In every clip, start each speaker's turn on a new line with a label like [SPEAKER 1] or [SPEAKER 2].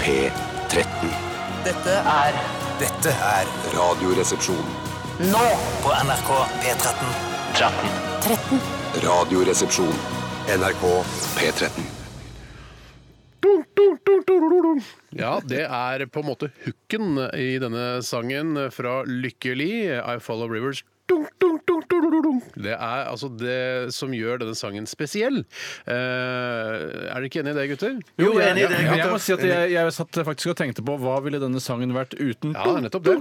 [SPEAKER 1] P13.
[SPEAKER 2] Dette er
[SPEAKER 3] Dette er
[SPEAKER 1] Radioresepsjon.
[SPEAKER 2] nå
[SPEAKER 3] på NRK P13.
[SPEAKER 2] 13.
[SPEAKER 1] Radioresepsjon. NRK P13.
[SPEAKER 4] Ja, det er på en måte hooken i denne sangen fra Lykkelig, I Follow Rivers. Dunk, dunk, dunk, dunk, dunk, dunk. Det er altså det som gjør denne sangen spesiell. Eh, er dere ikke enige i det, gutter?
[SPEAKER 5] Jo, enig i det.
[SPEAKER 4] Ja,
[SPEAKER 5] Jeg må si at jeg, jeg satt faktisk og tenkte på hva ville denne sangen vært uten
[SPEAKER 4] Ja, nettopp det.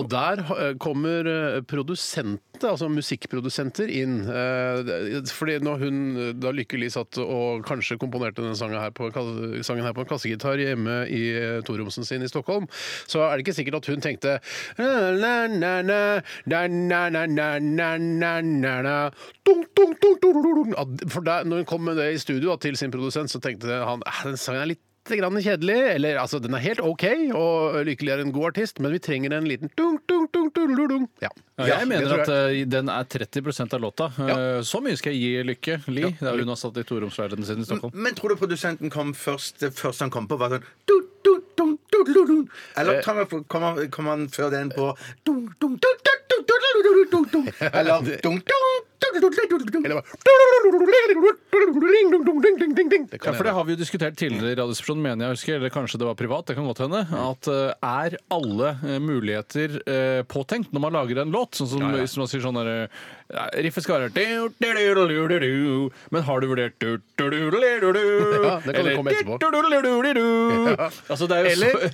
[SPEAKER 4] Og der eh, kommer eh, produsenter, altså musikkprodusenter, inn. Eh, det- Fordi når hun, eh, da Lykke Li satt og kanskje komponerte denne sangen her på, ka- sangen her på en kassegitar hjemme i eh, toromsen sin i Stockholm, så er det ikke sikkert at hun tenkte na-na-na-na-na-na-na-na-na-na Dunk, dunk, dunk, dunk, dunk, dunk. At- For der, når hun kom med det i studio da, til sin produsent, så tenkte han at den sangen er litt grann kjedelig, eller altså, den er helt OK, og Lykkelig er en god artist, men vi trenger en liten dunk, dunk, dunk, dunk, dunk, dunk. Ja.
[SPEAKER 5] Ja, jeg mener
[SPEAKER 4] tror
[SPEAKER 5] at eh, den er 30 av låta. Eh, Så mye skal jeg gi Lykke Li. Det er hun har satt i toromsleiligheten sin i Stockholm.
[SPEAKER 6] Men tror du produsenten kom først Det første han kom på, var sånn du, du, du, du, du, du. Eller
[SPEAKER 4] Eh.
[SPEAKER 6] kom han, kom, han, kom han før den på du, du, du, du, du, du, du, du, du, du, du. Eller du, du, du, du, du, du, du.
[SPEAKER 4] Eller bare Det
[SPEAKER 5] Ja,
[SPEAKER 4] kan
[SPEAKER 5] for det
[SPEAKER 4] hende.
[SPEAKER 5] har vi jo diskutert tidligere i Radioresepsjonen, mener jeg husker, eller kanskje det var privat, det kan godt hende, at eh, er alle eh, muligheter eh, påtenkt når man lager en låt? Sånn som hvis man sier sånn der eh, Riffet skal være du, du, du, du, du, du, du, Men har du vurdert du, du, du, du, du, du,
[SPEAKER 4] Ja, det kan
[SPEAKER 5] Eller
[SPEAKER 4] komme etterpå.
[SPEAKER 5] du, du, du, du, du, du. Altså, det er jo
[SPEAKER 4] Eller
[SPEAKER 5] så,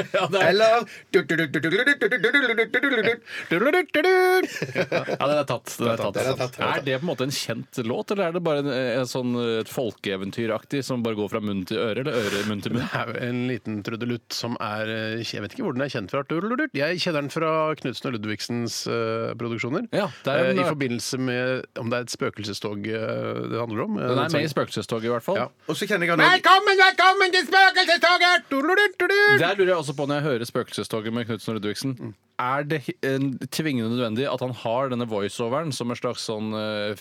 [SPEAKER 6] Ja, det er- Eller du, du, du, du, du, du, du, du, du, du, du, du, du, du.
[SPEAKER 5] Ja, den er tatt. Den er tatt.
[SPEAKER 6] Den er tatt.
[SPEAKER 5] Er det på en måte en kjent låt, eller er det bare en, en sånn eh, et folkeeventyraktig som bare går fra munn til øre, eller øre munn til munn?
[SPEAKER 4] Det er jo en liten trudelutt som er eh, Jeg vet ikke hvor den er kjent fra. trudelutt. Jeg kjenner den fra Knutsen og Ludvigsens eh, produksjoner.
[SPEAKER 5] Ja, det er en-
[SPEAKER 4] Eh, I forbindelse med om det er et spøkelsestog eh, det handler om.
[SPEAKER 5] Den er med i Spøkelsestoget, i hvert fall.
[SPEAKER 4] Ja.
[SPEAKER 6] Og så kjenner jeg han også-
[SPEAKER 4] Velkommen, velkommen til spøkelsestoget! Trudelutt, trudelutt.
[SPEAKER 5] Der lurer jeg også på når jeg hører Spøkelsestoget med Knutsen og Ludvigsen. Er det hi- en tvingende nødvendig at han har denne voiceoveren som en slags sånn eh,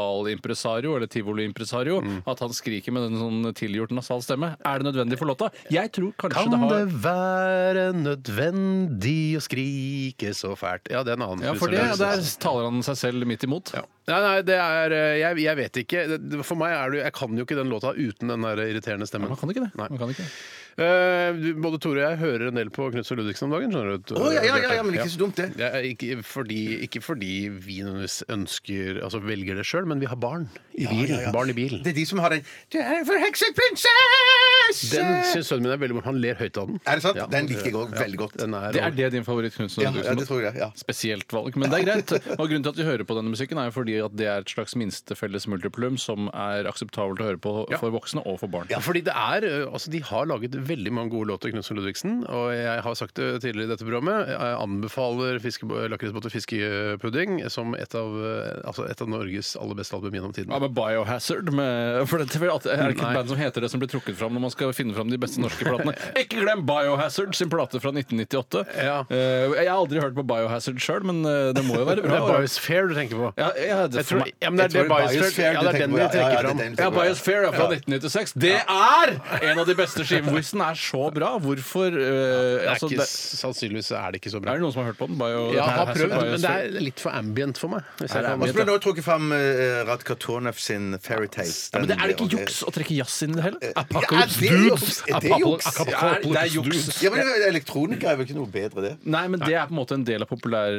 [SPEAKER 5] festivalimpresario eller tivoliimpresario?
[SPEAKER 4] Mm.
[SPEAKER 5] At han skriker med den sånn tilgjort nasal stemme? Er det nødvendig for låta? Jeg tror kanskje
[SPEAKER 4] Kan
[SPEAKER 5] det har
[SPEAKER 4] det være nødvendig å skrike så fælt? Ja, det er en annen
[SPEAKER 5] Ja, for det, der taler han seg selv midt imot.
[SPEAKER 4] Nei, nei, det er eh, Jeg, jeg vet ikke. Det- For meg er det Jeg kan jo ikke den låta uten den der irriterende stemmen.
[SPEAKER 5] Man kan ikke det.
[SPEAKER 4] Nei.
[SPEAKER 5] Man kan ikke det.
[SPEAKER 4] Eh, du- både Tore og jeg hører en del på Knutsen og Ludvigsen om dagen. skjønner du?
[SPEAKER 6] Å, ja, ja, ja, ja, men ikke så dumt, det.
[SPEAKER 4] Ja, ikke, fordi, ikke fordi vi nødvendigvis ønsker Altså velger det sjøl, men vi har barn i bil. Barn i bil.
[SPEAKER 6] Det er de som har den Du er en forhekset prinsesse!
[SPEAKER 4] Den syns sønnen min er veldig morsom. Han ler høyt av den.
[SPEAKER 6] Er det sant?
[SPEAKER 4] Ja,
[SPEAKER 6] Den liker jeg også veldig godt.
[SPEAKER 4] Den er,
[SPEAKER 5] Det er det din favoritt Knutsen og
[SPEAKER 6] Ja, ja,
[SPEAKER 5] Ludvigsen?
[SPEAKER 6] det tror jeg. ja
[SPEAKER 5] Spesielt valg, men det er greit. Og Grunnen til at vi hører på denne musikken, er jo fordi at det er et slags minste felles multiplum som er akseptabelt å høre på
[SPEAKER 4] Ja.
[SPEAKER 5] for voksne og for barn.
[SPEAKER 4] Ja, fordi det er, ø, altså De har laget veldig mange gode låter, Knutsen og Ludvigsen. Og jeg har sagt det tidligere i dette programmet, jeg anbefaler fiske- lakrisbåt og fiskepudding som et av, ø, altså et av Norges aller beste album gjennom tiden.
[SPEAKER 5] Ja, men Biohazard med, for det, for at, Er det ikke
[SPEAKER 4] Nei.
[SPEAKER 5] et band som heter det som blir trukket fram når man skal finne fram de beste norske platene? Ikke glem Biohazard sin plate fra 1998.
[SPEAKER 4] Ja.
[SPEAKER 5] Eh, jeg har aldri hørt på Biohazard sjøl, men eh, det må jo være
[SPEAKER 4] det
[SPEAKER 5] bra.
[SPEAKER 4] er Biosphere du tenker på.
[SPEAKER 5] ja, ja, det,
[SPEAKER 4] Jeg tror,
[SPEAKER 5] for meg-
[SPEAKER 4] ja, men det er, det
[SPEAKER 6] Jeg tror det
[SPEAKER 4] Biosphere,
[SPEAKER 6] er Biosphere
[SPEAKER 4] ja, det
[SPEAKER 6] du
[SPEAKER 4] er
[SPEAKER 6] tenker
[SPEAKER 4] den
[SPEAKER 6] på,
[SPEAKER 4] de
[SPEAKER 6] ja. Ja, ja,
[SPEAKER 4] trekker
[SPEAKER 6] det er
[SPEAKER 4] fram.
[SPEAKER 6] den.
[SPEAKER 5] Ja, Biosphere er fra 1996. Det er en av de beste skivene! Hvis den er så bra, hvorfor eh,
[SPEAKER 4] Det er
[SPEAKER 5] altså,
[SPEAKER 4] ikke,
[SPEAKER 5] det,
[SPEAKER 4] sannsynligvis er det ikke så
[SPEAKER 5] Er
[SPEAKER 4] bra.
[SPEAKER 5] det noen som har hørt på den? Bio,
[SPEAKER 4] Jeg har
[SPEAKER 5] Hazard,
[SPEAKER 4] prøvd, men det
[SPEAKER 5] Biosphere?
[SPEAKER 4] er litt for ambient for meg. hvis jeg
[SPEAKER 5] det er
[SPEAKER 4] kan-
[SPEAKER 6] Og så ble det også trukket fram eh, Radka Tornef sin Fairytales.
[SPEAKER 5] ja, men det er det
[SPEAKER 6] eh,
[SPEAKER 5] ikke juks å trekke jazz inn i det heller?
[SPEAKER 6] Apocalypse ja, det er juks. Er det juks?
[SPEAKER 5] Det er, det er juks.
[SPEAKER 6] Ja, men eh, elektronika er vel ikke noe bedre, det.
[SPEAKER 5] Nei, men det er på en måte en del av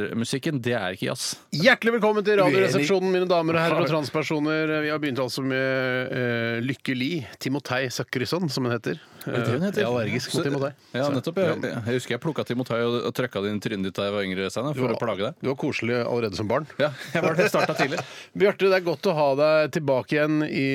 [SPEAKER 5] populærmusikken. Det er ikke jazz.
[SPEAKER 4] Hjertelig velkommen til Radioresepsjonen, mine damer og herrer og transpersoner. Vi har begynt altså med eh, Lykke Li, Timotei Sakrisson, som hun heter.
[SPEAKER 5] det hun heter?
[SPEAKER 4] Jeg er allergisk mot
[SPEAKER 5] Så-
[SPEAKER 4] Timotei.
[SPEAKER 5] Ja,
[SPEAKER 4] Så-
[SPEAKER 5] nettopp. Jeg, jeg husker jeg plukka Timotei og, og trøkka det inn i trynet ditt da jeg var yngre, Steinar, for å plage deg.
[SPEAKER 4] Du var koselig allerede som barn.
[SPEAKER 5] Ja, jeg var det starta tidlig.
[SPEAKER 4] Bjarte, det er godt å ha deg tilbake igjen i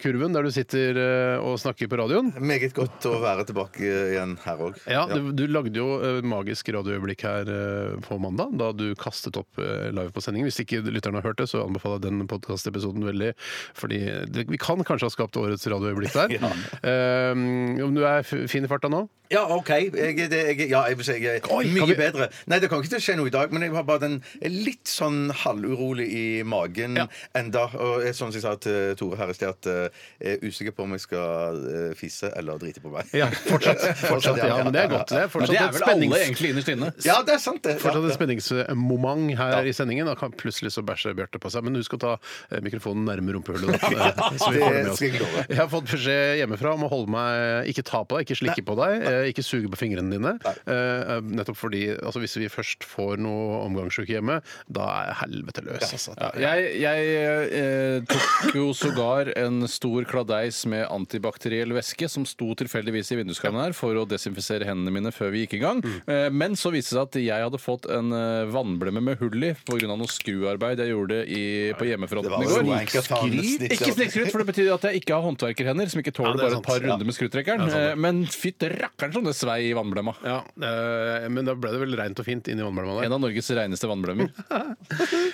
[SPEAKER 4] kurven der du sitter eh, og snakker på radioen.
[SPEAKER 6] Meget godt å være tilbake eh, igjen her òg.
[SPEAKER 4] Ja, du, du lagde jo eh, magisk radioøyeblikk her eh, på mandag, da du kastet opp eh, live på sendingen. Hvis ikke lytterne har hørt det, så å anbefale den podkastepisoden veldig. Fordi det, vi kan kanskje ha skapt årets radioøyeblikk der. Eh, om du er f- fin i farta nå?
[SPEAKER 6] Ja, OK. Jeg, det, jeg, ja, jeg vil si jeg er
[SPEAKER 4] Oi, kan
[SPEAKER 6] mye
[SPEAKER 4] vi-
[SPEAKER 6] bedre. Nei, det kommer ikke til å skje noe i dag, men jeg har bare den litt sånn halvurolig i magen enda. Og jeg, sånn som jeg sa til Tore her i sted, at eh, jeg er usikker på om jeg skal eh, fisse eller drite på meg.
[SPEAKER 4] Ja, fortsatt. fortsatt ja, men det er godt. Det er
[SPEAKER 5] Men
[SPEAKER 4] fortsatt
[SPEAKER 5] det er
[SPEAKER 4] et
[SPEAKER 5] vel
[SPEAKER 4] spennings-
[SPEAKER 5] alle egentlig innerst inne.
[SPEAKER 6] Ja, det er sant, det. Ja,
[SPEAKER 4] Fortsatt et
[SPEAKER 6] det.
[SPEAKER 4] spenningsmoment her i sendingen. Da kan plutselig så bæsje Bjarte på seg. Men husk å ta eh, mikrofonen nærme rumpehullet. da, eh, så vi får det med oss.
[SPEAKER 6] skal jeg love.
[SPEAKER 4] Jeg har fått beskjed hjemmefra om å holde meg Ikke ta på deg, ikke slikke på deg, eh, ikke suge på fingrene dine. Eh, Nettopp fordi altså, hvis vi først får noe omgangssyke hjemme, da er helvete løs. Altså.
[SPEAKER 5] Ja, jeg jeg eh, tok jo sågar en stor kladeis med antibakteriell væske som sto tilfeldigvis i vinduskarmen her for å desinfisere hendene mine før vi gikk i
[SPEAKER 4] Mm.
[SPEAKER 5] gang. Eh, men så viste det seg at jeg hadde fått en eh, vannblemme med hull i pga. noe skruarbeid jeg gjorde i, på
[SPEAKER 6] Det
[SPEAKER 5] hjemmefronten
[SPEAKER 6] var
[SPEAKER 5] i
[SPEAKER 6] så
[SPEAKER 5] går.
[SPEAKER 6] enkelt å ta med snitt.
[SPEAKER 5] Ikke snikskryt, for det betyr at jeg ikke har håndverkerhender som ikke tåler
[SPEAKER 4] Ja, det er
[SPEAKER 5] bare
[SPEAKER 4] sant.
[SPEAKER 5] et par
[SPEAKER 4] Ja.
[SPEAKER 5] runder med skrutrekkeren.
[SPEAKER 4] Det er sant, det.
[SPEAKER 5] Eh, Men fytte rakkeren som det svei i vannblemma.
[SPEAKER 4] Ja, eh, Men da ble det vel reint og fint inni håndblemma der.
[SPEAKER 5] En av Norges reneste vannblemmer.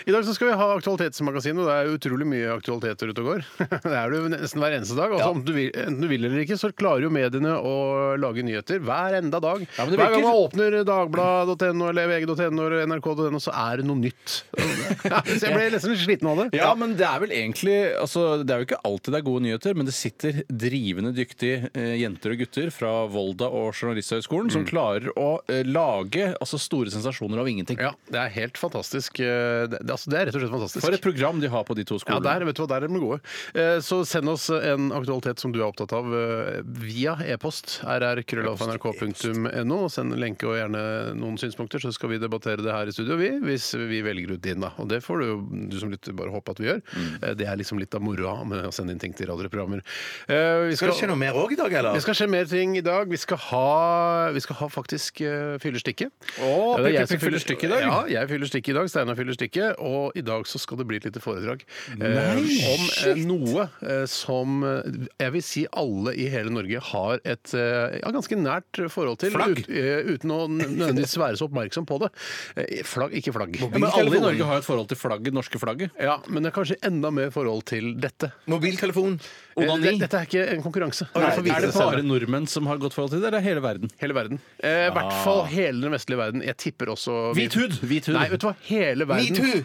[SPEAKER 4] I dag så skal vi ha Aktualitetsmagasinet. og Det er jo utrolig mye aktualiteter ute og går. Det er det jo nesten hver eneste dag. Altså, om du vil, enten du vil eller ikke, så klarer jo mediene å lage nyheter hver enda dag.
[SPEAKER 5] men det
[SPEAKER 4] hver gang
[SPEAKER 5] virker-
[SPEAKER 4] man åpner dagbladet.no eller vg.no eller nrk.no, så er det noe nytt. så jeg ble nesten litt sliten av det.
[SPEAKER 5] Ja, men det er vel egentlig altså, Det er jo ikke alltid det er gode nyheter, men det sitter drivende dyktige eh, jenter og gutter fra Volda og Journalisthøgskolen som klarer å eh, lage altså, store sensasjoner av ingenting.
[SPEAKER 4] Ja, det er helt fantastisk. Eh, Det, det, altså, det er rett og slett fantastisk.
[SPEAKER 5] For et program de har på de to
[SPEAKER 4] Ja,
[SPEAKER 5] skolene.
[SPEAKER 4] der, vet du hva, der er de gode. Eh, Så send oss en aktualitet som du er opptatt av eh, via e-post. rrkrøllalfa.nrk.no. Send en lenke og gjerne noen synspunkter, så skal vi debattere det her i studio, vi, hvis vi velger ut din. da. Og det får du, jo, du som lytter bare håpe at vi gjør.
[SPEAKER 6] Mm.
[SPEAKER 4] Eh, Det er liksom litt av moroa med å sende inn ting til radioprogrammer. Eh, Vi
[SPEAKER 6] Skal det skje noe mer òg i dag, eller?
[SPEAKER 4] det skal skje mer ting i dag. Vi skal ha, vi skal ha faktisk uh, fyllestikke.
[SPEAKER 5] Å,
[SPEAKER 4] Det er
[SPEAKER 5] prikk,
[SPEAKER 4] jeg som
[SPEAKER 5] prikk, fyller stikket i dag.
[SPEAKER 4] Ja, jeg fyller stikket i dag. Steinar fyller stikket. Og i dag så skal det bli et lite foredrag eh, om eh, noe eh, som eh, jeg vil si alle i hele Norge har et eh, ja, ganske nært forhold til.
[SPEAKER 5] Flagg.
[SPEAKER 4] ut- eh, uten å nødvendigvis være så oppmerksom på det. Eh, Flagg, ikke flagg.
[SPEAKER 5] Ja, men alle i Norge har jo et forhold til flagget, det norske flagget.
[SPEAKER 4] Ja, men det er kanskje enda mer forhold til dette.
[SPEAKER 6] Mobiltelefon.
[SPEAKER 5] Onani.
[SPEAKER 4] Eh, Dette er ikke en konkurranse.
[SPEAKER 5] Nei,
[SPEAKER 4] Dere får vise
[SPEAKER 5] er det
[SPEAKER 4] selv.
[SPEAKER 5] bare nordmenn som har godt forhold til det, eller er det hele verden?
[SPEAKER 4] Hele verden. Eh, I hvert fall hele den vestlige verden. Jeg tipper også
[SPEAKER 5] Hvit hud! Hvit hud.
[SPEAKER 4] Nei, vet du hva? Hele verden
[SPEAKER 6] Metoo!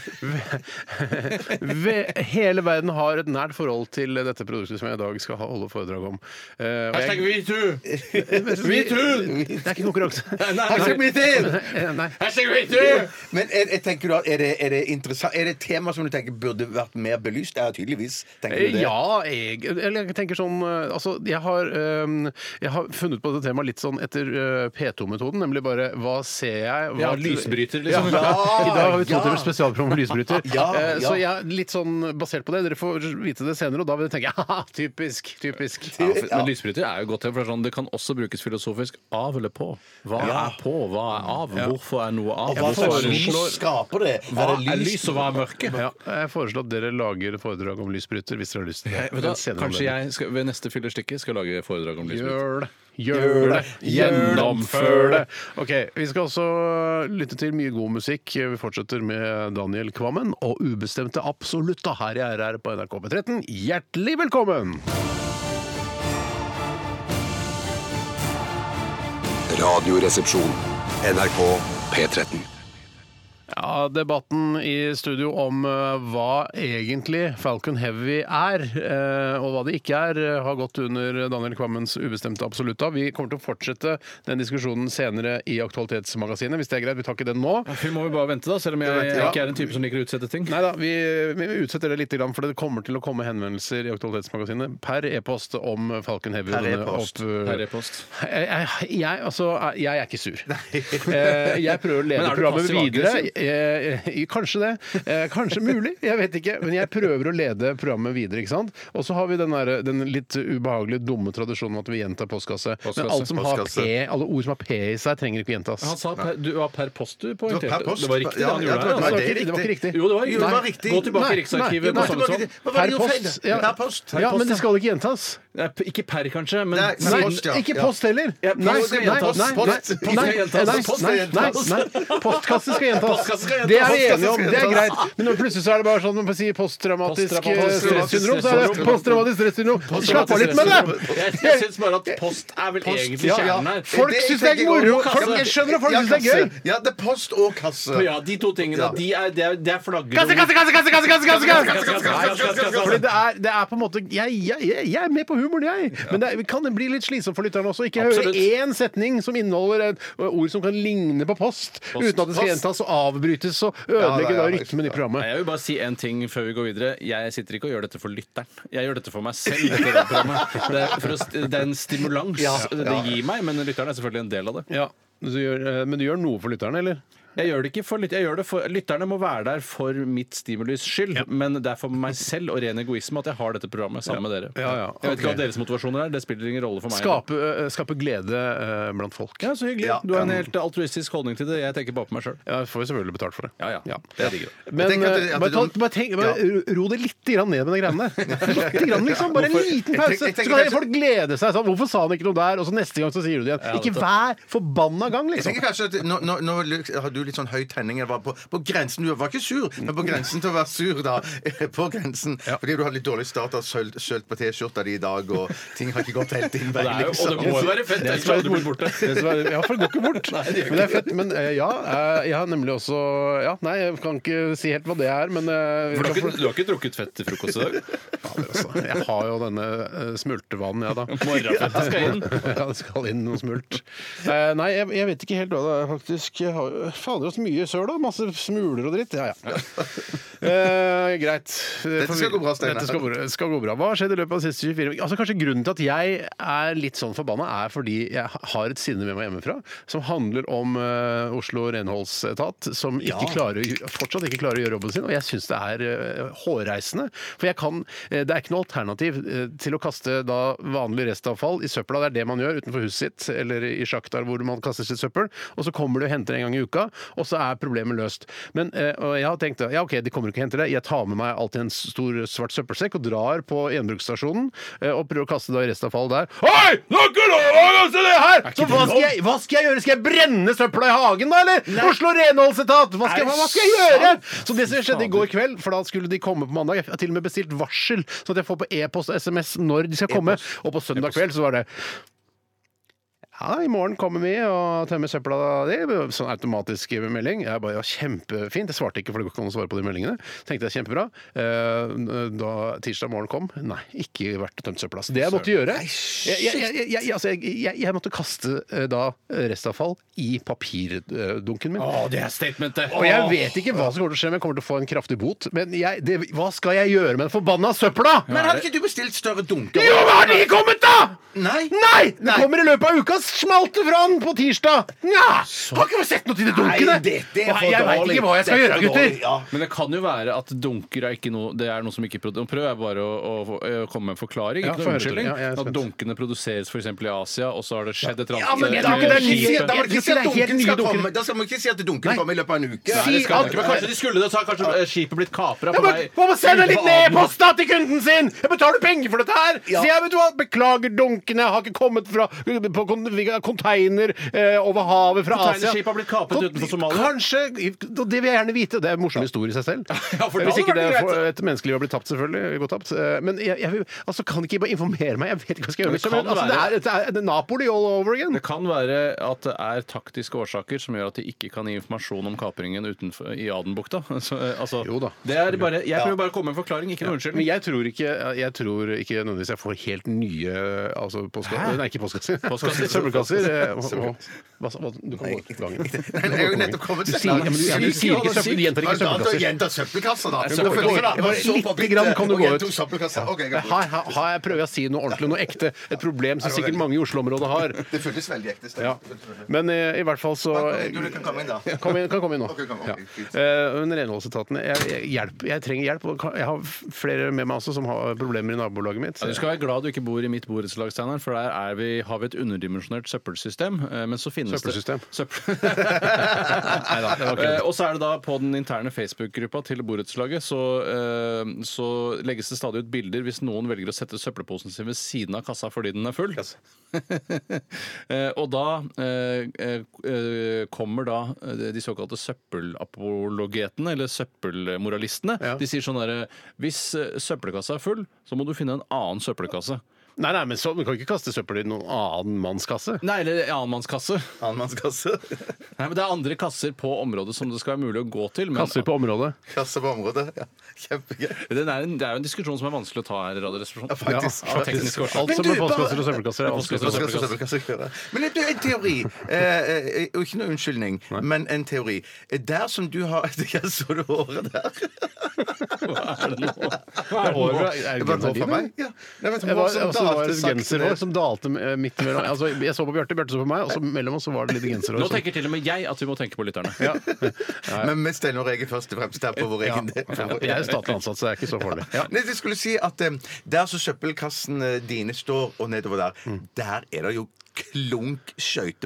[SPEAKER 4] Ve- Hele verden har et nært forhold til dette produktet som jeg i dag skal ha- holde foredrag om. Eh, og jeg-
[SPEAKER 5] metoo!
[SPEAKER 4] Hvit hud! Det er ikke konkurranse.
[SPEAKER 6] Hashtag metoo!
[SPEAKER 4] Eh, Nei.
[SPEAKER 5] Hashtag metoo!
[SPEAKER 6] Men er, jeg tenker du at er det, er, det interessant, er det et tema som du tenker burde vært mer belyst? Ja, tydeligvis. tenker
[SPEAKER 5] Eh,
[SPEAKER 6] du
[SPEAKER 4] Eh,
[SPEAKER 6] det.
[SPEAKER 4] Ja, jeg, eller jeg tenker sånn eh, Altså, jeg har, eh, jeg har funnet på dette temaet litt sånn etter eh, P2-metoden, nemlig bare hva ser jeg hva
[SPEAKER 5] Ja, lysbryter, liksom.
[SPEAKER 4] Ja.
[SPEAKER 6] Ja,
[SPEAKER 4] I dag har vi to
[SPEAKER 6] ja.
[SPEAKER 4] timers spesialprogram om lysbryter.
[SPEAKER 6] Ja,
[SPEAKER 4] Eh, Så
[SPEAKER 6] ja.
[SPEAKER 4] jeg er litt sånn basert på det. Dere får vite det senere, og da vil dere tenke ja, typisk, typisk.
[SPEAKER 5] Ja, for, men lysbryter er jo godt for det, er sånn, det kan også brukes filosofisk av eller på. Hva
[SPEAKER 6] Ja.
[SPEAKER 5] er på, hva er av, hvorfor er noe av?
[SPEAKER 6] Og hva
[SPEAKER 5] Hvorfor
[SPEAKER 6] slags
[SPEAKER 5] er noe-
[SPEAKER 6] lys skaper det?
[SPEAKER 5] Hva er lys, og hva er mørke? Eh,
[SPEAKER 4] Ja, jeg foreslår at dere lager et foredrag om lysbryter hvis dere har lyst til det.
[SPEAKER 5] Eh, Vet du hva, Kanskje jeg skal, ved neste fyllerstikke skal lage foredrag om lysbryter.
[SPEAKER 4] Gjør det. Gjør det. Gjennomfør det. Ok, Vi skal også lytte til mye god musikk. Vi fortsetter med Daniel Kvammen og Ubestemte Absolutta her i RR på NRK P13. Hjertelig velkommen!
[SPEAKER 1] Radioresepsjon. NRK P13.
[SPEAKER 4] Ja, Debatten i studio om eh, hva egentlig Falcon Heavy er, eh, og hva det ikke er, eh, har gått under Daniel Kvammens ubestemte absolutta. Vi kommer til å fortsette den diskusjonen senere i Aktualitetsmagasinet, hvis det er greit. Vi tar ikke den nå.
[SPEAKER 5] Vi må jo bare vente, da, selv om jeg
[SPEAKER 4] Ja.
[SPEAKER 5] ikke er en type som liker å utsette ting.
[SPEAKER 4] Nei da, vi, vi utsetter det litt, for det kommer til å komme henvendelser i Aktualitetsmagasinet per e-post om Falcon Heavy.
[SPEAKER 6] Per
[SPEAKER 4] denne
[SPEAKER 6] e-post.
[SPEAKER 4] opp-
[SPEAKER 5] Per e-post.
[SPEAKER 4] Jeg, jeg, jeg, altså, jeg er ikke sur. Eh, Jeg prøver å
[SPEAKER 5] Men
[SPEAKER 4] lede
[SPEAKER 5] er du
[SPEAKER 4] programmet
[SPEAKER 5] passiv
[SPEAKER 4] videre.
[SPEAKER 5] aggressiv?
[SPEAKER 4] Eh, eh, Kanskje det. Eh, Kanskje mulig. Jeg vet ikke. Men jeg prøver å lede programmet videre. ikke sant? Og så har vi den, der, den litt ubehagelige, dumme tradisjonen med at vi gjentar postkasse.
[SPEAKER 5] Postkasse,
[SPEAKER 4] Men alt som har
[SPEAKER 6] postkasse.
[SPEAKER 4] P, alle ord som har P i seg, trenger ikke gjentas.
[SPEAKER 5] Han sa per, du var per post, du
[SPEAKER 6] Det var per
[SPEAKER 5] poengterte.
[SPEAKER 6] post.
[SPEAKER 5] Det var riktig, det
[SPEAKER 6] Ja,
[SPEAKER 5] han
[SPEAKER 6] ja,
[SPEAKER 5] gjorde
[SPEAKER 6] det var-
[SPEAKER 5] her.
[SPEAKER 4] Nei,
[SPEAKER 5] altså.
[SPEAKER 4] det, det var ikke riktig.
[SPEAKER 5] Jo, det var,
[SPEAKER 6] Jo, det var riktig.
[SPEAKER 5] Gå tilbake
[SPEAKER 4] Nei,
[SPEAKER 5] i
[SPEAKER 4] nei,
[SPEAKER 5] Riksarkivet.
[SPEAKER 4] nei,
[SPEAKER 5] på
[SPEAKER 6] Hva
[SPEAKER 5] samme
[SPEAKER 6] var
[SPEAKER 5] sånn.
[SPEAKER 6] det- hva var
[SPEAKER 4] Per
[SPEAKER 6] det du feil?
[SPEAKER 4] post. Ja.
[SPEAKER 6] Per post.
[SPEAKER 4] Ja, men det skal ikke gjentas.
[SPEAKER 5] Nei, Ikke per, kanskje, men
[SPEAKER 6] Nei,
[SPEAKER 5] siden-
[SPEAKER 6] post, ja.
[SPEAKER 4] Nei, ikke post heller!
[SPEAKER 5] Ja, post skal gjentas.
[SPEAKER 4] nei, nei,
[SPEAKER 5] Post. Post skal
[SPEAKER 4] nei,
[SPEAKER 5] gjentas.
[SPEAKER 4] nei,
[SPEAKER 5] Post
[SPEAKER 6] skal
[SPEAKER 4] nei,
[SPEAKER 6] gjentas.
[SPEAKER 4] nei, nei. Postkasse skal gjentas.
[SPEAKER 6] postkasse skal jeg
[SPEAKER 4] Det
[SPEAKER 6] ta,
[SPEAKER 4] er vi
[SPEAKER 6] postkasse
[SPEAKER 4] enige om,
[SPEAKER 6] skal jeg
[SPEAKER 4] det er
[SPEAKER 6] ta.
[SPEAKER 4] greit. Men når plutselig så er det bare sånn man får si posttraumatisk eh,
[SPEAKER 5] Posttraumatisk
[SPEAKER 4] stressyndrom. Så er det
[SPEAKER 5] stressyndrom.
[SPEAKER 4] posttraumatisk stressyndrom. Slapp av litt med det!
[SPEAKER 5] Jeg, jeg syns bare at post er vel egentlig
[SPEAKER 4] Ja, ja.
[SPEAKER 5] kjernen her.
[SPEAKER 4] Folk
[SPEAKER 6] Eh, Det-
[SPEAKER 4] syns det er
[SPEAKER 6] tenker jeg
[SPEAKER 4] moro!
[SPEAKER 6] også.
[SPEAKER 4] Folk, jeg skjønner at folk
[SPEAKER 6] Ja,
[SPEAKER 4] syns det er gøy!
[SPEAKER 6] kasse. Ja, det er post og kasse.
[SPEAKER 5] Ja, de to tingene,
[SPEAKER 6] Ja.
[SPEAKER 5] de er, det er, det er flagger
[SPEAKER 4] Kasse, kasse, kasse, kasse, kasse, kasse, kasse, kasse, kasse, kasse,
[SPEAKER 5] Nei,
[SPEAKER 4] kasse, kasse, kasse. Fordi det er, det er på en måte jeg, jeg, jeg jeg er med på humoren, jeg. Men det er, kan det bli litt slitsomt for lytterne også. Ikke høre
[SPEAKER 5] Absolutt.
[SPEAKER 4] én setning som inneholder et ord som kan ligne på post, uten at det skal gjentas og avbrytes og ødelegge
[SPEAKER 6] Ja,
[SPEAKER 4] da
[SPEAKER 6] ja, ja.
[SPEAKER 4] rytmen i programmet.
[SPEAKER 5] Jeg vil bare si en ting før vi går videre. Jeg sitter ikke og gjør dette for lytteren. Jeg gjør dette for meg selv. Dette radioprogrammet. det, er for å, st- det er en stimulans det gir meg, men lytteren er selvfølgelig en del av det.
[SPEAKER 4] Ja, du gjør, eh, men du gjør noe for lytterne, eller?
[SPEAKER 5] Jeg gjør det ikke for, lyt- jeg gjør det for Lytterne må være der for mitt stimulus skyld, men det er for meg selv og ren egoisme at jeg har dette programmet sammen med dere.
[SPEAKER 4] Ja, ja,
[SPEAKER 5] Jeg vet ikke
[SPEAKER 4] ok.
[SPEAKER 5] hva deres motivasjoner er. Det spiller ingen rolle for meg.
[SPEAKER 4] Skape, eh, skape glede eh, blant folk.
[SPEAKER 5] Ja, så hyggelig. Du har en helt altruistisk holdning til det. Jeg tenker bare på meg sjøl.
[SPEAKER 4] Ja, jeg får jo selvfølgelig betalt for det.
[SPEAKER 5] Ja, ja. Det er digg, da.
[SPEAKER 4] Men
[SPEAKER 6] Jeg tenker at det-
[SPEAKER 4] eh,
[SPEAKER 6] at
[SPEAKER 4] bare,
[SPEAKER 6] det-
[SPEAKER 4] ta- bare, tenk, bare ro det litt grann ned med de greiene der. Litt grann, liksom, bare en liten
[SPEAKER 6] tenker-
[SPEAKER 4] pause.
[SPEAKER 6] jeg
[SPEAKER 4] Så
[SPEAKER 6] tenker
[SPEAKER 4] kan
[SPEAKER 6] kanskje-
[SPEAKER 4] folk glede seg sånn. Hvorfor sa han ikke noe der? Og så neste gang så sier du det igjen. Ikke hver forbanna gang,
[SPEAKER 6] Jeg
[SPEAKER 4] liksom.
[SPEAKER 6] tenker kanskje at Nå, nå, nå har du litt sånn høy tenning. Jeg var på, på grensen, Du var ikke sur, men på grensen til å være sur, da. På grensen. Fordi du har litt dårlig start og har sølt, sølt på T-skjorta di i dag, og ting har ikke gått helt din vei.
[SPEAKER 5] Det er jo, og det
[SPEAKER 6] liksom.
[SPEAKER 5] må jo være fett.
[SPEAKER 4] Det
[SPEAKER 5] ellers
[SPEAKER 4] som er
[SPEAKER 5] hadde du blitt borte.
[SPEAKER 4] Det som er- Ja, for det går ikke bort. Men det er fett. Men eh, ja, eh, jeg har nemlig også Ja, nei, jeg kan ikke si helt hva det er, men eh,
[SPEAKER 5] For du, har ikke, du har ikke drukket fett til frokost i dag?
[SPEAKER 4] Fader, altså. Jeg har jo denne eh, smultevanen, jeg, da.
[SPEAKER 5] Morgenfettet skal inn.
[SPEAKER 4] ja, det skal inn noe smult. Eh, nei, jeg, jeg vet ikke helt hva det er, faktisk. Jeg har jo- Fader, så mye søl, da. Masse smuler og dritt. Ja, ja. Eh, greit.
[SPEAKER 6] Dette skal gå bra, Steinar.
[SPEAKER 4] Dette skal, gå- skal gå bra. Hva har skjedd i løpet av de siste 24 uker? Altså, kanskje grunnen til at jeg er litt sånn forbanna, er fordi jeg har et sinne med meg hjemmefra som handler om eh, Oslo renholdsetat, som ikke klarer, å gj- fortsatt ikke klarer å gjøre jobben sin. Og jeg syns det er eh, hårreisende. For jeg kan, eh, det er ikke noe alternativ eh, til å kaste da vanlig restavfall i søpla. Det er det man gjør utenfor huset sitt eller i sjaktar hvor man kaster sitt søppel. Og så kommer du og henter en gang i uka, og så er problemet løst. Men eh, og jeg har tenkt ja, OK, de kommer ikke og henter det. Jeg tar med meg alltid en stor svart søppelsekk og drar på gjenbruksstasjonen eh, og prøver å kaste da restavfall der. Hei! Nå er ikke lov å kaste det her! Så hva skal, jeg, hva skal jeg gjøre? Skal jeg brenne søpla i hagen, da, eller? Oslo renholdsetat! Hva skal,
[SPEAKER 5] Er det
[SPEAKER 4] hva skal jeg gjøre?
[SPEAKER 5] sant?
[SPEAKER 4] Så det som skjedde i går kveld, for da skulle de komme på mandag. Jeg har til og med bestilt varsel, sånn at jeg får på e-post og SMS når de skal komme. Og på søndag kveld så var det ja, i morgen kommer vi og tømmer søpla di. Sånn automatisk melding. Jeg bare, ja, kjempefint. Jeg svarte ikke, for det går ikke an å svare på de meldingene. Tenkte jeg kjempebra. Eh, Da tirsdag morgen kom, nei, ikke vært og tømt søpla. Så det jeg måtte gjøre Jeg, jeg, jeg, jeg, altså, jeg, jeg, jeg måtte kaste eh, da restavfall i papirdunken min.
[SPEAKER 5] Å, det er statementet!
[SPEAKER 4] Og jeg vet ikke hva som kommer til å skje, men jeg kommer til å få en kraftig bot. Men jeg, det, hva skal jeg gjøre med den forbanna søpla?!
[SPEAKER 6] Men hadde ikke du bestilt større dunker?
[SPEAKER 4] Jo, men har de kommet, da?!
[SPEAKER 6] Nei!
[SPEAKER 4] Nei! Det kommer i løpet av uka! Smalt det fra den på tirsdag! Nja! Har ikke sett noe til de dunkene!
[SPEAKER 6] Nei, det- det er
[SPEAKER 4] Og
[SPEAKER 6] for
[SPEAKER 4] jeg veit
[SPEAKER 6] dårlig.
[SPEAKER 4] ikke hva jeg skal
[SPEAKER 6] Det er
[SPEAKER 4] gjøre,
[SPEAKER 6] for
[SPEAKER 4] gutter!
[SPEAKER 6] dårlig, ja.
[SPEAKER 5] Men det kan jo være at dunker er ikke noe Det er noe som ikke produ- Prøv er bare å, å, å komme med en forklaring,
[SPEAKER 4] Ja,
[SPEAKER 5] ikke
[SPEAKER 4] få
[SPEAKER 5] noen
[SPEAKER 4] høre til.
[SPEAKER 5] unnskyldning.
[SPEAKER 4] Ja, jeg er
[SPEAKER 5] at
[SPEAKER 4] spent.
[SPEAKER 5] dunkene produseres f.eks. i Asia, og så har det skjedd et eller
[SPEAKER 6] Ja, men
[SPEAKER 4] Jeg
[SPEAKER 6] da
[SPEAKER 4] tror ikke det er
[SPEAKER 5] med
[SPEAKER 4] ny-
[SPEAKER 5] skipet.
[SPEAKER 6] Da må du ikke si
[SPEAKER 4] Jeg tror ikke
[SPEAKER 6] at
[SPEAKER 4] det er helt
[SPEAKER 6] dunken
[SPEAKER 4] nye
[SPEAKER 6] skal
[SPEAKER 4] dunker.
[SPEAKER 6] komme Da skal man ikke si at dunken kommer i løpet av en uke.
[SPEAKER 4] Si
[SPEAKER 6] Nei, det skal
[SPEAKER 4] at-
[SPEAKER 6] man ikke.
[SPEAKER 5] Men kanskje de skulle det, så har kanskje eh, skipet blitt kapra
[SPEAKER 4] Ja,
[SPEAKER 5] på
[SPEAKER 4] men
[SPEAKER 5] vei
[SPEAKER 4] Hva med sende litt ned e-post da til kunden sin?! Jeg betaler penger for dette her!
[SPEAKER 6] Ja.
[SPEAKER 4] Sier jeg, vet du hva, beklager dunkene, har ikke kommet fra på kon- container eh, over havet fra Asia.
[SPEAKER 5] Containerskip har blitt kapet
[SPEAKER 4] Kon-
[SPEAKER 5] utenfor Somalia.
[SPEAKER 4] Kanskje. Og det vil jeg gjerne vite. Det er en morsom historie i seg selv.
[SPEAKER 5] Ja, for da
[SPEAKER 4] Hvis
[SPEAKER 5] hadde
[SPEAKER 4] ikke
[SPEAKER 5] det
[SPEAKER 4] det
[SPEAKER 5] vært
[SPEAKER 4] for, et menneskeliv har blitt tapt, selvfølgelig. Gått tapt. Eh, Men jeg, jeg vil- altså, kan ikke bare informere meg? Jeg vet ikke hva jeg skal gjøre.
[SPEAKER 5] Men det
[SPEAKER 4] Liksom.
[SPEAKER 5] kan
[SPEAKER 4] Altså, det,
[SPEAKER 5] være-
[SPEAKER 4] er, det, er, det er Napoli all over again.
[SPEAKER 5] Det kan være at det er taktiske årsaker som gjør at de ikke kan gi informasjon om kapringen utenfor, i Adenbukta. Så, eh, altså,
[SPEAKER 4] Jo da.
[SPEAKER 5] Det er bare, jeg prøver bare å komme med en forklaring, ikke noen
[SPEAKER 4] Men
[SPEAKER 5] unnskyldning.
[SPEAKER 4] jeg tror ikke, jeg tror ikke nødvendigvis jeg får helt nye altså postkasser. Nei, ikke postkasser.
[SPEAKER 5] Postkasser.
[SPEAKER 4] Søppelkasser. eh, og- og- Hva sa hva- Du kan gå til gangen.
[SPEAKER 6] Nei, jeg har jo nettopp kommet
[SPEAKER 4] Du sier, ja, men du, ja, du sier ikke søppel, du gjentar
[SPEAKER 6] Ja,
[SPEAKER 4] ikke
[SPEAKER 6] da- da
[SPEAKER 4] søppelkasser.
[SPEAKER 6] Gjenta søppelkasser, da.
[SPEAKER 4] søppelkasser. Jeg bare
[SPEAKER 6] Så på
[SPEAKER 4] lite
[SPEAKER 6] bitte,
[SPEAKER 4] grann kan du
[SPEAKER 6] og
[SPEAKER 4] gå
[SPEAKER 6] gjenta
[SPEAKER 4] ut.
[SPEAKER 6] søppelkasser. Ok, jeg
[SPEAKER 4] Her,
[SPEAKER 6] går ut.
[SPEAKER 4] her, her jeg prøver jeg å si noe ordentlig, noe ekte. Et problem som sikkert mange i Oslo-området har.
[SPEAKER 6] Det føltes veldig ekte. Stein.
[SPEAKER 4] Ja. Men eh, i hvert fall så
[SPEAKER 6] Du, du kan komme inn, da.
[SPEAKER 4] Kom inn, kan komme inn nå.
[SPEAKER 6] Ok, kom, ok,
[SPEAKER 4] Ja.
[SPEAKER 6] fint.
[SPEAKER 4] Eh, men renholdsetatene jeg, jeg, hjelp, jeg trenger hjelp. og kan- Jeg har flere med meg også som har problemer i nabolaget mitt.
[SPEAKER 5] Ja, du skal være glad du ikke bor i mitt borettslag, Steinar, for der er vi, har vi et underdimensjonert søppelsystem. eh, Men så finnes
[SPEAKER 4] Søppelsystem.
[SPEAKER 5] det Søppel... Neida, det var ikke det. Eh, Og så er det da på den interne Facebook-gruppa til borettslaget så, eh, så legges det stadig ut bilder hvis noen velger å sette søppelposen sin ved siden av kassa fordi den er full. Eh, og da eh, eh, eh, kommer da eh, de såkalte søppelapologetene, eller søppelmoralistene.
[SPEAKER 4] Ja.
[SPEAKER 5] De sier sånn derre Hvis eh, søppelkassa er full, så må du finne en annen søppelkasse.
[SPEAKER 4] Nei, nei, men så, du kan ikke kaste søppel i noen annen manns kasse.
[SPEAKER 5] Nei, eller en annenmannskasse.
[SPEAKER 6] Annenmannskasse.
[SPEAKER 5] Nei, men det er andre kasser på området som det skal være mulig å gå til. Men
[SPEAKER 4] Kasser på området.
[SPEAKER 6] Kasse på området. Ja. Kjempegøy.
[SPEAKER 5] Den er en, det er jo en diskusjon som er vanskelig å ta her i Radioresepsjonen.
[SPEAKER 6] Ja, faktisk.
[SPEAKER 5] av tekniske årsaker.
[SPEAKER 4] Alt
[SPEAKER 6] Men
[SPEAKER 4] som
[SPEAKER 6] du,
[SPEAKER 4] er postkasser og
[SPEAKER 6] bare-
[SPEAKER 4] søppelkasser. er
[SPEAKER 5] Postkasser
[SPEAKER 4] vanskelig.
[SPEAKER 5] og
[SPEAKER 6] Postkasser, postkasser, postkasser. Men du, en teori, eh, eh, og ikke noe unnskyldning, men en teori. Eh, Der som du har Jeg så det håret der.
[SPEAKER 5] Hva er det nå?
[SPEAKER 4] Hva er håret? Er
[SPEAKER 6] Det
[SPEAKER 4] det genseren
[SPEAKER 6] var et hår fra
[SPEAKER 4] din?
[SPEAKER 6] meg. Ja. Nei, vet du,
[SPEAKER 4] Det
[SPEAKER 6] hår
[SPEAKER 4] var,
[SPEAKER 6] som
[SPEAKER 4] altså, det var
[SPEAKER 6] dalte
[SPEAKER 4] et
[SPEAKER 6] sakte
[SPEAKER 4] genserhår
[SPEAKER 6] ned.
[SPEAKER 4] som dalte eh, midt mellom altså, Jeg så på Bjarte, Bjarte så på meg, og så mellom oss så var det litt genserhår.
[SPEAKER 5] Nå
[SPEAKER 4] som-
[SPEAKER 5] tenker til og med jeg at vi må tenke på lytterne.
[SPEAKER 6] Men vi steller vår egen først og fremst der på vår egen del.
[SPEAKER 4] Jeg er statlig ansatt, så det er ikke så farlig. Ja.
[SPEAKER 6] Nei, jeg skulle si at eh, Der som søppelkassene dine står, og nedover der,
[SPEAKER 4] Mm.
[SPEAKER 6] der er det jo klunk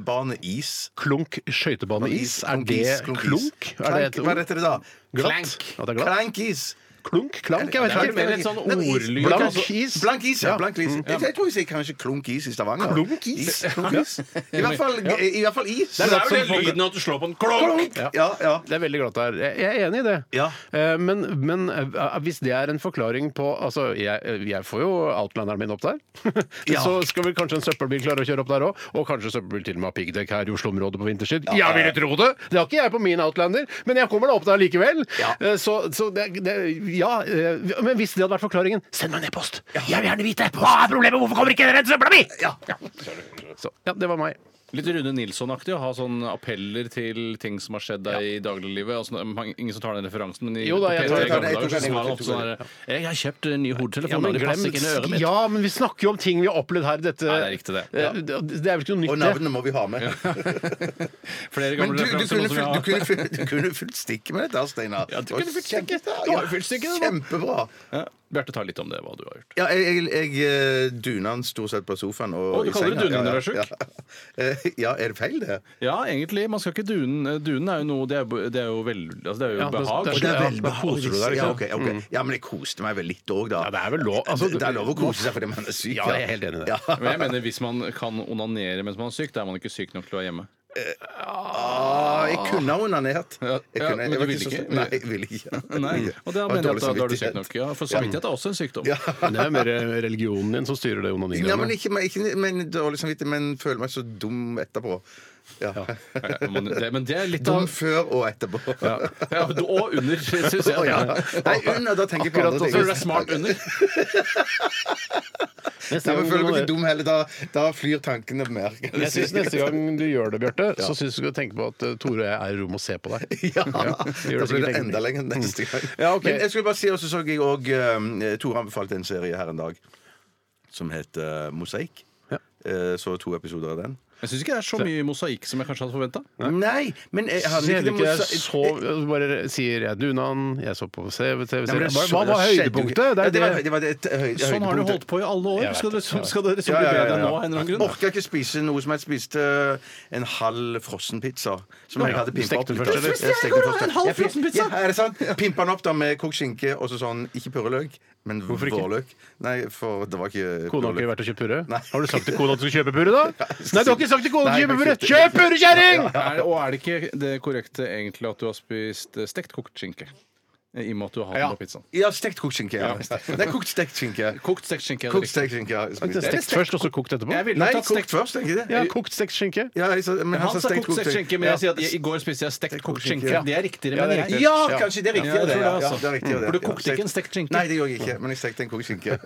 [SPEAKER 6] skøytebaneis.
[SPEAKER 4] Klunk skøytebaneis, er det klunk? Er det
[SPEAKER 6] Klank,
[SPEAKER 4] et
[SPEAKER 6] Hva heter det da?
[SPEAKER 4] Glatt?
[SPEAKER 5] Klank.
[SPEAKER 4] At det er glatt?
[SPEAKER 6] Klankis.
[SPEAKER 4] Klunk? Klank? Jeg vet
[SPEAKER 5] Det
[SPEAKER 4] ikke.
[SPEAKER 5] er mer litt sånn
[SPEAKER 6] Nei, men is-
[SPEAKER 5] ordlyd.
[SPEAKER 4] Blank
[SPEAKER 5] altså.
[SPEAKER 4] is?
[SPEAKER 6] Blank is, ja.
[SPEAKER 4] Ja. Mm.
[SPEAKER 6] Blank is. Jeg, jeg tror vi sier kanskje klunk is i Stavanger.
[SPEAKER 4] Klunk is?
[SPEAKER 6] klunk is. I, hvert fall, I hvert fall is.
[SPEAKER 5] Det er jo den lyden at du slår på en klokk!
[SPEAKER 6] Klunk! Ja, ja.
[SPEAKER 4] Det er veldig glatt der. Jeg jeg er enig i det.
[SPEAKER 6] Ja.
[SPEAKER 4] Eh, Men, men eh, hvis det er en forklaring på Altså, jeg, jeg får jo outlineren min opp der. Så skal vel kanskje en søppelbil klare å kjøre opp der òg. Og kanskje søppelbil til og med har piggdekk her i Oslo-området på vinterstid. Jeg ville tro det! Det har ikke jeg på min outlander, men jeg kommer da opp der likevel. Eh, Så, så det, det Ja. eh, Men hvis det hadde vært forklaringen, send meg en e-post! Jeg vil gjerne vite! Hva er problemet? Hvorfor kommer ikke den søpla mi?! Ja. Ja. Så, ja, det var meg.
[SPEAKER 5] Litt Rune Nilsson-aktig å ha sånne appeller til ting som har skjedd deg i dagliglivet. og sånn- man- ingen som tar den referansen, men i
[SPEAKER 4] Jo da, jeg
[SPEAKER 5] på
[SPEAKER 4] tar-
[SPEAKER 5] P3
[SPEAKER 4] jeg tar-
[SPEAKER 5] gamle
[SPEAKER 6] jeg tok
[SPEAKER 5] dager
[SPEAKER 6] den, jeg
[SPEAKER 5] så var
[SPEAKER 6] tok
[SPEAKER 5] det ofte sånn
[SPEAKER 6] den.
[SPEAKER 5] her, Jeg har kjøpt en ny hodetelefon,
[SPEAKER 4] Ja
[SPEAKER 5] men
[SPEAKER 4] men,
[SPEAKER 5] det passer ikke inn i øret
[SPEAKER 4] glem,
[SPEAKER 5] mitt.
[SPEAKER 4] ja, men vi snakker jo om ting vi har opplevd her. i Dette,
[SPEAKER 5] Nei, det er riktig det. Ja.
[SPEAKER 4] Eh, det er vel ikke noe nytt,
[SPEAKER 6] Og
[SPEAKER 4] det.
[SPEAKER 6] navnet må vi ha med.
[SPEAKER 5] Flere gamle referanser,
[SPEAKER 6] Men du, du, kunne
[SPEAKER 5] noe sånn som jeg
[SPEAKER 6] fylt,
[SPEAKER 5] har.
[SPEAKER 6] du, kunne fylt, du kunne fylt stikket med dette, Steinar.
[SPEAKER 5] Ja, du
[SPEAKER 6] Og
[SPEAKER 5] kunne fylt stikket.
[SPEAKER 6] kjempe-
[SPEAKER 5] Du har jo fylt stikket, da.
[SPEAKER 6] Kjempebra.
[SPEAKER 5] Ja. Bjarte, ta litt om det, hva du har gjort.
[SPEAKER 6] Ja, jeg, jeg, jeg eh, duner den stort sett på sofaen. Og,
[SPEAKER 5] Å, du
[SPEAKER 6] i
[SPEAKER 5] kaller det
[SPEAKER 6] senga.
[SPEAKER 5] duning når du er
[SPEAKER 6] Ja, ja. Eh, ja, er det feil, det?
[SPEAKER 5] Ja, egentlig. Man skal ikke dune. Dunen er jo noe Det er, jo- det er jo, vel, altså, det er jo
[SPEAKER 4] Ja, det-
[SPEAKER 5] behag.
[SPEAKER 4] det er-
[SPEAKER 6] Og det er
[SPEAKER 4] Ja,
[SPEAKER 6] veldig
[SPEAKER 4] da koser du deg,
[SPEAKER 6] Ja,
[SPEAKER 4] liksom.
[SPEAKER 6] ok, ok.
[SPEAKER 5] Mm.
[SPEAKER 6] ja, men jeg koste meg vel litt òg, da.
[SPEAKER 4] Ja, det er vel lov- altså,
[SPEAKER 6] det, det er lov å kose seg fordi man er syk.
[SPEAKER 4] Ja, jeg er helt enig i det.
[SPEAKER 6] Ja.
[SPEAKER 5] Men jeg mener, hvis man kan onanere mens man er syk, da er man ikke syk nok til å være hjemme.
[SPEAKER 6] Ah, jeg kunne ha onanert.
[SPEAKER 5] Ja,
[SPEAKER 6] Jeg
[SPEAKER 5] ja, men
[SPEAKER 6] kunne- jeg
[SPEAKER 5] du
[SPEAKER 6] var
[SPEAKER 5] ville
[SPEAKER 6] så-
[SPEAKER 5] ikke?
[SPEAKER 6] Nei, jeg ville ikke.
[SPEAKER 5] Nei, og da
[SPEAKER 6] Og
[SPEAKER 5] mener jeg at
[SPEAKER 6] dårlig
[SPEAKER 5] da, da er du syk
[SPEAKER 6] samvittighet.
[SPEAKER 5] nok. Ja, for samvittighet er også en sykdom.
[SPEAKER 4] Men Det er mer eh, religionen din som styrer det
[SPEAKER 6] Ja, men
[SPEAKER 4] onanigreiene.
[SPEAKER 6] ikke, men, ikke men, dårlig samvittighet, men føler meg så dum etterpå. Ja.
[SPEAKER 5] Ja, men det- Men det er litt
[SPEAKER 6] Dum
[SPEAKER 5] av
[SPEAKER 6] før og etterpå.
[SPEAKER 5] Ja. Ja, og under, syns jeg.
[SPEAKER 6] Å, ja. Nei, under, da tenker jeg på
[SPEAKER 4] Akkurat sånn
[SPEAKER 5] Så
[SPEAKER 6] andre ting.
[SPEAKER 5] du er smart under.
[SPEAKER 6] Nei, men føler meg ikke dum heller. Da, da flyr tankene mer. kan du
[SPEAKER 4] Jeg synes
[SPEAKER 6] si.
[SPEAKER 4] Neste gang du gjør det, Bjarte, så syns jeg du skal tenke på at eh, Tore og jeg er i rom og ser på deg.
[SPEAKER 6] Ja,
[SPEAKER 4] gjør
[SPEAKER 6] da
[SPEAKER 4] det
[SPEAKER 6] blir
[SPEAKER 4] sikkert
[SPEAKER 6] det enda
[SPEAKER 4] egentlig.
[SPEAKER 6] lenger neste gang.
[SPEAKER 4] Ja, ok.
[SPEAKER 6] Men jeg skulle bare si også, så jeg òg Tore anbefalte en serie her en dag som het eh, Mosaikk.
[SPEAKER 4] Ja.
[SPEAKER 6] Eh, Så to episoder av den.
[SPEAKER 5] Jeg syns ikke det er så mye mosaikk som jeg kanskje hadde forventa.
[SPEAKER 6] Nei, men jeg
[SPEAKER 4] Så
[SPEAKER 6] hadde
[SPEAKER 4] jeg
[SPEAKER 6] ikke
[SPEAKER 4] ikke
[SPEAKER 6] det
[SPEAKER 4] jeg
[SPEAKER 6] mosa-
[SPEAKER 4] så, bare sier jeg dunan, jeg så på CVTV
[SPEAKER 6] Nei, men det
[SPEAKER 4] Hva
[SPEAKER 6] så-
[SPEAKER 4] hva var
[SPEAKER 6] det skjedde jo ikke.
[SPEAKER 4] høydepunktet? Det
[SPEAKER 6] Ja,
[SPEAKER 4] er
[SPEAKER 6] det var,
[SPEAKER 4] det.
[SPEAKER 6] det var det, høy,
[SPEAKER 5] Sånn har du holdt på i alle år.
[SPEAKER 4] Jeg
[SPEAKER 5] Skal det
[SPEAKER 4] vet
[SPEAKER 5] liksom,
[SPEAKER 4] det.
[SPEAKER 5] skal det liksom
[SPEAKER 6] Ja,
[SPEAKER 5] bli
[SPEAKER 6] ja, ja,
[SPEAKER 5] bedre
[SPEAKER 6] ja.
[SPEAKER 5] nå av en eller annen grunn?
[SPEAKER 6] Orka ikke spise noe som jeg spiste en halv frossenpizza. Som jeg hadde pimpa
[SPEAKER 4] stekte
[SPEAKER 6] opp.
[SPEAKER 4] den først, eller?
[SPEAKER 6] Jeg stekte den først. Jeg fikk- Ja, er det sant? Pimpa den opp da med kokt skinke og så sånn, ikke purreløk, men vårløk. Nei, for det var ikke
[SPEAKER 4] Kona har
[SPEAKER 6] purreløk.
[SPEAKER 4] ikke vært og kjøpt purre?
[SPEAKER 6] Nei.
[SPEAKER 4] Har du sagt til kona at du skal kjøpe purre, da? Nei, du har ikke sagt til kona at du skal
[SPEAKER 6] Nei,
[SPEAKER 4] kjøpe
[SPEAKER 6] men
[SPEAKER 4] purre! Kjøp purre, kjerring!
[SPEAKER 5] Er, og er det ikke det korrekte egentlig at du har spist eh, stekt kokt skinke? I og med at du har den
[SPEAKER 4] Ja.
[SPEAKER 5] på pizzaen.
[SPEAKER 6] Ja, stekt kokt skinke. Ja. Nei, kokt stekt skinke.
[SPEAKER 5] Kokt stekt skinke. er det
[SPEAKER 6] Kokt
[SPEAKER 5] riktig.
[SPEAKER 6] stekt skinke. ja.
[SPEAKER 4] Stekt først, og så kokt etterpå?
[SPEAKER 5] Jeg ville
[SPEAKER 6] Nei,
[SPEAKER 5] tatt
[SPEAKER 6] kokt
[SPEAKER 5] stekt
[SPEAKER 6] først, tenker jeg det.
[SPEAKER 4] Ja, kokt stekt skinke.
[SPEAKER 6] Ja, jeg sa- men
[SPEAKER 5] Han sa
[SPEAKER 6] stekt
[SPEAKER 5] kokt stekt skinke, men jeg sier at i- i går spiste jeg stekt kokt skinke. Det er riktigere,
[SPEAKER 4] Ja, det er
[SPEAKER 5] men jeg
[SPEAKER 4] riktig.
[SPEAKER 6] Ja, kanskje det er riktig.
[SPEAKER 5] Ja, jeg tror det, altså.
[SPEAKER 6] det er riktig, det.
[SPEAKER 5] For du
[SPEAKER 6] Ja,
[SPEAKER 5] kokte ikke en stekt skinke?
[SPEAKER 6] Nei, det gjorde jeg ikke. Men jeg stekte en kokt skinke.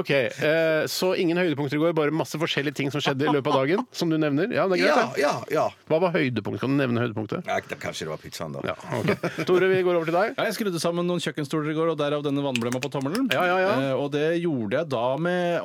[SPEAKER 4] Ok, eh, Så ingen høydepunkter i går, bare masse forskjellige ting som skjedde i løpet av dagen? Som du nevner? Ja, det er greit,
[SPEAKER 6] Ja,
[SPEAKER 4] det.
[SPEAKER 6] ja, ja.
[SPEAKER 4] Hva var høydepunktet? Kan du nevne høydepunktet?
[SPEAKER 6] Nei, det- kanskje det var pizzaen, da.
[SPEAKER 4] Ja, ok. Tore, vi går over til deg.
[SPEAKER 5] Ja, jeg Jeg skrudde sammen noen kjøkkenstoler i går, og derav denne vannblemma på tommelen.
[SPEAKER 4] Ja, ja, ja.
[SPEAKER 5] Eh, og det gjorde jeg da med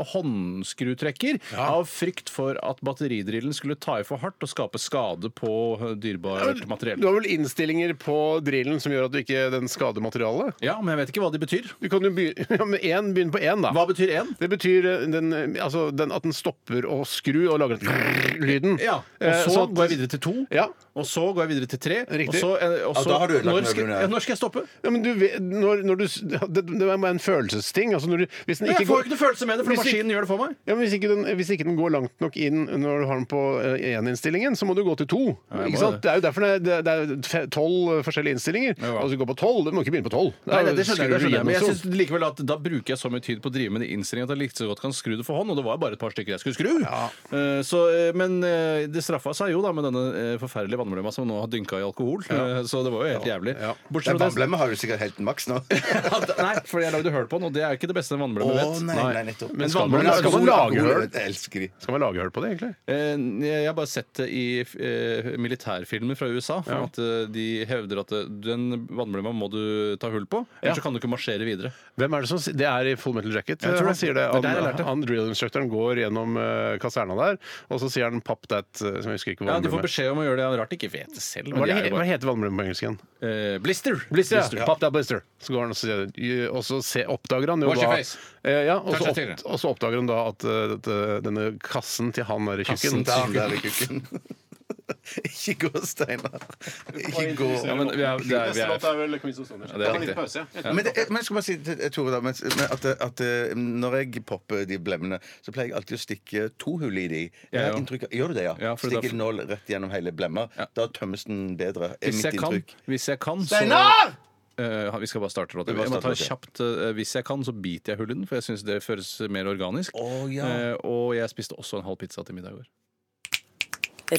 [SPEAKER 5] håndskrutrekker, av frykt for at batteridrillen skulle ta i for hardt og skape skade på eh, dyrebart
[SPEAKER 4] Du
[SPEAKER 5] materiell.
[SPEAKER 4] har vel innstillinger på drillen som gjør at du ikke den skader materialet?
[SPEAKER 5] Ja, men jeg vet ikke hva de betyr.
[SPEAKER 4] Du kan jo begynne, ja, med én, begynne på én, da.
[SPEAKER 5] Hva betyr én?
[SPEAKER 4] Det betyr eh, den, eh, altså, den, at den stopper å skru og lager den lyden.
[SPEAKER 5] Ja, og
[SPEAKER 4] Eh,
[SPEAKER 5] så,
[SPEAKER 4] at-
[SPEAKER 5] går jeg videre til to.
[SPEAKER 4] Ja.
[SPEAKER 5] Og så går jeg videre til tre.
[SPEAKER 4] Riktig.
[SPEAKER 5] Og så, eh, og
[SPEAKER 6] Ja,
[SPEAKER 5] så
[SPEAKER 6] da har du ødelagt
[SPEAKER 5] når, skal,
[SPEAKER 6] møblene her.
[SPEAKER 5] ja, når skal jeg stoppe?
[SPEAKER 4] Ja, men du vet, når, når du, s- det, det er bare en følelsesting. Altså når du, hvis den
[SPEAKER 5] Jeg
[SPEAKER 4] ikke
[SPEAKER 5] får jo
[SPEAKER 4] går,
[SPEAKER 5] ikke noe følelse med det, for
[SPEAKER 4] Hvis ikke-
[SPEAKER 5] maskinen gjør det for meg.
[SPEAKER 4] ja, men hvis, ikke den, hvis ikke den går langt nok inn når du har den på én-innstillingen, så må du gå til to.
[SPEAKER 5] jeg må
[SPEAKER 4] ikke sant?
[SPEAKER 5] det.
[SPEAKER 4] Det er jo derfor det er- det er, det er fe- tolv eh, forskjellige innstillinger.
[SPEAKER 5] Ja, ja.
[SPEAKER 4] Og hvis du går på tolv, du må ikke begynne på tolv. Da
[SPEAKER 5] Nei, nei, det skjønner jeg,
[SPEAKER 4] skrur
[SPEAKER 5] det
[SPEAKER 4] du
[SPEAKER 5] skjønner jeg. Men jeg
[SPEAKER 4] gjennom
[SPEAKER 5] synes likevel at da bruker jeg så mye tid på å drive med de innstillingene at jeg likte så godt kan skru det for hånd, og det var jo bare et par stykker jeg skulle skru. Eh, Så, eh, men eh, det straffa seg jo da med denne eh, forferdelige vannblemma som nå har dynka i alkohol, Eh, så det var jo helt jævlig. Bortsett fra
[SPEAKER 6] Den
[SPEAKER 5] det
[SPEAKER 6] vannblemma har du sikkert helt maks nå.
[SPEAKER 5] Nei, for jeg lagde hull på den, og det er jo ikke det beste en vannblemme
[SPEAKER 6] Å,
[SPEAKER 5] vet.
[SPEAKER 6] nei, nei, nettopp.
[SPEAKER 5] Men
[SPEAKER 4] Skal
[SPEAKER 5] vannblemme
[SPEAKER 4] man- skal man lage hull?
[SPEAKER 6] Jeg elsker de.
[SPEAKER 4] så- Skal man lage hull på det, egentlig?
[SPEAKER 5] Eh, Jeg har bare sett det i eh, militærfilmer fra USA. for At eh, De hevder at eh, den vannblemma må du ta hull på, ellers så kan du ikke marsjere videre.
[SPEAKER 4] Hvem er Det som si- Det er i Full Metal Jacket.
[SPEAKER 5] Jeg tror
[SPEAKER 4] Han
[SPEAKER 5] det.
[SPEAKER 4] sier det.
[SPEAKER 5] Det er
[SPEAKER 4] Han,
[SPEAKER 5] der jeg lærte.
[SPEAKER 4] han drill-instructoren går gjennom eh, kaserna der, og så sier han 'pop that' eh, som jeg husker ikke hva
[SPEAKER 5] Ja,
[SPEAKER 4] han
[SPEAKER 5] De
[SPEAKER 4] ble
[SPEAKER 5] får
[SPEAKER 4] med.
[SPEAKER 5] beskjed om å gjøre det. Ja, Rart de ikke vet det selv.
[SPEAKER 4] Hva,
[SPEAKER 5] Men
[SPEAKER 4] er
[SPEAKER 5] de
[SPEAKER 4] det,
[SPEAKER 5] er
[SPEAKER 4] he-
[SPEAKER 5] jo
[SPEAKER 4] hva
[SPEAKER 5] bare,
[SPEAKER 4] heter vannblemmen på engelsk igjen?
[SPEAKER 5] eh, blister!
[SPEAKER 4] Blister,
[SPEAKER 5] Blister.
[SPEAKER 4] ja. Pop that blister. Så går han og sier det. Og så se, oppdager han jo
[SPEAKER 5] Wash your
[SPEAKER 4] da
[SPEAKER 5] face.
[SPEAKER 4] eh, ja, og, så opp,
[SPEAKER 5] Touch your finger.
[SPEAKER 4] og så oppdager han da at eh, dette- denne kassen til han derre tjukken
[SPEAKER 5] Kassen
[SPEAKER 6] Der, der er kukken. Ikke gå, Steinar. Ikke gå.
[SPEAKER 5] Ja, men vi er, det er, vi er,
[SPEAKER 4] vel Quiz of Stones.
[SPEAKER 5] Ja, det er riktig.
[SPEAKER 6] Men, det, men jeg skal bare si til til Tore da, mens- men at, at eh, når jeg popper de blemmene, så pleier jeg alltid å stikke to hull i de. Jeg har
[SPEAKER 5] ja.
[SPEAKER 6] inntrykk av- Gjør du det, ja?
[SPEAKER 5] Ja, for da-
[SPEAKER 6] Stikker nål rett gjennom hele blemma. Da tømmes den bedre. er
[SPEAKER 5] hvis
[SPEAKER 6] mitt
[SPEAKER 5] jeg kan,
[SPEAKER 6] inntrykk.
[SPEAKER 5] hvis jeg kan så
[SPEAKER 6] Steinar!
[SPEAKER 5] Eh, vi skal bare starte låta.
[SPEAKER 6] Vi bare
[SPEAKER 5] Jeg må ta
[SPEAKER 6] starter
[SPEAKER 5] kjapt eh, Hvis jeg kan, så biter jeg hullet i den, for jeg syns det føles mer organisk.
[SPEAKER 6] Å, ja.
[SPEAKER 5] Eh, og jeg spiste også en halv pizza til middag i går.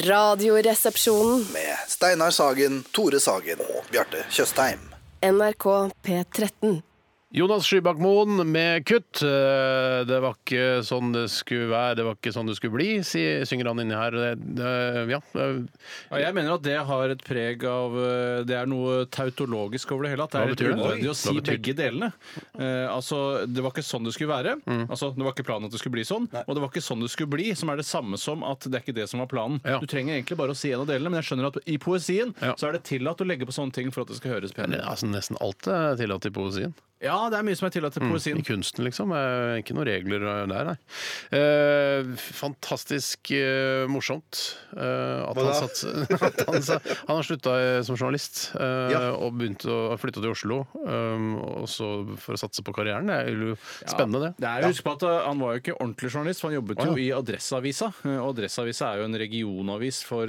[SPEAKER 7] Radioresepsjonen.
[SPEAKER 8] med Steinar Sagen, Tore Sagen og Bjarte Tjøstheim.
[SPEAKER 7] NRK P13.
[SPEAKER 4] Jonas Skybakk Moen med kutt. Eh, Det var ikke sånn det skulle være, det var ikke sånn det skulle bli, sier- synger han inni her. Det- det- Ja. eh, det-
[SPEAKER 5] Ja, jeg mener at det har et preg av eh, Det er noe tautologisk over det hele. At det
[SPEAKER 4] Hva
[SPEAKER 5] er litt
[SPEAKER 4] betyr det?
[SPEAKER 5] unødvendig
[SPEAKER 4] Oi.
[SPEAKER 5] å si
[SPEAKER 4] Hva betyr det?
[SPEAKER 5] begge delene. Eh, altså, det var ikke sånn det skulle være.
[SPEAKER 4] Mm.
[SPEAKER 5] Altså, det var ikke planen at det skulle bli sånn. Og det var ikke sånn det skulle bli, som er det samme som at det er ikke det som var planen.
[SPEAKER 4] Ja.
[SPEAKER 5] Du trenger egentlig bare å si en av delene, men jeg skjønner at i poesien
[SPEAKER 4] Ja.
[SPEAKER 5] så er det tillatt å legge på sånne ting for at det skal høres
[SPEAKER 4] Men
[SPEAKER 5] penere ut.
[SPEAKER 4] altså, nesten alt er tillatt i poesien.
[SPEAKER 5] Ja, det er mye som er tillatt i poesien.
[SPEAKER 4] Mm. I kunsten, liksom. Eh, Ikke noen regler der, nei. Eh, fantastisk eh, morsomt eh, at, han
[SPEAKER 6] da?
[SPEAKER 4] satt, at han sa Han har slutta eh, som journalist eh,
[SPEAKER 6] Ja.
[SPEAKER 4] og begynt å flytta til Oslo um, og så for å satse på karrieren. Det er jo spennende, det.
[SPEAKER 5] Det er jo Husk på at uh, Han var jo ikke ordentlig journalist, for han jobbet jo i Adresseavisa. Uh, Og Adresseavisa er jo en regionavis for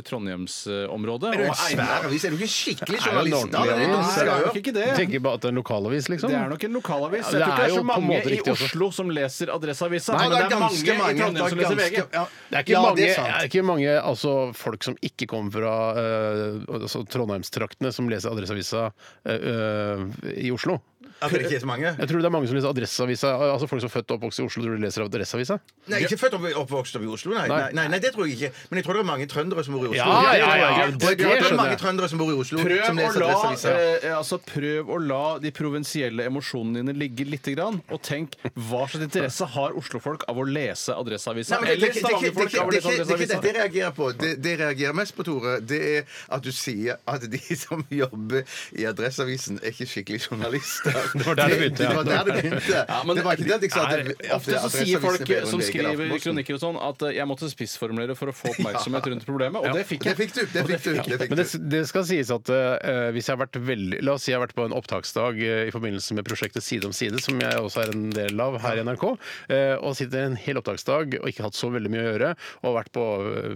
[SPEAKER 5] Trondheimsområdet.
[SPEAKER 6] Er du
[SPEAKER 5] Og
[SPEAKER 6] en svær avis? Er du ikke skikkelig
[SPEAKER 4] jo en
[SPEAKER 6] journalist? da?
[SPEAKER 4] ordentlig
[SPEAKER 6] Det
[SPEAKER 5] Nei,
[SPEAKER 6] er du
[SPEAKER 5] det er
[SPEAKER 6] sier,
[SPEAKER 5] nok ikke det.
[SPEAKER 4] Jeg tenker bare at det er en lokalavis, liksom.
[SPEAKER 5] Det er nok en lokalavis.
[SPEAKER 4] Ja,
[SPEAKER 5] Jeg
[SPEAKER 4] det
[SPEAKER 5] tror ikke
[SPEAKER 4] er
[SPEAKER 5] det er
[SPEAKER 4] jo på
[SPEAKER 5] så
[SPEAKER 4] en
[SPEAKER 5] mange
[SPEAKER 4] måte
[SPEAKER 5] i
[SPEAKER 4] riktig også.
[SPEAKER 5] Oslo som leser Adresseavisa.
[SPEAKER 6] ja.
[SPEAKER 5] men
[SPEAKER 6] det er ganske
[SPEAKER 5] i
[SPEAKER 6] mange.
[SPEAKER 5] Trondheim som leser VG.
[SPEAKER 6] ja.
[SPEAKER 4] Det er ikke
[SPEAKER 6] Ja,
[SPEAKER 4] mange,
[SPEAKER 6] det
[SPEAKER 4] det
[SPEAKER 6] er sant.
[SPEAKER 4] er ikke mange altså, folk som ikke kommer fra eh, altså, Trondheimstraktene, som leser Adresseavisa eh, eh, i Oslo.
[SPEAKER 6] At det ikke er så mange?
[SPEAKER 4] Jeg tror det er mange som leser Adresseavisa Altså folk som er født og oppvokst i Oslo, tror du leser Adresseavisa?
[SPEAKER 6] Nei, ikke født og oppvokst opp i Oslo, nei. Nei. nei. nei, det tror jeg ikke. Men jeg tror det er mange trøndere som bor i Oslo.
[SPEAKER 4] Ja, ja, ja, ja.
[SPEAKER 6] Og
[SPEAKER 4] Det-
[SPEAKER 6] jeg tror
[SPEAKER 4] det
[SPEAKER 6] Det, er
[SPEAKER 4] skjønner
[SPEAKER 6] mange
[SPEAKER 4] jeg.
[SPEAKER 6] trøndere som bor i Oslo
[SPEAKER 5] Prøv
[SPEAKER 6] som
[SPEAKER 5] å,
[SPEAKER 6] leser
[SPEAKER 5] la,
[SPEAKER 6] Adresseavisa.
[SPEAKER 5] eh, altså prøv å la de provinsielle emosjonene dine ligge litt, grann, og tenk hva slags interesse har oslofolk av å lese Adresseavisa?
[SPEAKER 6] Nei, men det,
[SPEAKER 5] Eller
[SPEAKER 6] det, det, det, det, det,
[SPEAKER 5] stavangerfolk av å
[SPEAKER 6] det,
[SPEAKER 5] lese
[SPEAKER 6] det, det, det,
[SPEAKER 5] Adresseavisa?
[SPEAKER 6] det jeg reagerer på, det, det jeg reagerer mest på, Tore, det er at du sier at de som jobber i Adresseavisen, er ikke skikkelig journalister. Det
[SPEAKER 4] var der det begynte, ja.
[SPEAKER 6] Det var der det begynte.
[SPEAKER 5] Ja, men
[SPEAKER 6] det var ikke det at jeg sa at,
[SPEAKER 5] er-
[SPEAKER 6] at
[SPEAKER 5] Ofte så sier
[SPEAKER 6] Adresseavisen
[SPEAKER 5] folk
[SPEAKER 6] er bedre enn
[SPEAKER 5] som
[SPEAKER 6] VG eller
[SPEAKER 5] skriver
[SPEAKER 6] Aftenposten.
[SPEAKER 5] kronikker og sånn, at eh, jeg måtte spissformulere for å få oppmerksomhet rundt problemet, og det fikk
[SPEAKER 6] Det
[SPEAKER 5] jeg.
[SPEAKER 6] fikk du. Det fikk du. Det fikk
[SPEAKER 4] Men det,
[SPEAKER 6] du.
[SPEAKER 4] det skal sies at eh, hvis jeg har vært veldig La oss si jeg har vært på en opptaksdag eh, i forbindelse med prosjektet Side om side, som jeg også er en del av her i NRK, eh, og sitter en hel opptaksdag og ikke hatt så veldig mye å gjøre, og vært på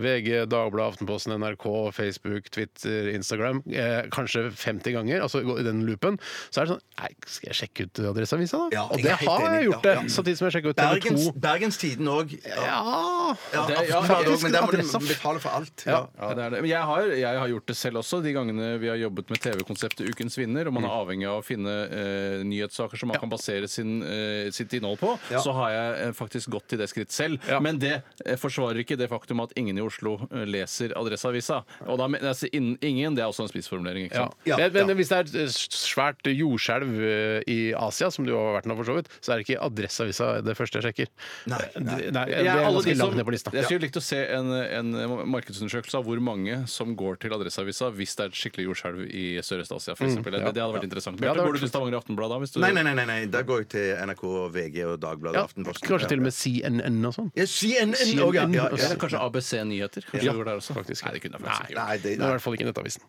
[SPEAKER 4] VG, Dagbladet, Aftenposten, NRK, Facebook, Twitter, Instagram eh, kanskje 50 ganger, altså gå i den loopen, så er det sånn Nei, Skal jeg sjekke ut Adresseavisa, da?
[SPEAKER 6] Ja,
[SPEAKER 4] og
[SPEAKER 6] jeg
[SPEAKER 4] det
[SPEAKER 6] er helt
[SPEAKER 4] har
[SPEAKER 6] enig.
[SPEAKER 4] jeg gjort,
[SPEAKER 6] Ja,
[SPEAKER 4] det.
[SPEAKER 6] ja.
[SPEAKER 4] Samtidig som jeg sjekka ut TV 2.
[SPEAKER 6] Bergens, Bergenstiden òg. Ja,
[SPEAKER 4] Ja,
[SPEAKER 6] ja, altså,
[SPEAKER 5] det- ja,
[SPEAKER 6] absolutt,
[SPEAKER 4] faktisk,
[SPEAKER 6] men der må liksom
[SPEAKER 4] adressa.
[SPEAKER 6] du betale for alt. Ja.
[SPEAKER 5] Ja, det er det. Men jeg har, jeg har gjort det selv også, de gangene vi har jobbet med TV-konseptet Ukens vinner, og man
[SPEAKER 4] Mm.
[SPEAKER 5] er avhengig av å finne eh, nyhetssaker som man kan basere sin, eh, sitt innhold på,
[SPEAKER 6] Ja.
[SPEAKER 5] så har jeg eh, faktisk gått til det skritt selv. Men det eh, forsvarer ikke det faktum at ingen i Oslo eh, leser Adresseavisa. Og da, men- altså, inn- ingen, det er også en spissformulering, ikke
[SPEAKER 4] Ja.
[SPEAKER 5] sant?
[SPEAKER 6] Ja,
[SPEAKER 4] Men, men
[SPEAKER 6] ja.
[SPEAKER 4] hvis det er et eh, svært jordskjelv eh, i Asia, som det jo har vært nå for så vidt, så er det ikke Adresseavisa det første jeg sjekker.
[SPEAKER 6] Nei, nei.
[SPEAKER 4] Det- Nei, det
[SPEAKER 5] Jeg,
[SPEAKER 4] er
[SPEAKER 5] er alle de
[SPEAKER 4] ganske
[SPEAKER 5] som,
[SPEAKER 4] langt ned på
[SPEAKER 5] jeg
[SPEAKER 4] lista.
[SPEAKER 5] skulle likt å se en, en markedsundersøkelse av hvor mange som går til Adresseavisa hvis det er et skikkelig jordskjelv i Sørøst-Asia, f.eks. eksempel Det, det hadde vært interessant.
[SPEAKER 4] Mm. Ja, det
[SPEAKER 5] Bjarte,
[SPEAKER 4] hadde
[SPEAKER 5] går du
[SPEAKER 4] vært
[SPEAKER 5] til Stavanger Aftenblad da? Hvis du,
[SPEAKER 6] Nei, nei, nei, nei, nei. Da går jeg til NRK, VG og Dagbladet
[SPEAKER 4] Ja,
[SPEAKER 6] og Aftenposten.
[SPEAKER 4] kanskje til og med CNN og sånn.
[SPEAKER 6] ja, CNN òg, ja. ja, ja.
[SPEAKER 5] Eller kanskje ABC Nyheter? Kanskje det går der også? Faktisk. Nei, det kunne jeg faktisk ikke gjort.
[SPEAKER 6] Nei, det,
[SPEAKER 4] Men i hvert fall ikke Nettavisen.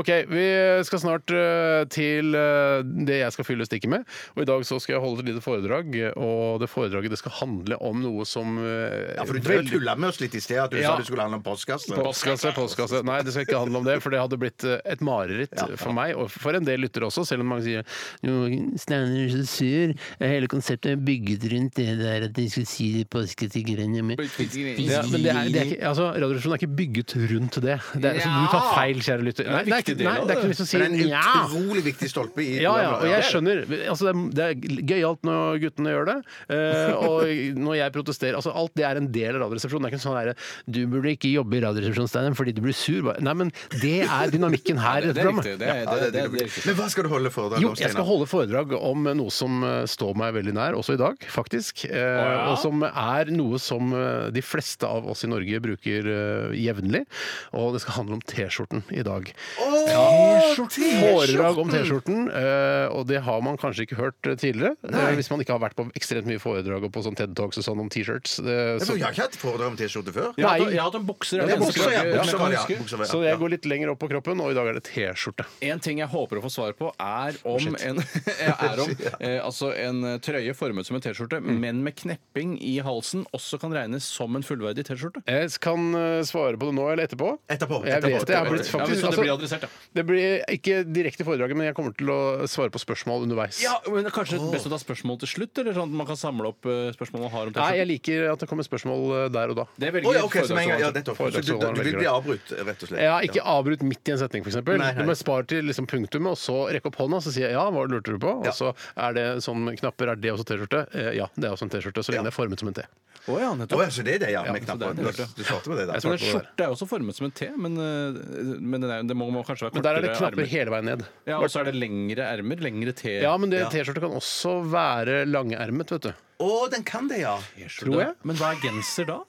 [SPEAKER 4] Ok, Vi skal snart eh, til eh, det jeg skal fylle stikket med. Og I dag så skal jeg holde et lite foredrag, og det foredraget det skal handle om noe som eh,
[SPEAKER 6] Ja, for du
[SPEAKER 4] veldig-
[SPEAKER 6] drev tulla med oss litt i sted, at du
[SPEAKER 4] Ja.
[SPEAKER 6] sa det skulle handle om postkassen.
[SPEAKER 4] Postkasse, postkasse. Nei, det skal ikke handle om det, for det hadde blitt eh, et mareritt for meg, og for en del lyttere også, selv om mange sier «Jo, Steinar er så sur. Hele konseptet er bygget rundt det der at de skulle si det påsketiggerne med ja, men det er, det er ikke, altså, Radioresepsjonen er ikke bygget rundt det. det er, så du tar feil, kjære lytter. Nei, det er ikke,
[SPEAKER 5] viktig del
[SPEAKER 4] nei,
[SPEAKER 5] av
[SPEAKER 4] det er ikke noe vits å si
[SPEAKER 6] Men det er
[SPEAKER 4] «Nja».
[SPEAKER 6] en utrolig viktig stolpe i
[SPEAKER 4] Ja, ja, og
[SPEAKER 6] programmet.
[SPEAKER 4] jeg skjønner. Altså, det er, det er gøyalt når guttene gjør det. eh, og når jeg protesterer altså, Alt det er en del av Radioresepsjonen. Det er ikke sånn derre Du burde ikke jobbe i Radioresepsjonen, Steinar, fordi du blir sur. Bare- Nei, men det er dynamikken her i
[SPEAKER 5] Det
[SPEAKER 4] dette
[SPEAKER 5] er riktig.
[SPEAKER 4] programmet.
[SPEAKER 5] Det er,
[SPEAKER 6] Ja,
[SPEAKER 5] det,
[SPEAKER 6] det,
[SPEAKER 5] det,
[SPEAKER 6] er
[SPEAKER 5] det er
[SPEAKER 6] det,
[SPEAKER 5] riktig.
[SPEAKER 6] men hva skal du holde foredrag
[SPEAKER 4] Jo,
[SPEAKER 6] om,
[SPEAKER 4] jeg skal
[SPEAKER 6] Steinar?
[SPEAKER 4] holde foredrag om noe som eh, står meg veldig nær, også i dag, faktisk. Eh,
[SPEAKER 5] ja.
[SPEAKER 4] Og som er noe som eh, de fleste av oss i Norge bruker eh, jevnlig. Og det skal handle om T-skjorten i dag. Foredrag om T-skjorten, eh, og det har man kanskje ikke hørt eh, tidligere. eh, Hvis man ikke har vært på ekstremt mye foredrag og på sånn TED Talks og sånn om T-shirts. eh,
[SPEAKER 6] Jeg
[SPEAKER 4] Så,
[SPEAKER 6] tror jeg har ikke hatt foredrag om T-skjorte før.
[SPEAKER 5] Jeg har hatt-
[SPEAKER 4] Nei.
[SPEAKER 5] jeg har hatt en bokser. jeg
[SPEAKER 6] Ja,
[SPEAKER 5] har hatt en
[SPEAKER 6] bukser, ja,
[SPEAKER 5] bukser,
[SPEAKER 6] bukser,
[SPEAKER 5] men jeg
[SPEAKER 6] ja,
[SPEAKER 5] kan huske.
[SPEAKER 6] bukser, ja.
[SPEAKER 4] så jeg går litt lenger opp på kroppen, og i dag er det T-skjorte.
[SPEAKER 5] En ting jeg håper å få svar på, er
[SPEAKER 6] Oh,
[SPEAKER 5] om en, er om, eh, altså en trøye formet som en T-skjorte,
[SPEAKER 6] Mm.
[SPEAKER 5] men med knepping i halsen, også kan regnes som en fullverdig T-skjorte.
[SPEAKER 4] Jeg kan eh, svare på det nå eller etterpå.
[SPEAKER 6] Etterpå,
[SPEAKER 4] Jeg
[SPEAKER 6] etterpå,
[SPEAKER 4] vet det. Jeg har
[SPEAKER 6] etterpå.
[SPEAKER 4] blitt
[SPEAKER 5] Ja, men
[SPEAKER 4] faktisk,
[SPEAKER 5] så det blir
[SPEAKER 4] altså,
[SPEAKER 5] adressert, ja.
[SPEAKER 4] Det blir ikke direkte i foredraget, men jeg kommer til å svare på spørsmål underveis.
[SPEAKER 5] Ja, men Kanskje best å ta spørsmål til slutt? Eller sånn at man kan samle opp eh, spørsmål man har om
[SPEAKER 4] Nei, jeg
[SPEAKER 5] T-skjorte?
[SPEAKER 4] liker at det kommer spørsmål eh, der og da.
[SPEAKER 5] Det
[SPEAKER 6] Å
[SPEAKER 5] velger
[SPEAKER 6] ja, ok, så med en gang. Ja,
[SPEAKER 5] foredragsholderen.
[SPEAKER 6] nettopp. Så du, du vil bli avbrutt, rett og slett.
[SPEAKER 4] Jeg har ikke avbrutt midt i en setning, f.eks.
[SPEAKER 6] Nei, nei.
[SPEAKER 4] Du må spare til liksom, punktumet, og så rekke opp hånda og sier jeg, ja, hva lurte du på?
[SPEAKER 6] Ja.
[SPEAKER 4] Og så er det sånn knapper, er det også T-skjorte? Eh, Ja, det er også en T-skjorte, så lenge
[SPEAKER 6] Ja.
[SPEAKER 4] det er formet som en T.
[SPEAKER 5] Å ja,
[SPEAKER 6] Å
[SPEAKER 5] nettopp.
[SPEAKER 6] ja, så det er det, ja. Med
[SPEAKER 5] så det er
[SPEAKER 6] knapper.
[SPEAKER 5] det.
[SPEAKER 6] Du- Du svarte på det,
[SPEAKER 5] Men
[SPEAKER 6] da.
[SPEAKER 5] en
[SPEAKER 4] på det der.
[SPEAKER 5] skjorte er også formet som en T, men, eh, men det, er, det må, må kanskje være
[SPEAKER 4] Men der er det
[SPEAKER 5] kortere
[SPEAKER 4] knapper
[SPEAKER 5] ermer.
[SPEAKER 4] hele veien ned.
[SPEAKER 5] Ja, Og så er det lengre ermer. Lengre T.
[SPEAKER 4] Ja, men det T-skjorte kan også være langermet, vet du.
[SPEAKER 6] Å, den kan det, ja.
[SPEAKER 5] tror jeg. Men hva er genser da?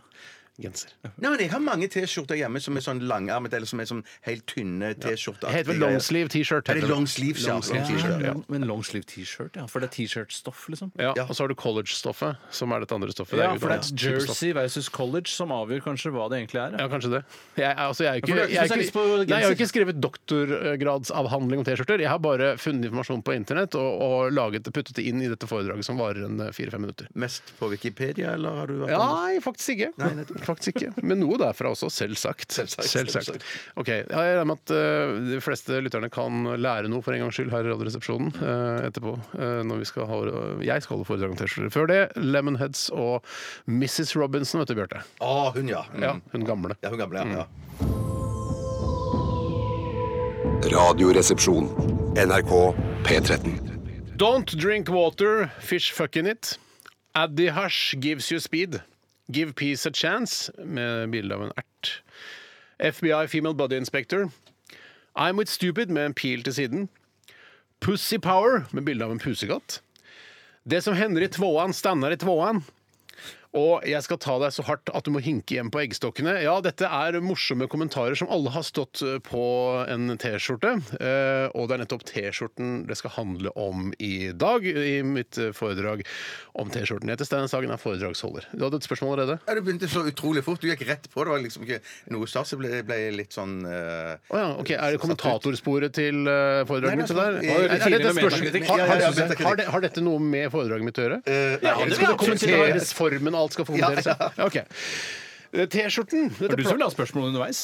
[SPEAKER 4] Genser.
[SPEAKER 6] Nei, men Jeg har mange T-skjorter hjemme som er sånn langarmet, eller som er sånn helt tynne T-skjorter.
[SPEAKER 4] Det heter vel longsleeve T-shirt.
[SPEAKER 6] Er det
[SPEAKER 4] heter det.
[SPEAKER 6] long sleeves, ja.
[SPEAKER 4] Long sleeve
[SPEAKER 6] Long
[SPEAKER 4] t-shirt,
[SPEAKER 6] sleeve,
[SPEAKER 4] ja.
[SPEAKER 5] Long- Men longsleeve T-shirt, ja. For det er T-shirt-stoff, liksom.
[SPEAKER 4] Ja, og så har du college-stoffet, som er dette andre stoffet.
[SPEAKER 5] Ja,
[SPEAKER 4] jo
[SPEAKER 5] for
[SPEAKER 4] et annet
[SPEAKER 5] det er
[SPEAKER 4] type stoff.
[SPEAKER 5] Jersey versus College som avgjør kanskje hva det egentlig er.
[SPEAKER 4] Ja,
[SPEAKER 5] ja.
[SPEAKER 4] kanskje det. Jeg, er- altså, jeg, er ikke,
[SPEAKER 5] for du er ikke
[SPEAKER 4] jeg, er
[SPEAKER 5] spesialist
[SPEAKER 4] ikke,
[SPEAKER 5] på genser.
[SPEAKER 4] nei, jeg har ikke skrevet doktorgradsavhandling om T-skjorter. Jeg har bare funnet informasjon på internett og, og laget, det- puttet det inn i dette foredraget som varer en eh, fire-fem minutter.
[SPEAKER 6] Mest på Wikipedia, eller har du vært andre-
[SPEAKER 4] Nei, faktisk ikke. faktisk ikke. Men noe derfra også, selvsagt.
[SPEAKER 6] Selvsagt, selvsagt.
[SPEAKER 4] Ok, Jeg regner med at eh, de fleste lytterne kan lære noe for en gangs skyld her i Radioresepsjonen eh, etterpå. eh, når vi skal ha, jeg skal holde foredrag om T-skjorter. Før det, Lemonheads og Mrs. Robinson, vet du, Bjarte.
[SPEAKER 6] Å, hun, ja. Mm.
[SPEAKER 4] Ja, Mm. hun gamle.
[SPEAKER 6] Ja, hun gamle, ja. ja.
[SPEAKER 1] Radioresepsjon. NRK P13.
[SPEAKER 4] Don't drink water, fish fuck in it. Addi Hash gives you speed. Give peace a chance. Med bilde av en ert. FBI female body inspector. I'm with stupid med en pil til siden. Pussy power med bilde av en pusekatt. Det som hender i tvåan, stander i tvåan. Og jeg skal ta deg så hardt at du må hinke hjem på eggstokkene. Ja, dette er morsomme kommentarer som alle har stått eh, på en T-skjorte. Eh, Og det er nettopp T-skjorten det skal handle om i dag, i mitt eh, foredrag om T-skjorten. Jeg heter Steinar Sagen, er foredragsholder. Du hadde et spørsmål allerede?
[SPEAKER 6] Ja, Du begynte så utrolig fort. Du gikk rett på. Det var liksom ikke noe stas. Jeg ble, ble litt sånn eh,
[SPEAKER 4] Å ja, ok. Er det
[SPEAKER 6] satt ut.
[SPEAKER 4] kommentatorsporet til eh,
[SPEAKER 6] Nei,
[SPEAKER 4] foredraget mitt?
[SPEAKER 6] men
[SPEAKER 4] det der? Er,
[SPEAKER 6] sånn-
[SPEAKER 4] er dette et
[SPEAKER 5] Tidligere
[SPEAKER 4] spørsmål?
[SPEAKER 6] metakritikk.
[SPEAKER 4] Har,
[SPEAKER 6] Ja,
[SPEAKER 4] har,
[SPEAKER 6] ja, ja,
[SPEAKER 4] har,
[SPEAKER 6] metakritikk.
[SPEAKER 4] det- har dette noe med foredraget mitt å gjøre?
[SPEAKER 6] Eh, nei,
[SPEAKER 4] Ja, det
[SPEAKER 6] jeg skal
[SPEAKER 4] skal det
[SPEAKER 6] kommentere.
[SPEAKER 4] kommenteres formen, alt skal kommenteres. Ja, Ok. Eh, T-skjorten dette
[SPEAKER 5] Det er du som
[SPEAKER 4] pla-
[SPEAKER 5] vil ha spørsmål underveis.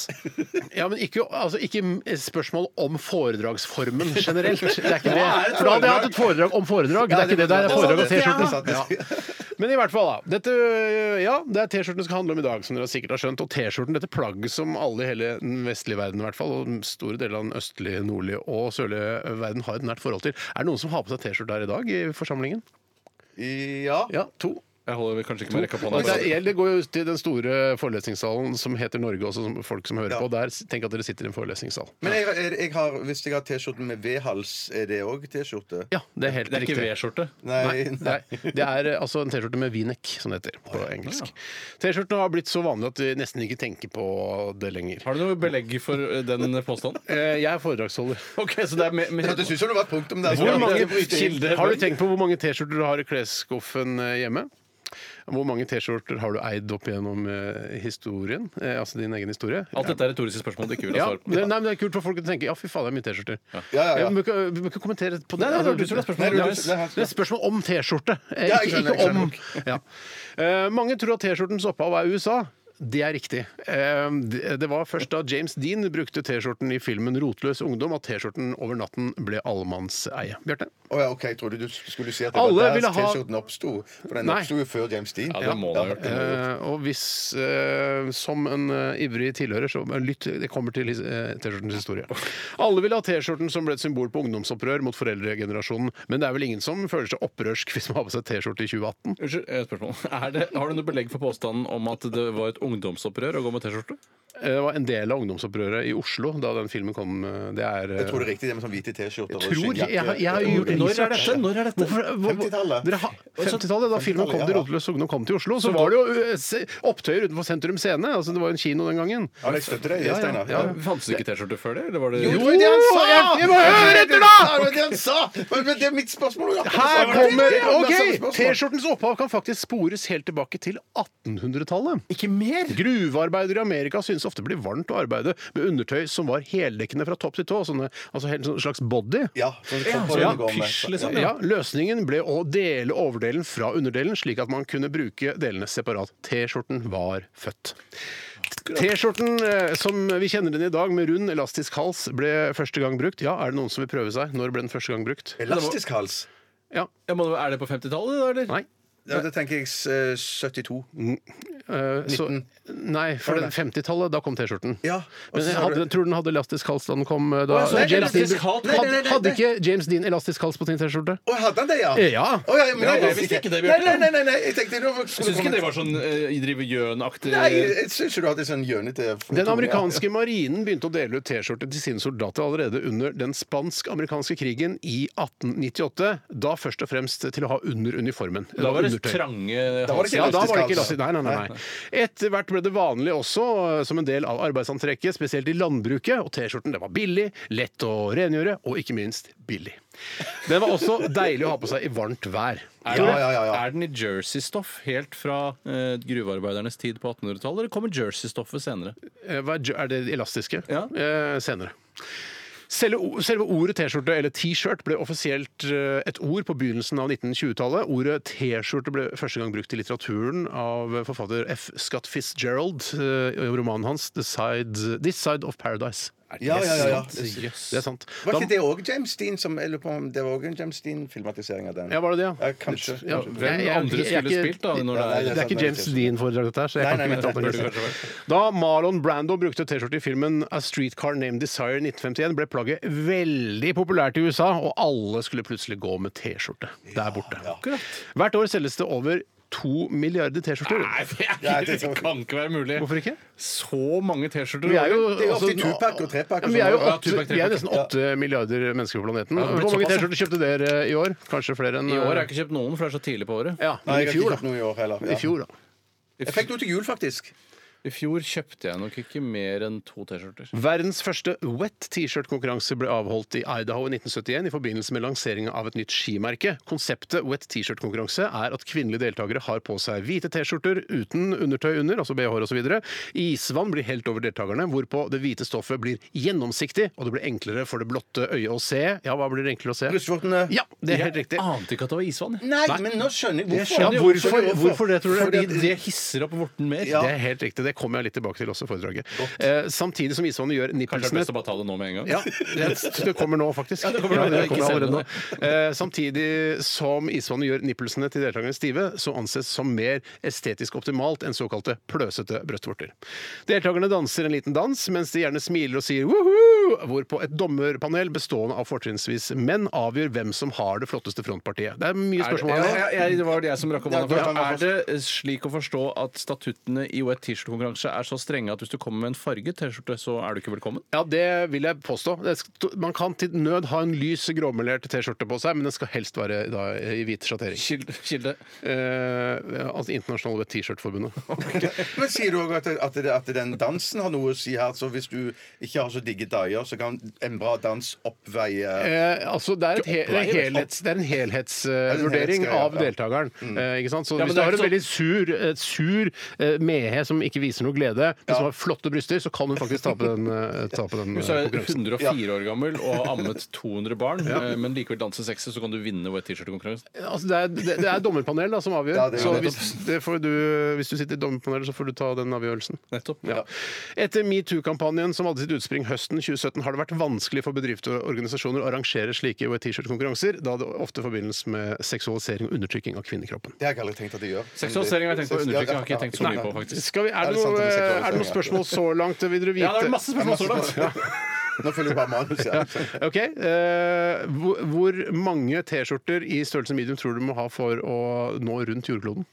[SPEAKER 4] Ja, men ikke, altså, ikke m- spørsmål om foredragsformen generelt. Det er ikke det.
[SPEAKER 6] Hva er et
[SPEAKER 4] For da hadde jeg
[SPEAKER 6] foredrag?
[SPEAKER 4] hatt et foredrag om foredrag. Det er ikke det. Det er foredrag og T-skjorten.
[SPEAKER 6] Ja.
[SPEAKER 4] Men i hvert fall, da. Dette, eh, ja, det er T-skjorten det skal handle om i dag, som dere sikkert har skjønt. Og T-skjorten, dette plagget som alle i hele den vestlige verden, i hvert fall, og store deler av den østlige, nordlige og sørlige verden har et nært forhold til. Er det noen som har på seg T-skjorte her i dag i forsamlingen?
[SPEAKER 6] ja.
[SPEAKER 4] Ja, to.
[SPEAKER 5] Jeg holder kanskje ikke med rekka på
[SPEAKER 4] Men det,
[SPEAKER 5] deg.
[SPEAKER 4] er, det går jo til den store forelesningssalen som heter Norge også, som folk som hører
[SPEAKER 6] Ja.
[SPEAKER 4] på. Der, tenk at dere sitter i en forelesningssal.
[SPEAKER 6] Men jeg, jeg, jeg har, hvis jeg har T-skjorten med V-hals, er det òg T-skjorte?
[SPEAKER 4] Ja, det er helt
[SPEAKER 5] Det er ikke
[SPEAKER 4] riktig.
[SPEAKER 5] V-skjorte.
[SPEAKER 6] Nei,
[SPEAKER 4] Nei, det er eh, altså en T-skjorte med V-neck, som det heter på engelsk. T-skjortene har blitt så vanlige at vi nesten ikke tenker på det lenger.
[SPEAKER 5] Har du noe belegg for eh, den påstanden?
[SPEAKER 4] Eh, Jeg er foredragsholder.
[SPEAKER 5] Ok, så det er med,
[SPEAKER 6] Det
[SPEAKER 5] med
[SPEAKER 6] hørtes ut som det var et punktum der.
[SPEAKER 5] Hvor mange kilder-
[SPEAKER 4] Har du tenkt på hvor mange T-skjorter du har i klesskuffen eh, hjemme? Hvor mange T-skjorter har du eid opp gjennom eh, historien? Eh, Altså din egen historie?
[SPEAKER 5] Alt dette er retoriske spørsmål du ikke vil ha
[SPEAKER 4] Ja,
[SPEAKER 5] svar på.
[SPEAKER 4] det, nei, men det er kult for folk å tenke Ja, fy faen, det er mye T-skjorter.
[SPEAKER 6] Ja, ja, ja.
[SPEAKER 4] Vi må ikke- vi må ikke kommentere på det.
[SPEAKER 5] Nei, nei, det var du som la spørsmålet.
[SPEAKER 4] Nei, det var du-
[SPEAKER 5] Nice.
[SPEAKER 4] det er- det er et spørsmål om T-skjorte. Eh,
[SPEAKER 6] Ja,
[SPEAKER 4] Ikke,
[SPEAKER 6] jeg skjønner,
[SPEAKER 4] ikke om ja. Eh, Mange tror at T-skjortens opphav er USA. Det er riktig. Eh, det- Det var først da James Dean brukte T-skjorten i filmen 'Rotløs ungdom' at T-skjorten over natten ble allemannseie. Bjarte?
[SPEAKER 6] Å ja, ok, Jeg trodde du skulle si at det
[SPEAKER 4] Alle
[SPEAKER 6] var der
[SPEAKER 4] ville ha-
[SPEAKER 6] T-skjorten oppsto. For den
[SPEAKER 4] Nei.
[SPEAKER 6] oppsto jo før James Dean.
[SPEAKER 5] Ja, det må det ha gjort.
[SPEAKER 4] Eh, og hvis, eh, som en eh, ivrig tilhører, så eh, lytt, det kommer til his- eh, T-skjortens historie. Alle vil ha T-skjorten som ble et symbol på ungdomsopprør mot foreldregenerasjonen, men det er vel ingen som føler seg opprørsk hvis man har på seg T-skjorte i 2018?
[SPEAKER 5] Unnskyld, eh, spørsmål. Er det, har du noe belegg for påstanden om at det var et ungdomsopprør å gå med T-skjorte?
[SPEAKER 4] Eh, Det var en del av ungdomsopprøret i Oslo da den filmen kom. eh, Det er eh,
[SPEAKER 6] Jeg tror det er riktig, det med sånn hvite T-skjorter og
[SPEAKER 4] tror jeg,
[SPEAKER 6] skinnjakke.
[SPEAKER 4] jeg, har- jeg har gjort
[SPEAKER 5] Når er
[SPEAKER 4] research.
[SPEAKER 5] dette? Når er dette?
[SPEAKER 4] Hvorfor, hvor,
[SPEAKER 6] 50-tallet.
[SPEAKER 4] Dere har- 50-tallet, da filmen kom til
[SPEAKER 6] ja.
[SPEAKER 4] Roteløs ungdom kom til Oslo, så var det jo eh, se- opptøyer utenfor Sentrum Scene. Altså, det var jo en kino den gangen.
[SPEAKER 6] Ja, men jeg støtter deg i det, Steinar.
[SPEAKER 4] Ja,
[SPEAKER 5] Eh, Fantes det ikke T-skjorte før det? Eller var det
[SPEAKER 6] Jo,
[SPEAKER 5] Jo,
[SPEAKER 6] det var det han sa!
[SPEAKER 4] jeg- jeg må høre etter, da!
[SPEAKER 6] Det var det han sa! Men men det er mitt spørsmål. ja.
[SPEAKER 4] Her
[SPEAKER 6] Det var det
[SPEAKER 4] kommer
[SPEAKER 6] han sa,
[SPEAKER 4] Ok!
[SPEAKER 6] spørsmål.
[SPEAKER 4] T-skjortens opphav kan faktisk spores helt tilbake til 1800-tallet.
[SPEAKER 5] ikke mer!
[SPEAKER 4] Gruvearbeidere i Amerika syntes ofte det ble varmt å arbeide med undertøy som var heldekkende fra topp til tå. Sånne, altså helt sånn slags body.
[SPEAKER 6] Ja, sånn som folk
[SPEAKER 5] Ja,
[SPEAKER 6] går med.
[SPEAKER 5] pysj, liksom.
[SPEAKER 4] Ja, Løsningen ble å dele overdelen fra underdelen, slik at man kunne bruke delene separat. T-skjorten var født. T-skjorten eh, som vi kjenner den i dag, med rund, elastisk hals, ble første gang brukt. Ja, er det noen som vil prøve seg? Når ble den første gang brukt?
[SPEAKER 6] Elastisk hals.
[SPEAKER 4] Ja.
[SPEAKER 5] Ja, men er det på 50-tallet, da, eller?
[SPEAKER 4] Nei.
[SPEAKER 6] Ja, det tenker jeg eh, 72.
[SPEAKER 4] Eh, så, nei, for det 50-tallet, da kom T-skjorten.
[SPEAKER 6] Ja, og
[SPEAKER 4] Men jeg
[SPEAKER 6] så sa du-
[SPEAKER 4] hadde, jeg tror den hadde elastisk hals da den kom. eh, Da,
[SPEAKER 5] Å, så er det
[SPEAKER 4] James Dean-
[SPEAKER 5] elastisk hals
[SPEAKER 4] Hadde-
[SPEAKER 5] på-
[SPEAKER 6] Nei, nei, nei, nei.
[SPEAKER 4] Hadde ikke James Dean elastisk hals på sin T-skjorte?
[SPEAKER 6] Å, hadde han det, ja?
[SPEAKER 4] Ja.
[SPEAKER 6] Å, ja, men
[SPEAKER 5] Ja,
[SPEAKER 6] jeg
[SPEAKER 5] jeg visste ikke det,
[SPEAKER 6] Nei,
[SPEAKER 5] Bjarte.
[SPEAKER 6] nei, nei, nei, nei, jeg tenkte nå
[SPEAKER 5] Jeg syns ikke det var sånn eh, drive gjøn-aktig
[SPEAKER 6] Nei, jeg- jeg syns jo du hadde sånn gjønete
[SPEAKER 4] Den amerikanske marinen begynte å dele ut T-skjorter til sine soldater allerede under den spansk-amerikanske krigen i 1898. Da først og fremst til å ha under uniformen.
[SPEAKER 5] Da var det
[SPEAKER 4] Undertøy.
[SPEAKER 5] trange
[SPEAKER 6] Da var det
[SPEAKER 4] Ja, da var
[SPEAKER 6] ikke
[SPEAKER 4] det
[SPEAKER 6] elastisk
[SPEAKER 4] ikke
[SPEAKER 6] hals.
[SPEAKER 4] elastisk. Nei, nei, nei, nei. Etter hvert ble det vanlig også eh, som en del av arbeidsantrekket, spesielt i landbruket. Og T-skjorten den var billig, lett å rengjøre og ikke minst billig. Den var også deilig å ha på seg i varmt vær.
[SPEAKER 5] Er,
[SPEAKER 6] Ja,
[SPEAKER 5] det-
[SPEAKER 6] ja, ja, ja.
[SPEAKER 5] er den i jerseystoff helt fra eh, gruvearbeidernes tid på 1800-tallet, eller kommer jerseystoffet senere?
[SPEAKER 4] Eh, hva Er ju- er det elastiske?
[SPEAKER 5] Ja.
[SPEAKER 4] Eh, senere. Selve, o- selve ordet T-skjorte, eller T-shirt, ble offisielt eh, et ord på begynnelsen av 1920-tallet. Ordet T-skjorte ble første gang brukt i litteraturen av forfatter F. Scott Fitzgerald eh, i romanen hans The Side, 'This Side of Paradise'.
[SPEAKER 6] Ja, ja, ja, ja.
[SPEAKER 4] Det er sant.
[SPEAKER 6] Var ikke
[SPEAKER 4] Da-
[SPEAKER 6] det òg James Dean som jeg lurer på om det var også en James Dean-filmatisering av den?
[SPEAKER 4] ja, var det det, ja?
[SPEAKER 6] Ja, kanskje.
[SPEAKER 4] Ja,
[SPEAKER 5] Hvem
[SPEAKER 4] jeg- jeg-
[SPEAKER 5] andre
[SPEAKER 4] jeg er
[SPEAKER 5] skulle
[SPEAKER 4] ikke-
[SPEAKER 5] spilt, da? Når det
[SPEAKER 6] Nei,
[SPEAKER 5] er
[SPEAKER 4] Det er ikke James Dean-foredrag, dette her. så jeg
[SPEAKER 6] Nei,
[SPEAKER 4] kan
[SPEAKER 6] nei,
[SPEAKER 4] ikke vite
[SPEAKER 6] nei,
[SPEAKER 4] alt om
[SPEAKER 5] burde
[SPEAKER 4] det. Da Marlon Brando brukte T-skjorte i filmen A Streetcar Named Desire i 1951, ble plagget veldig populært i USA, og alle skulle plutselig gå med T-skjorte der borte. Hvert år selges det over to milliarder T-skjorter.
[SPEAKER 5] Nei, det, er,
[SPEAKER 6] Nei,
[SPEAKER 5] det
[SPEAKER 6] det tror jeg-
[SPEAKER 5] kan ikke være mulig.
[SPEAKER 4] Hvorfor ikke?
[SPEAKER 5] Så mange T-skjorter.
[SPEAKER 4] Vi er jo,
[SPEAKER 6] Det er jo ofte
[SPEAKER 4] altså,
[SPEAKER 6] tupack og trepack
[SPEAKER 4] Ja,
[SPEAKER 6] og
[SPEAKER 4] men vi er jo
[SPEAKER 6] sånn.
[SPEAKER 5] Ja,
[SPEAKER 4] åtte,
[SPEAKER 5] tupack,
[SPEAKER 4] vi er
[SPEAKER 5] trepack.
[SPEAKER 4] nesten åtte milliarder mennesker på planeten.
[SPEAKER 5] det er
[SPEAKER 4] Hvor mange
[SPEAKER 5] såpass, ja.
[SPEAKER 4] T-skjorter kjøpte dere i år? Kanskje flere enn eh,
[SPEAKER 5] I år har jeg ikke kjøpt noen, for det er så tidlig på året.
[SPEAKER 4] Ja,
[SPEAKER 6] Nei,
[SPEAKER 4] men i
[SPEAKER 6] jeg har
[SPEAKER 4] fjor,
[SPEAKER 6] ikke kjøpt
[SPEAKER 4] da.
[SPEAKER 6] noe i år heller.
[SPEAKER 4] I fjor, da.
[SPEAKER 6] Jeg fikk noe til jul, faktisk.
[SPEAKER 5] I fjor kjøpte jeg nok ikke mer enn to T-skjorter.
[SPEAKER 4] Verdens første wet t-shirt-konkurranse ble avholdt i Idaho i 1971 i forbindelse med lanseringen av et nytt skimerke. Konseptet wet t-shirt-konkurranse er at kvinnelige deltakere har på seg hvite T-skjorter uten undertøy under, altså BH-er osv. Isvann blir helt over deltakerne, hvorpå det hvite stoffet blir gjennomsiktig, og det blir enklere for det blotte øyet å se. Ja, hva blir det enklere å se?
[SPEAKER 6] Brystvortene.
[SPEAKER 4] Ja, det er helt
[SPEAKER 5] Jeg
[SPEAKER 4] riktig.
[SPEAKER 5] ante ikke at det var isvann. jeg.
[SPEAKER 6] Nei, men nå skjønner jeg hvorfor.
[SPEAKER 4] Ja,
[SPEAKER 5] jo,
[SPEAKER 4] hvorfor, hvorfor det, tror du?
[SPEAKER 5] Fordi det hisser opp vorten mer.
[SPEAKER 4] Det er helt riktig. Det det kommer jeg litt tilbake til også i foredraget. Eh, samtidig som isvannet gjør
[SPEAKER 5] Kanskje det er
[SPEAKER 4] nippelsene
[SPEAKER 5] best å bare ta det nå med en gang?
[SPEAKER 4] ja, det det kommer nå, faktisk.
[SPEAKER 5] Ja, det kommer nå.
[SPEAKER 4] Ja, det
[SPEAKER 5] Ikke
[SPEAKER 4] kommer
[SPEAKER 5] senere.
[SPEAKER 4] allerede nå. Eh, samtidig som isvannet gjør nippelsene til deltakerne stive, så anses som mer estetisk optimalt enn såkalte pløsete brøstvorter. Deltakerne danser en liten dans, mens de gjerne smiler og sier «Woohoo!», hvorpå et dommerpanel bestående av fortrinnsvis menn avgjør hvem som har det flotteste frontpartiet. Det er mye
[SPEAKER 5] Er det,
[SPEAKER 4] spørsmål her. nå.
[SPEAKER 5] ja, ja, ja, det var det jeg som rakk opp hånda
[SPEAKER 4] Ja,
[SPEAKER 5] først.
[SPEAKER 4] ja,
[SPEAKER 5] Er det slik å forstå at statuttene i wet T-skjorte-konkurranse er så strenge at hvis du kommer med en farget T-skjorte, så er du ikke velkommen?
[SPEAKER 4] Ja, det vil jeg påstå. Det sk- Man kan til nød ha en lys gråmelert T-skjorte på seg, men den skal helst være da, i hvit sjattering.
[SPEAKER 5] Kilde. kilde.
[SPEAKER 4] Eh, altså Internasjonale T-skjortforbundet.
[SPEAKER 6] Men sier du òg at, at, det- at den dansen har noe å si her? Så hvis du ikke har så digge dager, så kan en bra dans oppveie
[SPEAKER 4] Eh, altså, det er, et he det er, helhets, det er en
[SPEAKER 6] en
[SPEAKER 4] helhetsvurdering
[SPEAKER 6] helhetsgreie, ja.
[SPEAKER 4] av deltakeren. Eh, ikke sant? Så
[SPEAKER 5] Ja,
[SPEAKER 4] hvis
[SPEAKER 5] men
[SPEAKER 4] du
[SPEAKER 5] det er
[SPEAKER 4] har en
[SPEAKER 5] ikke
[SPEAKER 4] veldig sur, eh, sur eh, mehe som ikke viser noe glede, men som har flotte bryster, så kan hun faktisk tape den, eh, tape den eh,
[SPEAKER 5] Hvis du er
[SPEAKER 4] konkurransen.
[SPEAKER 5] 104 år gammel og har ammet 200 barn, eh, men likevel danser sexy, så kan du vinne wet T-skjorte-konkurransen.
[SPEAKER 4] Altså, det, er, det, det er dommerpanel da, som avgjør.
[SPEAKER 6] Ja, det er
[SPEAKER 4] så
[SPEAKER 6] jo
[SPEAKER 4] hvis, det får du, hvis du sitter i dommerpanelet, så får du ta den avgjørelsen.
[SPEAKER 5] Nettopp.
[SPEAKER 4] Ja. Etter metoo-kampanjen som hadde sitt utspring høsten 2017, har det vært vanskelig for bedrifter og organisasjoner å arrangere slike E T-skjorte-konkurranser, da det ofte forbindes med seksualisering og undertrykking av kvinnekroppen.
[SPEAKER 6] Det har jeg ikke aldri tenkt at de gjør.
[SPEAKER 5] Seksualisering har jeg tenkt på å undertrykke, har jeg ikke tenkt så mye på, faktisk.
[SPEAKER 4] Skal vi, er,
[SPEAKER 6] Er
[SPEAKER 4] det
[SPEAKER 6] det sant
[SPEAKER 4] noe,
[SPEAKER 6] om seksualisering,
[SPEAKER 4] er det noen
[SPEAKER 6] ja?
[SPEAKER 4] spørsmål så langt? Vil dere vite?
[SPEAKER 5] Ja, det er masse spørsmål så langt.
[SPEAKER 6] Nå følger jeg bare manus. Ja.
[SPEAKER 4] Ok, eh, hvor, hvor mange T-skjorter i størrelse medium tror du må ha for å nå rundt jordkloden?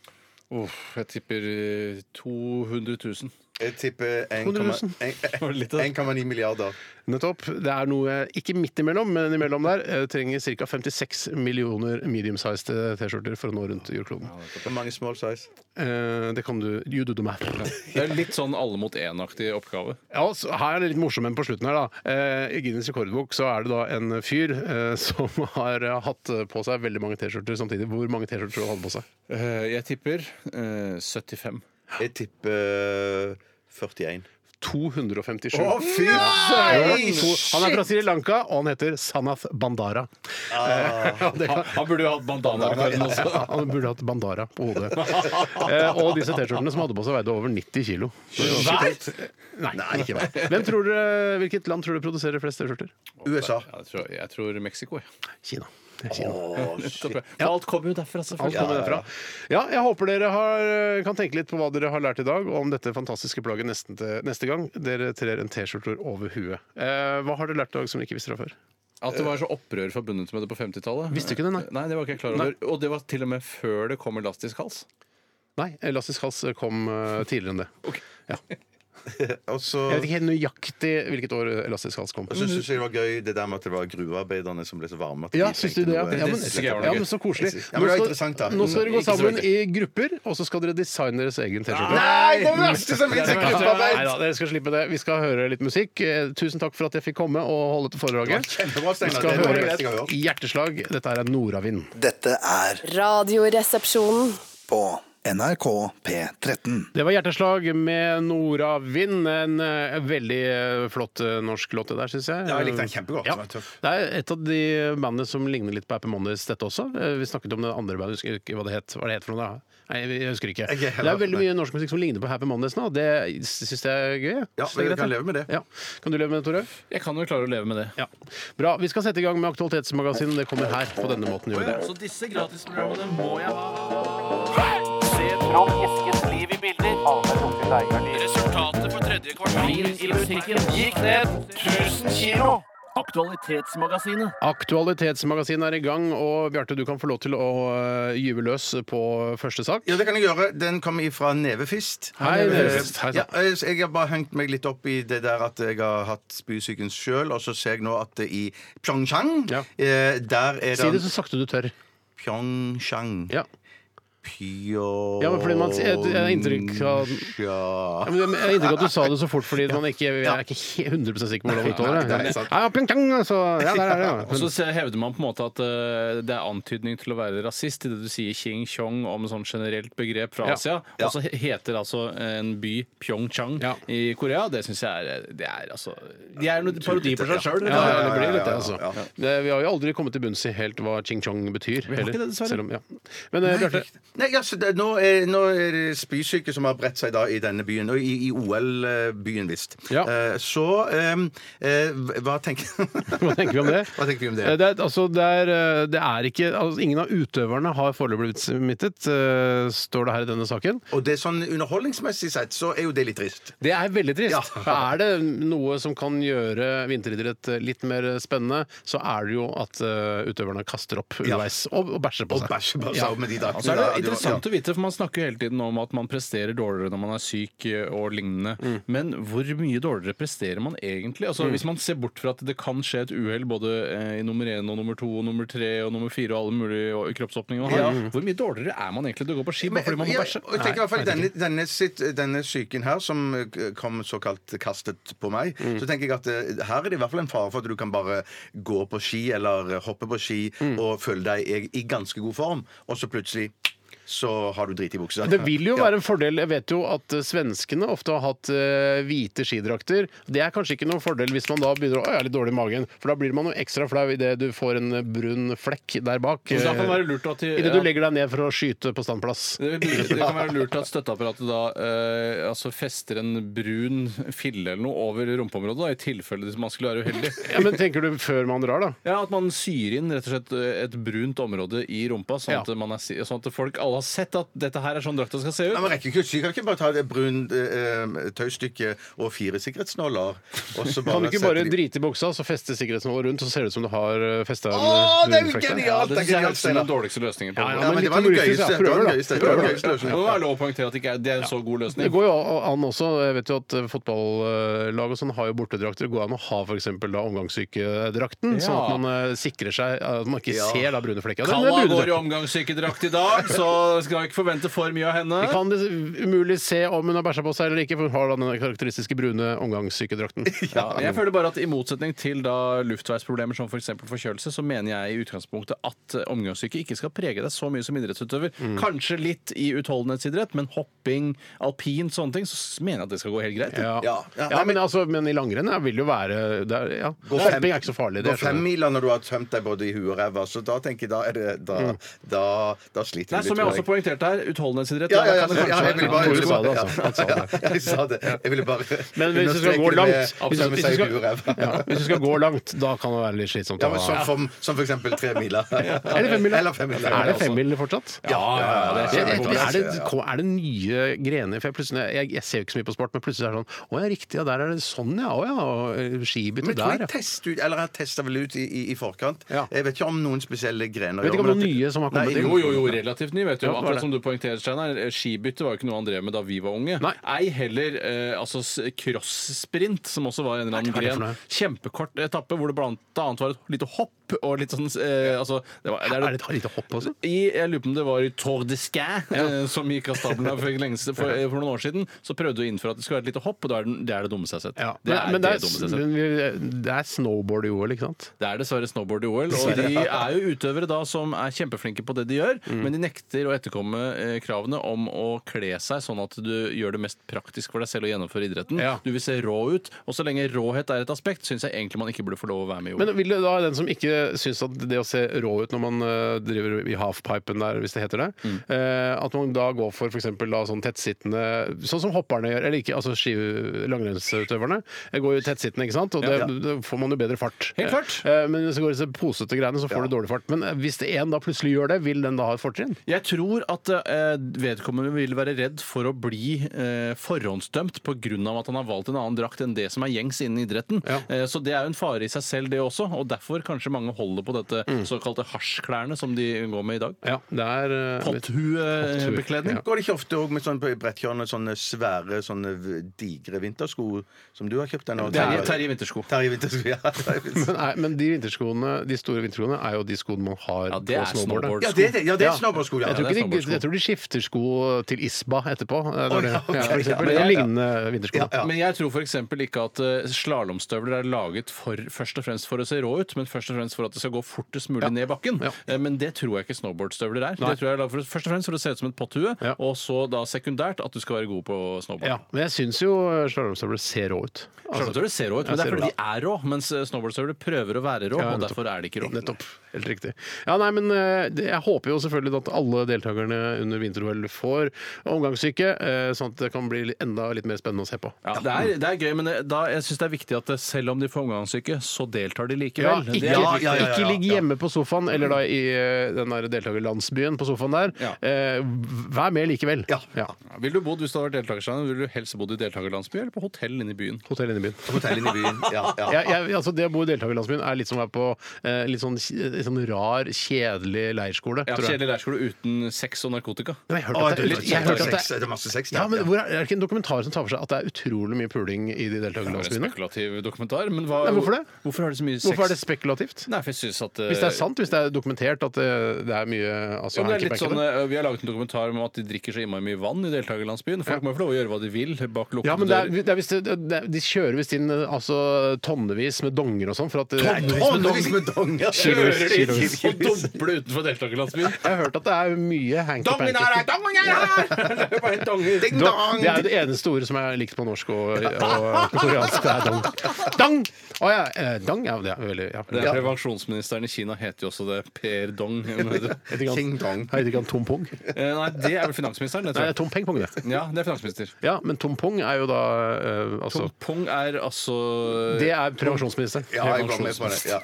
[SPEAKER 5] Uff, jeg tipper eh, 200 000.
[SPEAKER 6] Jeg tipper
[SPEAKER 4] 200 000.
[SPEAKER 6] 1,9 milliarder.
[SPEAKER 4] Nettopp. Det er noe ikke midt imellom, men imellom der. eh, trenger ca. 56 millioner medium-sized eh, T-skjorter for å nå rundt jordkloden.
[SPEAKER 6] Hvor mange small size?
[SPEAKER 4] Eh, det kan du You do the math.
[SPEAKER 5] Det er litt sånn alle mot én-aktig oppgave.
[SPEAKER 4] Ja, så her er det litt morsomt på slutten her, da. Eh, I Guinness rekordbok så er det da en fyr eh, som har eh, hatt på seg veldig mange T-skjorter samtidig. Hvor mange T-skjorter tror du han hadde på seg?
[SPEAKER 5] Eh, Jeg tipper eh, 75.
[SPEAKER 6] Jeg tipper 41.
[SPEAKER 4] 257.
[SPEAKER 6] fy
[SPEAKER 4] Ja, Eh, to- han er fra Sri Lanka, og han heter Sanath Bandara. Eh, ja, det kan-
[SPEAKER 5] Han, han burde jo hatt bandana i kvelden også.
[SPEAKER 4] Ja, han burde hatt bandara på hodet. Eh, og disse T-skjortene som hadde på seg, veide over 90 kilo. Hver? Nei, ikke hver. Hvem tror dere, hvilket land tror du produserer flest T-skjorter?
[SPEAKER 6] USA.
[SPEAKER 5] Ja, jeg, tror, jeg tror Mexico. jeg.
[SPEAKER 4] Kina. Det er Kina.
[SPEAKER 5] Nettopp, ja. Alt kommer jo derfra,
[SPEAKER 4] Alt
[SPEAKER 5] selvfølgelig.
[SPEAKER 4] kommer derfra. Ja, jeg håper dere har, eh, kan tenke litt på hva dere har lært i dag, og om dette fantastiske plagget nesten til, neste gang dere trer en T-skjorte over huet. Eh, hva har dere lært i dag som dere ikke visste fra før?
[SPEAKER 5] At det var så opprør forbundet med det på 50-tallet.
[SPEAKER 4] Visste ikke det, nei.
[SPEAKER 5] Nei, det var ikke jeg klar over. Og det var til og med før det kom elastisk hals.
[SPEAKER 4] Nei, Elastisk hals kom eh, tidligere enn det.
[SPEAKER 6] Og så
[SPEAKER 4] Jeg vet ikke helt nøyaktig hvilket år Elastisk hals kom.
[SPEAKER 6] og så syns jeg det var gøy det der med at det var gruvearbeiderne som ble så varme. At
[SPEAKER 4] Ja,
[SPEAKER 6] de
[SPEAKER 4] syns du det? Ja,
[SPEAKER 6] trengte noe-
[SPEAKER 4] ja, men,
[SPEAKER 5] synes jeg var noe
[SPEAKER 4] ja,
[SPEAKER 5] gøy.
[SPEAKER 4] men så koselig.
[SPEAKER 6] Ja, men det var interessant, da.
[SPEAKER 4] nå skal dere gå
[SPEAKER 5] Ikke så
[SPEAKER 4] sammen i
[SPEAKER 5] veldig.
[SPEAKER 4] grupper, og så skal dere designe deres egen T-skjorte.
[SPEAKER 6] Nei, det verste som finnes er
[SPEAKER 4] Nei
[SPEAKER 6] gruppearbeid!
[SPEAKER 4] da, dere skal slippe det. Vi skal høre litt musikk. Eh, Tusen takk for at jeg fikk komme og holde dette foredraget.
[SPEAKER 6] Det var kjempebra, Steinar.
[SPEAKER 4] Vi skal
[SPEAKER 6] Det var det
[SPEAKER 4] høre
[SPEAKER 6] beste jeg har hørt.
[SPEAKER 4] Hjerteslag. Dette er Nordavind.
[SPEAKER 8] Dette er
[SPEAKER 7] Radioresepsjonen.
[SPEAKER 8] på NRK P13.
[SPEAKER 4] Det var Hjerteslag med Nordavind. En eh, veldig eh, flott eh, norsk låt det der, syns jeg.
[SPEAKER 6] Ja, jeg likte den kjempegodt.
[SPEAKER 4] Ja.
[SPEAKER 6] Den var tøff.
[SPEAKER 4] Det er et av de bandene som ligner litt på Happy Mondays, dette også. Eh, Vi snakket om det andre bandet, jeg husker ikke hva det het. Hva er det het for noe da? Nei, jeg husker ikke.
[SPEAKER 6] Jeg er heller-
[SPEAKER 4] Det er veldig mye norsk musikk som ligner på Happy Mondays nå. og Det syns jeg er gøy. jeg.
[SPEAKER 6] Ja,
[SPEAKER 4] Synes det er
[SPEAKER 6] jeg
[SPEAKER 4] greit,
[SPEAKER 6] kan
[SPEAKER 4] jeg.
[SPEAKER 6] leve med det.
[SPEAKER 4] Ja. Kan du leve med det, Tore?
[SPEAKER 5] Jeg kan jo klare å leve med det.
[SPEAKER 4] Ja. Bra. Vi skal sette i gang med Aktualitetsmagasinet. Det kommer her. På denne måten gjør vi det.
[SPEAKER 5] Så disse gratisprogrammene må jeg ha. Resultatet for tredje kvartal i musikken gikk ned 1000 kilo. Aktualitetsmagasinet.
[SPEAKER 4] Aktualitetsmagasinet er i gang, og Bjarte, du kan få lov til å øh, gyve løs på første sak.
[SPEAKER 6] Ja, det kan jeg gjøre. Den kommer ifra Nevefist.
[SPEAKER 4] Hei, Nevefist.
[SPEAKER 6] Eh,
[SPEAKER 4] Hei sann.
[SPEAKER 6] ja, eh, så jeg har bare hengt meg litt opp i det der at jeg har hatt spysyken sjøl, og så ser jeg nå at det i Pyeongchang
[SPEAKER 4] Ja.
[SPEAKER 6] eh, Der er
[SPEAKER 4] Si det
[SPEAKER 6] det
[SPEAKER 4] så sakte du tør.
[SPEAKER 6] Pyeongchang.
[SPEAKER 4] Ja.
[SPEAKER 6] Pyeongchang
[SPEAKER 4] Ja, men fordi man- jeg- jeg har inntrykk av- Ja, men Jeg har inntrykk av at du sa det så fort fordi man ikke, jeg er ikke he- 100 sikker på hvordan det uttaler
[SPEAKER 6] Nei, det
[SPEAKER 4] det.
[SPEAKER 6] er sant.
[SPEAKER 4] Ja, ja, ping-pong, så, ja, der er det, ja.
[SPEAKER 5] Og så se- hevder man på en måte at eh, det er antydning til å være rasist i det du sier Qing Chong om sånn generelt begrep fra
[SPEAKER 4] Ja.
[SPEAKER 5] Asia. Og så he- heter altså en by Pyeongchang
[SPEAKER 4] Ja.
[SPEAKER 5] i Korea. Det syns jeg er Det er altså De er jo en parodi på seg sjøl.
[SPEAKER 4] Ja, ja, ja, det blir litt det, altså.
[SPEAKER 6] ja, ja.
[SPEAKER 4] Det, vi har jo aldri kommet til bunns i helt hva ching-chong betyr.
[SPEAKER 5] har ikke
[SPEAKER 4] heller,
[SPEAKER 5] det, dessverre.
[SPEAKER 4] selv om- ja. Men eh, Bjarte,
[SPEAKER 6] Nei, altså, det, nå, er, nå er det spysyke som har bredt seg da i denne byen, og i, i OL-byen visst.
[SPEAKER 4] Ja.
[SPEAKER 6] Eh, så ehm, eh, hva tenker
[SPEAKER 4] Hva tenker vi om det?
[SPEAKER 6] Hva tenker vi om
[SPEAKER 4] Eh,
[SPEAKER 6] det?
[SPEAKER 4] Det er, altså, det er, eh, det er ikke, altså, ingen av utøverne har foreløpig blitt smittet, eh, står det her i denne saken.
[SPEAKER 6] Og det er sånn underholdningsmessig sett, så er jo det litt trist.
[SPEAKER 4] Det er veldig trist.
[SPEAKER 6] Ja.
[SPEAKER 4] For er det noe som kan gjøre vinteridrett litt mer spennende, så er det jo at eh, utøverne kaster opp underveis og, og bæsjer på
[SPEAKER 6] Og
[SPEAKER 4] seg.
[SPEAKER 6] bæsje på seg
[SPEAKER 4] Ja.
[SPEAKER 6] med de
[SPEAKER 5] Og så
[SPEAKER 6] draktene.
[SPEAKER 5] er det
[SPEAKER 6] da.
[SPEAKER 5] interessant å vite, for Man snakker jo hele tiden om at man presterer dårligere når man er syk eh, og lignende.
[SPEAKER 6] Mm.
[SPEAKER 5] Men hvor mye dårligere presterer man egentlig? Altså, Hvis man ser bort fra at det kan skje et uhell både eh, i nummer én og nummer to og nummer tre og nummer fire og alle mulige og- kroppsåpninger man har, hvor mye dårligere er man egentlig til å gå på ski bare fordi man må
[SPEAKER 6] Ja,
[SPEAKER 5] bæsje?
[SPEAKER 6] og jeg tenker i hvert fall denne, denne, sitt, denne syken her, som eh, kom såkalt kastet på meg,
[SPEAKER 4] Mm.
[SPEAKER 6] så tenker jeg at eh, her er det i hvert fall en fare for at du kan bare gå på ski eller hoppe på ski
[SPEAKER 4] Mm.
[SPEAKER 6] og føle deg i, i ganske god form, og så plutselig så har du drit i buksa.
[SPEAKER 4] Det vil jo være en fordel. Jeg vet jo at eh, svenskene ofte har hatt eh, hvite skidrakter. Det er kanskje ikke noen fordel hvis man da begynner å «Å, jeg er litt dårlig i magen. For da blir man jo ekstra flau idet du får en eh, brun flekk der bak.
[SPEAKER 5] Så da kan det
[SPEAKER 4] eh,
[SPEAKER 5] være lurt at de-
[SPEAKER 4] Idet du
[SPEAKER 5] ja.
[SPEAKER 4] legger deg ned for å skyte på standplass.
[SPEAKER 5] Det, vil- det kan være lurt at støtteapparatet da eh, altså fester en brun fille eller noe over rumpeområdet, da, i tilfelle man skulle være uheldig.
[SPEAKER 4] Ja, men tenker du før man drar, da?
[SPEAKER 5] Ja, At man syr inn rett og slett eh, et brunt område i rumpa, sånn,
[SPEAKER 4] Ja.
[SPEAKER 5] at, man er, si- sånn at folk alle har sett at dette her er sånn drakta skal se
[SPEAKER 6] Nei,
[SPEAKER 5] ut.
[SPEAKER 6] man rekker ikke å sy. Kan ikke bare ta det brun eh, tøystykke og fire sikkerhetsnåler? og så
[SPEAKER 4] Kan du ikke
[SPEAKER 6] sette
[SPEAKER 4] bare
[SPEAKER 6] de-
[SPEAKER 4] drite i buksa, så feste sikkerhetsnåla rundt, så ser det ut som du har eh, festa en
[SPEAKER 6] Å, det er
[SPEAKER 4] brun
[SPEAKER 6] jo
[SPEAKER 4] flekk der?
[SPEAKER 6] genialt!
[SPEAKER 5] det
[SPEAKER 6] det er
[SPEAKER 5] synes jeg
[SPEAKER 6] genialt,
[SPEAKER 5] høres ut som den
[SPEAKER 6] Steinar.
[SPEAKER 5] dårligste løsningen. på
[SPEAKER 4] Ja,
[SPEAKER 5] det.
[SPEAKER 4] ja,
[SPEAKER 6] men
[SPEAKER 4] men
[SPEAKER 6] det
[SPEAKER 4] litt
[SPEAKER 6] var den
[SPEAKER 4] humoristisk,
[SPEAKER 6] gøyeste.
[SPEAKER 4] ja.
[SPEAKER 6] Det var den
[SPEAKER 4] Prøver,
[SPEAKER 6] gøyeste.
[SPEAKER 4] da.
[SPEAKER 6] Det var den
[SPEAKER 4] Prøver,
[SPEAKER 6] gøyeste.
[SPEAKER 4] da.
[SPEAKER 5] Det må være lov å poengtere at det ikke er, det er en så god
[SPEAKER 4] Det
[SPEAKER 5] løsning.
[SPEAKER 4] går jo an også. Jeg vet jo at eh, fotballag og sånn har jo bortedrakter. Det går an å ha f.eks. omgangssykedrakten,
[SPEAKER 5] Ja.
[SPEAKER 4] sånn at man eh, sikrer seg at man ikke ser da brune flekker. Det er
[SPEAKER 5] Kalla
[SPEAKER 4] brune
[SPEAKER 5] går i
[SPEAKER 4] flekker.
[SPEAKER 5] omgangssykedrakt i dag, så skal vi ikke forvente for mye av henne.
[SPEAKER 4] Vi kan det umulig se om hun har bæsja på seg eller ikke, for hun har da den karakteristiske brune omgangssykedrakten.
[SPEAKER 5] Ja, men jeg føler bare at I motsetning til da luftveisproblemer som f.eks. forkjølelse, så mener jeg i utgangspunktet at eh, omgangssyke ikke skal prege deg så mye som idrettsutøver.
[SPEAKER 6] Mm.
[SPEAKER 5] Kanskje litt i utholdenhetsidrett, men hopping, alpint, sånne ting, så mener jeg at det skal gå helt greit.
[SPEAKER 4] Ja.
[SPEAKER 6] Ja. Ja,
[SPEAKER 4] men, altså, men i langrenn ja, vil jo være det er, ja.
[SPEAKER 6] Gå fem-
[SPEAKER 4] Hopping er ikke så farlig.
[SPEAKER 6] Gå
[SPEAKER 4] Det, skjønner jeg.
[SPEAKER 6] femmiler når du har tømt deg både i huet og ræva, så da tenker jeg da er det Da,
[SPEAKER 4] Mm.
[SPEAKER 6] da, da sliter
[SPEAKER 5] Nei,
[SPEAKER 6] du litt.
[SPEAKER 5] som jeg
[SPEAKER 6] tror
[SPEAKER 5] også poengterte her, utholdenhetsidrett
[SPEAKER 6] ja, ja, ja,
[SPEAKER 5] der kan det
[SPEAKER 6] ja,
[SPEAKER 5] kanskje
[SPEAKER 6] jeg
[SPEAKER 5] være-
[SPEAKER 6] ville bare
[SPEAKER 4] Ja, Tore sa det, altså. Han sa
[SPEAKER 6] Ja, ja, jeg sa det. Jeg ville bare
[SPEAKER 4] Men hvis du skal
[SPEAKER 6] understreke
[SPEAKER 4] gå
[SPEAKER 6] det
[SPEAKER 4] langt
[SPEAKER 6] med-
[SPEAKER 4] hvis,
[SPEAKER 6] som
[SPEAKER 4] hvis,
[SPEAKER 6] jeg
[SPEAKER 4] du
[SPEAKER 6] sa i
[SPEAKER 4] skal,
[SPEAKER 6] huet og ræva.
[SPEAKER 4] ja, hvis du skal gå langt, da kan det være litt slitsomt.
[SPEAKER 6] Ja,
[SPEAKER 4] å
[SPEAKER 6] men
[SPEAKER 4] ha-
[SPEAKER 6] som, som, som for eksempel tre miler.
[SPEAKER 4] Eller femmila.
[SPEAKER 6] Eller femmila.
[SPEAKER 4] Er det femmil fortsatt?
[SPEAKER 5] Ja, ja, ja, det er
[SPEAKER 4] Jeg- jeg-
[SPEAKER 5] kjempebra.
[SPEAKER 4] Er det, er det nye grener? For jeg, plutselig- jeg, jeg ser jo ikke så mye på sport, men plutselig er det sånn Å ja, riktig, ja, der er det sånn, ja. Å ja, og, eh, skibytte
[SPEAKER 6] Men jeg tror
[SPEAKER 4] der, ja.
[SPEAKER 6] jeg testet ut, eller jeg testet vel ut i, i, i forkant.
[SPEAKER 4] Ja.
[SPEAKER 6] Jeg vet ikke om noen spesielle grener.
[SPEAKER 4] Vet ikke om
[SPEAKER 6] gjør,
[SPEAKER 4] noen
[SPEAKER 6] men at-
[SPEAKER 4] nye som har kommet
[SPEAKER 6] Nei,
[SPEAKER 4] inn.
[SPEAKER 5] Jo, jo, jo, relativt ny. vet du
[SPEAKER 4] Ja, var
[SPEAKER 5] Akkurat
[SPEAKER 4] det.
[SPEAKER 5] som du poengterer, Steinar. eh, Skibytte var jo ikke noe han drev med da vi var unge.
[SPEAKER 4] Nei.
[SPEAKER 5] Ei heller eh, altså s- cross-sprint, som også var en eller annen
[SPEAKER 4] Nei, hva er det for
[SPEAKER 5] gren.
[SPEAKER 4] noe?
[SPEAKER 5] Kjempekort etappe hvor det blant annet var et lite hopp og litt sånn eh, altså, det var,
[SPEAKER 4] Er det et lite hopp også?
[SPEAKER 5] i, jeg lurer på om det var i Tour de Ski, eh, som gikk av stabelen her for, lenge, siden- for, eh, for noen år siden. Så prøvde du å innføre at det skulle være et lite hopp, og da er den- det er det dummeste jeg har sett.
[SPEAKER 4] Ja.
[SPEAKER 5] Det, er
[SPEAKER 4] men, men det er,
[SPEAKER 5] dummeste jeg har sett.
[SPEAKER 4] men vi- det er snowboard i OL, ikke sant?
[SPEAKER 5] Det er dessverre snowboard i OL, og de er jo utøvere da som er kjempeflinke på det de gjør,
[SPEAKER 4] Mm.
[SPEAKER 5] men de nekter å etterkomme eh, kravene om å kle seg sånn at du gjør det mest praktisk for deg selv å gjennomføre idretten.
[SPEAKER 4] Ja.
[SPEAKER 5] Du vil se rå ut, og så lenge råhet er et aspekt, syns jeg egentlig man ikke burde få lov å være med i OL.
[SPEAKER 4] Men vil det da den som ikke syns at det å se rå ut når man eh, driver i halfpipen der, hvis det heter det,
[SPEAKER 5] Mm.
[SPEAKER 4] eh, at man da går for f.eks. sånn tettsittende Sånn som hopperne gjør, eller ikke, altså ski- langrennsutøverne. eh, Går jo tettsittende, ikke sant, og det, da får man jo bedre fart.
[SPEAKER 5] Helt klart.
[SPEAKER 4] Eh, Men hvis det går i disse posete greiene, så får du dårlig fart. Men eh, hvis det en da plutselig gjør det, vil den da ha et fortrinn?
[SPEAKER 5] Jeg tror at eh, vedkommende vil være redd for å bli eh, forhåndsdømt pga. at han har valgt en annen drakt enn det som er gjengs innen idretten.
[SPEAKER 4] Ja.
[SPEAKER 5] Eh, så det er jo en fare i seg selv, det også, og derfor kanskje mange holder på dette
[SPEAKER 4] Mm.
[SPEAKER 5] såkalte hasjklærne som de går med i dag.
[SPEAKER 4] Ja, det er eh,
[SPEAKER 5] Potthuebekledning.
[SPEAKER 4] Ja.
[SPEAKER 6] Går det ikke ofte òg med sånn på brettkjørende sånne svære, sånne v- digre vintersko som du har kjøpt deg nå?
[SPEAKER 5] Det er Terje Vintersko.
[SPEAKER 6] Terje Vintersko, ja. Terje Vintersko.
[SPEAKER 4] men, nei, men de vinterskoene, de store vinterskoene er jo de skoene man har
[SPEAKER 5] Ja, det er
[SPEAKER 4] på snowboard.
[SPEAKER 5] snowboard.
[SPEAKER 6] Ja, det er det. Ja, det er snowboardsko, ja.
[SPEAKER 4] Jeg tror,
[SPEAKER 5] det er
[SPEAKER 4] ikke de,
[SPEAKER 5] snowboardsko.
[SPEAKER 4] jeg tror de skifter sko til Isba etterpå. Det er
[SPEAKER 6] Å,
[SPEAKER 4] det.
[SPEAKER 6] ja, ok,
[SPEAKER 4] Ja, for eksempel.
[SPEAKER 6] ja, ja, ja.
[SPEAKER 4] Lignende vintersko.
[SPEAKER 6] Ja, ja.
[SPEAKER 5] Men eh, jeg tror f.eks. ikke at slalåmstøvler er laget for, først og fremst for å se rå ut, men først og fremst for at det skal gå fortest mulig ned bakken.
[SPEAKER 4] Ja.
[SPEAKER 5] Eh, Men det tror jeg ikke snowboardstøvler er.
[SPEAKER 4] Nei.
[SPEAKER 5] Det tror jeg er laget for, først og fremst for å se ut som et potthue,
[SPEAKER 4] Ja.
[SPEAKER 5] og så da sekundært at du skal være god på snowboard.
[SPEAKER 4] Ja, men jeg syns jo slalåmstøvler ser rå ut. Altså,
[SPEAKER 5] Slalåmstøvler ser rå ut,
[SPEAKER 4] Ja,
[SPEAKER 5] men det
[SPEAKER 4] ser
[SPEAKER 5] er
[SPEAKER 4] rå
[SPEAKER 5] fordi de er rå. Mens eh, snowboardstøvler prøver å være rå,
[SPEAKER 4] Ja,
[SPEAKER 5] og
[SPEAKER 4] nettopp.
[SPEAKER 5] derfor er de ikke rå.
[SPEAKER 4] Nettopp. Helt riktig. Ja, nei, men eh, det- Jeg håper jo selvfølgelig at alle deltakerne under vinter-OL får omgangssyke, eh, sånn at det kan bli litt- enda litt mer spennende å se på.
[SPEAKER 5] Ja, det, er, det er gøy, men eh, da, jeg syns det er viktig at det, selv om de får omgangssyke, så deltar de
[SPEAKER 4] Ja,
[SPEAKER 5] likevel.
[SPEAKER 4] ikke,
[SPEAKER 5] det er
[SPEAKER 6] ja, ja, ja, ja. Mm.
[SPEAKER 4] ikke ligg hjemme på sofaen eller da i eh, den der deltakerlandsbyen på sofaen der.
[SPEAKER 5] Ja.
[SPEAKER 4] Eh, Vær med likevel.
[SPEAKER 6] Ja.
[SPEAKER 5] Ja, Vil du bodd hvis du hadde vært deltakerstjerne? Vil du helst bodd i deltakerlandsby eller på hotell inne i byen?
[SPEAKER 4] Hotell inne i byen.
[SPEAKER 6] Hotellet inne i byen. Ja, ja.
[SPEAKER 4] Jeg, jeg, altså det å bo i deltakerlandsbyen er litt som å være på eh, litt sånn, litt sånn rar, kjedelig leirskole.
[SPEAKER 5] Ja,
[SPEAKER 4] tror jeg.
[SPEAKER 5] Kjedelig leirskole uten sex og narkotika.
[SPEAKER 4] Men jeg hørte
[SPEAKER 6] Å,
[SPEAKER 4] at
[SPEAKER 6] det
[SPEAKER 4] det,
[SPEAKER 6] er
[SPEAKER 4] jeg hørte at det
[SPEAKER 6] sex, det er masse sex.
[SPEAKER 4] Ja, men hvor er, er det ikke en dokumentar som tar for seg at det er utrolig mye puling i de
[SPEAKER 5] Det var en
[SPEAKER 4] deltakerlandsbyene?
[SPEAKER 5] spekulativ dokumentar. Men hva,
[SPEAKER 4] Nei, hvorfor det?
[SPEAKER 5] Hvorfor har de så mye sex?
[SPEAKER 4] Hvorfor er det spekulativt?
[SPEAKER 5] Nei, for jeg synes at eh,
[SPEAKER 4] Hvis det er sant, hvis det er dokumentert at det, det er mye altså,
[SPEAKER 5] Ja, men det er litt
[SPEAKER 4] hanky-panky
[SPEAKER 5] sånn,
[SPEAKER 4] der.
[SPEAKER 5] eh, vi har laget en dokumentar om at de drikker så innmari mye vann i deltakerlandsbyen. Folk må jo få lov å gjøre hva de vil bak lukkede
[SPEAKER 4] ja, men det er,
[SPEAKER 5] dører.
[SPEAKER 4] det er visst- det, det, de kjører visst inn eh, altså, tonnevis med donger og sånn. for at-
[SPEAKER 6] Tonnevis med donger!
[SPEAKER 4] Kilos,
[SPEAKER 5] Kjører de inn
[SPEAKER 4] kilos.
[SPEAKER 5] og dumper det utenfor deltakerlandsbyen.
[SPEAKER 4] Jeg har hørt at det er mye hanky-panky.
[SPEAKER 6] Dongen er her! Dongen er her!
[SPEAKER 5] Det er jo bare en donger.
[SPEAKER 6] Ding
[SPEAKER 4] Dong.
[SPEAKER 6] dong!
[SPEAKER 4] Det er jo det eneste ordet som er likt på norsk og, og koreansk. Det er dong. Dang! Å ja. eh, Dang, ja. Det er veldig ja.
[SPEAKER 5] Det er
[SPEAKER 4] Ja.
[SPEAKER 5] Prevensjonsministeren i Kina heter jo også det. Per Dong. Eh,
[SPEAKER 4] Heter ikke han-
[SPEAKER 6] Ding dong.
[SPEAKER 4] Heter ikke han Tom Pong? Nei,
[SPEAKER 5] Nei, det er vel finansministeren. Det
[SPEAKER 4] det
[SPEAKER 5] tror
[SPEAKER 4] er
[SPEAKER 5] jeg.
[SPEAKER 4] Tom Peng Pong, det.
[SPEAKER 5] Ja, det er finansminister.
[SPEAKER 4] Ja, men Tom Pong er jo da eh, altså,
[SPEAKER 5] Tom Pong er altså
[SPEAKER 4] Det er prevensjonsministeren.
[SPEAKER 6] Ja, jeg går med på det. Ja.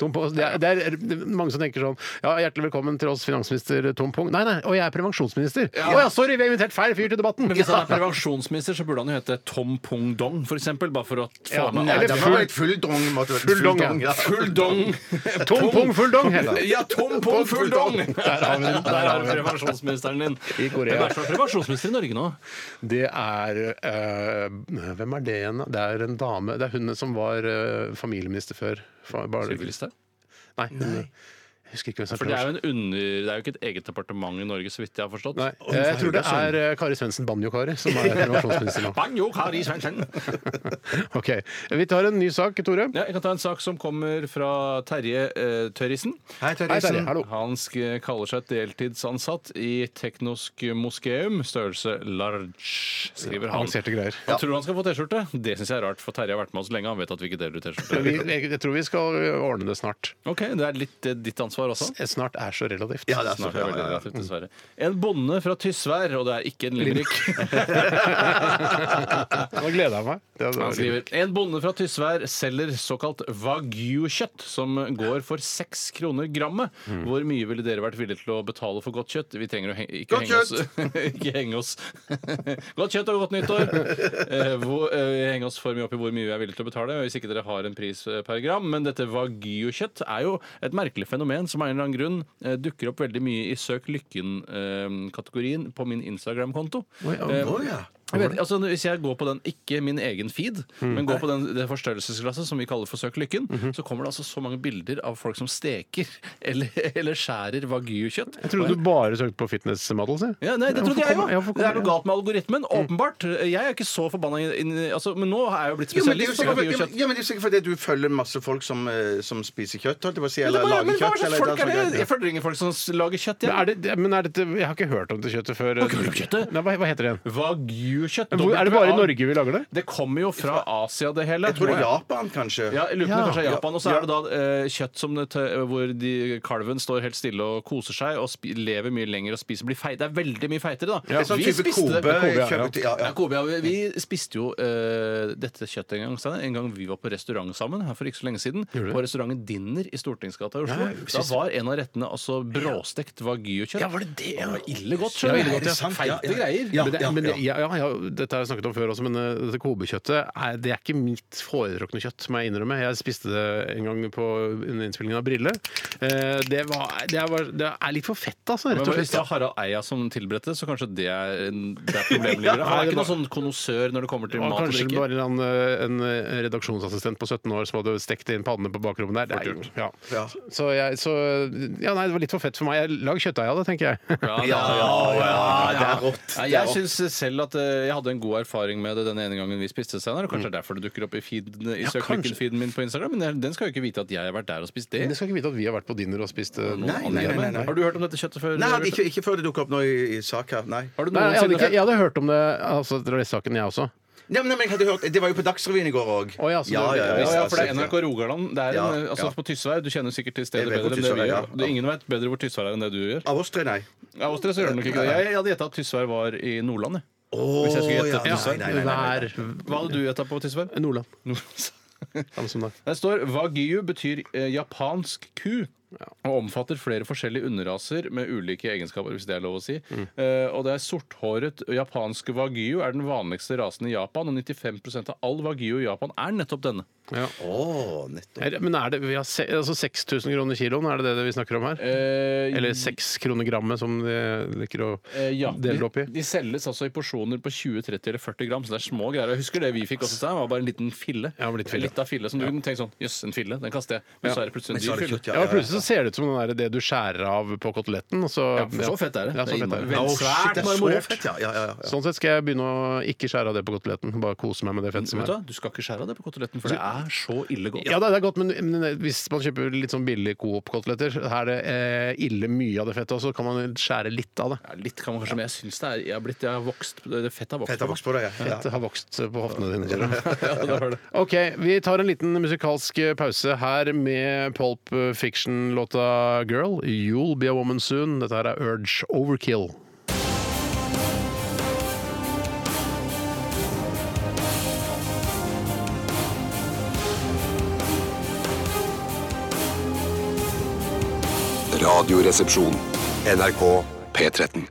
[SPEAKER 4] Tom Pong, det, er, det, er, det er mange som tenker sånn Ja, hjertelig velkommen til oss, finansminister Tom Pong. Nei, nei, og jeg er prevensjonsminister. Å ja, sorry, vi har invitert feil fyr til debatten!
[SPEAKER 5] Men hvis han er prevensjonsminister, så burde han jo hete Tom Pong Dong, for eksempel. Bare for å få
[SPEAKER 4] Ja, men-
[SPEAKER 5] med
[SPEAKER 6] Nei,
[SPEAKER 5] alle.
[SPEAKER 6] det var et full dong. måtte være.
[SPEAKER 4] Full dong, ja.
[SPEAKER 6] ja.
[SPEAKER 5] Full Dong.
[SPEAKER 4] Tom Pong full dong, heter han.
[SPEAKER 5] Ja, Tom Pong Full Dong! Der
[SPEAKER 4] har vi den.
[SPEAKER 5] har vi prevensjonsministeren din.
[SPEAKER 4] I Korea.
[SPEAKER 5] Hvem er som er prevensjonsminister i Norge nå?
[SPEAKER 4] Det er eh, Hvem er det igjen? Det er en dame. Det er hun som var eh, familieminister før. Fa- Bare,
[SPEAKER 5] Sylvi Listhaug?
[SPEAKER 4] nei, hun, jeg husker ikke hvem som
[SPEAKER 5] For det er jo en under... Det er jo ikke et eget departement i Norge, så vidt jeg har forstått.
[SPEAKER 4] Nei, jeg tror det er eh, Kari Svendsen Banjo-Kari som er prevensjonsminister nå.
[SPEAKER 5] Banjo, Kari Svendsen.
[SPEAKER 4] Ok, Vi tar en ny sak, Tore.
[SPEAKER 5] Ja, jeg kan ta en sak som kommer fra Terje eh, Tørrisen.
[SPEAKER 6] Hei,
[SPEAKER 4] Hei, Terje.
[SPEAKER 6] Terje.
[SPEAKER 4] Hallo.
[SPEAKER 5] Han sk eh, kaller seg deltidsansatt i Teknosk Moskeum, størrelse large, skriver han.
[SPEAKER 4] Avanserte greier.
[SPEAKER 5] Han tror han skal få T-skjorte. Det syns jeg er rart, for Terje har vært med oss lenge. Han vet at vi ikke deler ut
[SPEAKER 4] Men Vi,
[SPEAKER 5] T-skjorte.
[SPEAKER 4] jeg, jeg tror vi skal ordne det snart.
[SPEAKER 5] Ok, Det er litt eh, ditt ansvar også.
[SPEAKER 4] Snart er så relativt.
[SPEAKER 6] Ja, det er så
[SPEAKER 5] Snart er det
[SPEAKER 6] bra.
[SPEAKER 5] veldig relativt, dessverre. En bonde fra Tysvær, og det er ikke en limerick.
[SPEAKER 4] Nå gleder jeg meg. Det er-
[SPEAKER 5] Han skriver En bonde fra Tysvær selger såkalt wagyu-kjøtt, som går for seks kroner grammet. Hvor mye ville dere vært villige til å betale for godt kjøtt? Vi trenger å heng ikke,
[SPEAKER 6] Godt
[SPEAKER 5] henge oss, ikke henge oss Godt kjøtt og godt nyttår! Eh, hvor, eh, vi henger oss for mye opp i hvor mye vi er villige til å betale, hvis ikke dere har en pris eh, per gram. Men dette wagyu-kjøtt er jo et merkelig fenomen som av en eller annen grunn eh, dukker opp veldig mye i Søk lykken-kategorien på min Instagram-konto. Eh,
[SPEAKER 6] Å, ja.
[SPEAKER 5] jeg vet, altså, hvis jeg går på den, ikke min egen feed, men går på den, det forstørrelsesglasset som vi kaller for Søk lykken, så kommer det altså så mange bilder av folk som steker eller, eller skjærer wagyu-kjøtt.
[SPEAKER 4] Jeg trodde du bare søkte på fitness models. jeg.
[SPEAKER 5] Ja, nei, Det trodde
[SPEAKER 4] hvorfor
[SPEAKER 5] jeg
[SPEAKER 4] kommer- ja,
[SPEAKER 5] jo!
[SPEAKER 4] hvorfor
[SPEAKER 5] Det er
[SPEAKER 4] kommer-
[SPEAKER 5] noe galt med algoritmen, åpenbart. Jeg er ikke så forbanna inn- inn- altså, Men nå er jeg jo blitt
[SPEAKER 6] Jo, men det er jo
[SPEAKER 5] spesialist på
[SPEAKER 6] sikkert-
[SPEAKER 5] wagyu-kjøtt.
[SPEAKER 6] ja, men det er jo sikkert fordi du følger masse folk som, eh, som spiser kjøtt, holdt jeg på å si,
[SPEAKER 5] Men det
[SPEAKER 6] eller
[SPEAKER 5] er bare-
[SPEAKER 6] lager
[SPEAKER 5] men hva
[SPEAKER 6] kjøtt.
[SPEAKER 5] slags
[SPEAKER 6] eller
[SPEAKER 5] folk er
[SPEAKER 6] det er sånn-
[SPEAKER 5] det? Jeg følger ingen folk som lager kjøtt.
[SPEAKER 4] Men
[SPEAKER 5] Jeg.
[SPEAKER 4] er det, men er dette, jeg har ikke hørt om det kjøttet før.
[SPEAKER 5] ikke hørt om kjøttet?
[SPEAKER 4] Nei, hva, hva heter det igjen?
[SPEAKER 5] Wagyu-kjøtt.
[SPEAKER 4] Hvor, er det bare i
[SPEAKER 5] WA.
[SPEAKER 4] Norge vi lager det?
[SPEAKER 5] Det kommer jo fra Asia, det hele.
[SPEAKER 6] Jeg tror det er Japan, kanskje.
[SPEAKER 5] Ja, jeg lurer på om det
[SPEAKER 4] Ja.
[SPEAKER 5] kanskje er Japan. Og så er det da eh, kjøtt som det, tø- hvor de, kalven står helt stille og koser seg og spi, lever mye lenger og spiser blir feit. Det er veldig mye feitere, da.
[SPEAKER 6] Det er sånn
[SPEAKER 5] Vi
[SPEAKER 6] type
[SPEAKER 5] spiste det-
[SPEAKER 6] Kobe.
[SPEAKER 4] ja.
[SPEAKER 6] kjøpt- ja,
[SPEAKER 5] Ja,
[SPEAKER 6] ja.
[SPEAKER 5] Kobe, ja, vi, vi spiste jo eh, dette kjøttet en gang. Steiner. En gang vi var på restaurant sammen her for ikke så lenge siden. På restauranten Dinner i Stortingsgata i Oslo. da var en av rettene altså bråstekt wagyu-kjøtt.
[SPEAKER 4] var det det?
[SPEAKER 5] var ille godt, skjønner
[SPEAKER 6] Ja,
[SPEAKER 5] du.
[SPEAKER 6] er det sant? Ja,
[SPEAKER 5] Feite
[SPEAKER 6] ja.
[SPEAKER 5] greier.
[SPEAKER 6] Ja,
[SPEAKER 4] Men det,
[SPEAKER 6] ja,
[SPEAKER 4] men det,
[SPEAKER 6] ja.
[SPEAKER 4] ja, ja, ja, dette har jeg snakket om før også, men eh, dette kobekjøttet er, det er ikke mitt foretrukne kjøtt, må jeg innrømme. Jeg spiste det en gang på under innspillingen av Brille. Eh, Det, var, det, var, det er litt for fett, altså,
[SPEAKER 5] Men
[SPEAKER 4] rett og
[SPEAKER 5] Hvis
[SPEAKER 4] slett.
[SPEAKER 5] det er Harald Eia som tilberedte, så kanskje det er, en- det er problemet ligger der. Han
[SPEAKER 4] Nei,
[SPEAKER 5] er
[SPEAKER 4] det
[SPEAKER 5] ikke
[SPEAKER 4] var-
[SPEAKER 5] noen sånn konnoissør når det kommer til
[SPEAKER 4] Og
[SPEAKER 5] mat og
[SPEAKER 4] kanskje
[SPEAKER 5] drikke.
[SPEAKER 4] bare en, eh, en eh, redaksjonsassistent på 17 år som hadde stekt inn pannene på bakrommet der. Det er jo- ja.
[SPEAKER 6] Ja.
[SPEAKER 4] Så, jeg, så ja, nei, det var litt for fett for meg. Jeg Lag kjøttdeig av det, tenker jeg.
[SPEAKER 5] Ja,
[SPEAKER 6] Ja, ja, ja, det er rått.
[SPEAKER 5] Nei,
[SPEAKER 6] Det er
[SPEAKER 5] jeg syns selv at eh, eh, jeg hadde en god erfaring med det den ene gangen vi spiste, Steinar. og Kanskje
[SPEAKER 6] Mm.
[SPEAKER 5] det er derfor det dukker opp i, feeden, i
[SPEAKER 4] Ja, kanskje.
[SPEAKER 5] søkelykken-feeden min på Instagram. Men jeg- den skal jo ikke vite at jeg har vært der og spist det.
[SPEAKER 4] Men jeg skal ikke vite at vi har vært på dinner og spist eh, noen
[SPEAKER 6] Nei,
[SPEAKER 4] andre
[SPEAKER 6] nei, nei,
[SPEAKER 4] hjemme.
[SPEAKER 6] nei, nei.
[SPEAKER 5] Har du hørt om dette kjøttet før?
[SPEAKER 6] Nei,
[SPEAKER 5] Bjarte?
[SPEAKER 6] ikke, ikke før det dukker opp nå i, i sak her. Nei.
[SPEAKER 5] Har du
[SPEAKER 4] Nei, jeg, hadde
[SPEAKER 5] noensinne
[SPEAKER 4] ikke, jeg hadde hørt om det altså, etter rettssaken, jeg også.
[SPEAKER 6] Nei, men, nei, men jeg hadde hørt, Det var jo på Dagsrevyen i går òg.
[SPEAKER 4] Å, ja, så det-
[SPEAKER 5] Ja, ja, for det er
[SPEAKER 6] sett
[SPEAKER 5] NRK Rogaland. Det er
[SPEAKER 6] Ja,
[SPEAKER 5] en, altså
[SPEAKER 6] ja.
[SPEAKER 5] På Tysvær. Du kjenner sikkert til stedet
[SPEAKER 6] Jeg
[SPEAKER 5] bedre
[SPEAKER 6] vet hvor
[SPEAKER 5] enn det vi
[SPEAKER 6] Tysvær er,
[SPEAKER 5] gjør.
[SPEAKER 6] ja.
[SPEAKER 5] Det- Ingen vet bedre hvor Tysvær er enn det du gjør.
[SPEAKER 6] Av oss tre, nei.
[SPEAKER 5] Ja, hos dere så gjør det nok ikke det. Jeg, jeg hadde gjetta at Tysvær var i Nordland. Jeg.
[SPEAKER 6] Oh,
[SPEAKER 5] Hvis jeg skulle gjette
[SPEAKER 6] ja.
[SPEAKER 5] Tysvær.
[SPEAKER 6] nei, nei, nei, nei. Mm.
[SPEAKER 5] Hva hadde du gjetta på Tysvær?
[SPEAKER 4] Hver Nordland.
[SPEAKER 5] Nord-
[SPEAKER 4] Samme som deg.
[SPEAKER 5] Der står Wagyu betyr eh, japansk ku. Og omfatter flere forskjellige underraser med ulike egenskaper. hvis det er lov å si. Eh, og det er Sorthåret japansk wagyu er den vanligste rasen i Japan. Og 95 av all wagyu i Japan er nettopp denne.
[SPEAKER 6] Å, nettopp.
[SPEAKER 4] Er- Men er det vi har se, altså 6000 kroner kiloen, er det det vi snakker om her?
[SPEAKER 5] Eh,
[SPEAKER 4] Eller 6 kroner grammet, som de liker å
[SPEAKER 5] Eh, ja,
[SPEAKER 4] dele det opp i?
[SPEAKER 5] de, de selges altså i porsjoner på 20, 30 eller 40 gram, så det er små greier. Jeg husker det vi fikk også, Stein, var bare en liten fille.
[SPEAKER 4] Ja, en liten fille.
[SPEAKER 5] av fille som du kunne tenke sånn, jøss, en fille, den kaster jeg. Men så er det
[SPEAKER 6] Men
[SPEAKER 5] plutselig en
[SPEAKER 6] så er
[SPEAKER 5] dyr
[SPEAKER 6] det
[SPEAKER 5] fille.
[SPEAKER 6] kjøtt, ja.
[SPEAKER 4] Ja, men Plutselig så ser det ut som den der, det du skjærer av på koteletten. Og så,
[SPEAKER 5] Ja, for så fett er det.
[SPEAKER 4] Ja, så
[SPEAKER 5] Det er
[SPEAKER 4] fett er det.
[SPEAKER 5] innmari-
[SPEAKER 6] Å, shit, det er så
[SPEAKER 5] marmorert.
[SPEAKER 6] fett, ja. ja, ja, ja.
[SPEAKER 4] Sånn sett skal jeg begynne å ikke skjære av det på koteletten. Bare kose meg med det fettet
[SPEAKER 5] Vet
[SPEAKER 4] som
[SPEAKER 5] du
[SPEAKER 4] er.
[SPEAKER 5] hva, du skal ikke skjære av det på koteletten, for det er så ille godt.
[SPEAKER 4] Ja, det er godt, men, men hvis man kjøper litt sånn billig Coop-koteletter, her er det eh, ille mye av det fettet, og så kan man skjære litt av det.
[SPEAKER 5] Ja, litt kan man kanskje, men jeg syns det er Jeg har blitt, jeg har vokst det Fett har vokst.
[SPEAKER 6] Fett har vokst på deg, ja. ja.
[SPEAKER 4] Fettet har vokst på hoftene dine. Tore.
[SPEAKER 5] Ja, det har det.
[SPEAKER 4] Ok, vi tar en liten musikalsk pause her med Pulp Fiction-låta 'Girl'. 'You'll Be a Woman Soon'. Dette her er Urge Overkill.
[SPEAKER 1] Radioresepsjon. NRK P13.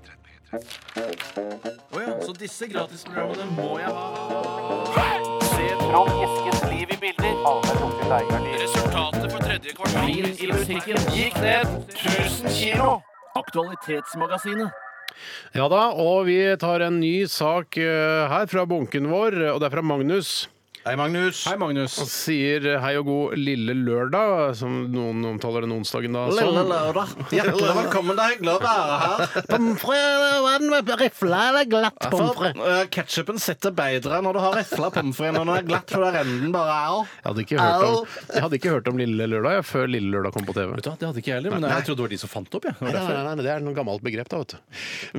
[SPEAKER 9] Resultatet for tredje kvartal i musikken gikk ned 1000 kilo. Aktualitetsmagasinet.
[SPEAKER 4] Ja da, og vi tar en ny sak eh, her fra bunken vår, og det er fra Magnus.
[SPEAKER 6] Hei, Magnus.
[SPEAKER 5] Hei, Magnus.
[SPEAKER 4] Han sier hei og god lille lørdag, som noen omtaler den onsdagen da. sånn. som.
[SPEAKER 6] Hjertelig velkommen deg. Glad å være her.
[SPEAKER 4] Rifle eller glatt pommes frites?
[SPEAKER 6] Ketsjupen sitter eh, bedre når du har rifla pommes frites når den er glatt, for da renner den bare av.
[SPEAKER 4] Jeg hadde, ikke hørt om, jeg hadde ikke hørt om Lille Lørdag jeg, før Lille Lørdag kom på TV.
[SPEAKER 5] Vet du hva, det hadde ikke jeg heller, men jeg trodde det var de som fant det opp, jeg. Det var
[SPEAKER 4] Nei, nei,
[SPEAKER 5] derfor.
[SPEAKER 4] nei, nei, Det er noe gammelt begrep, da. vet du.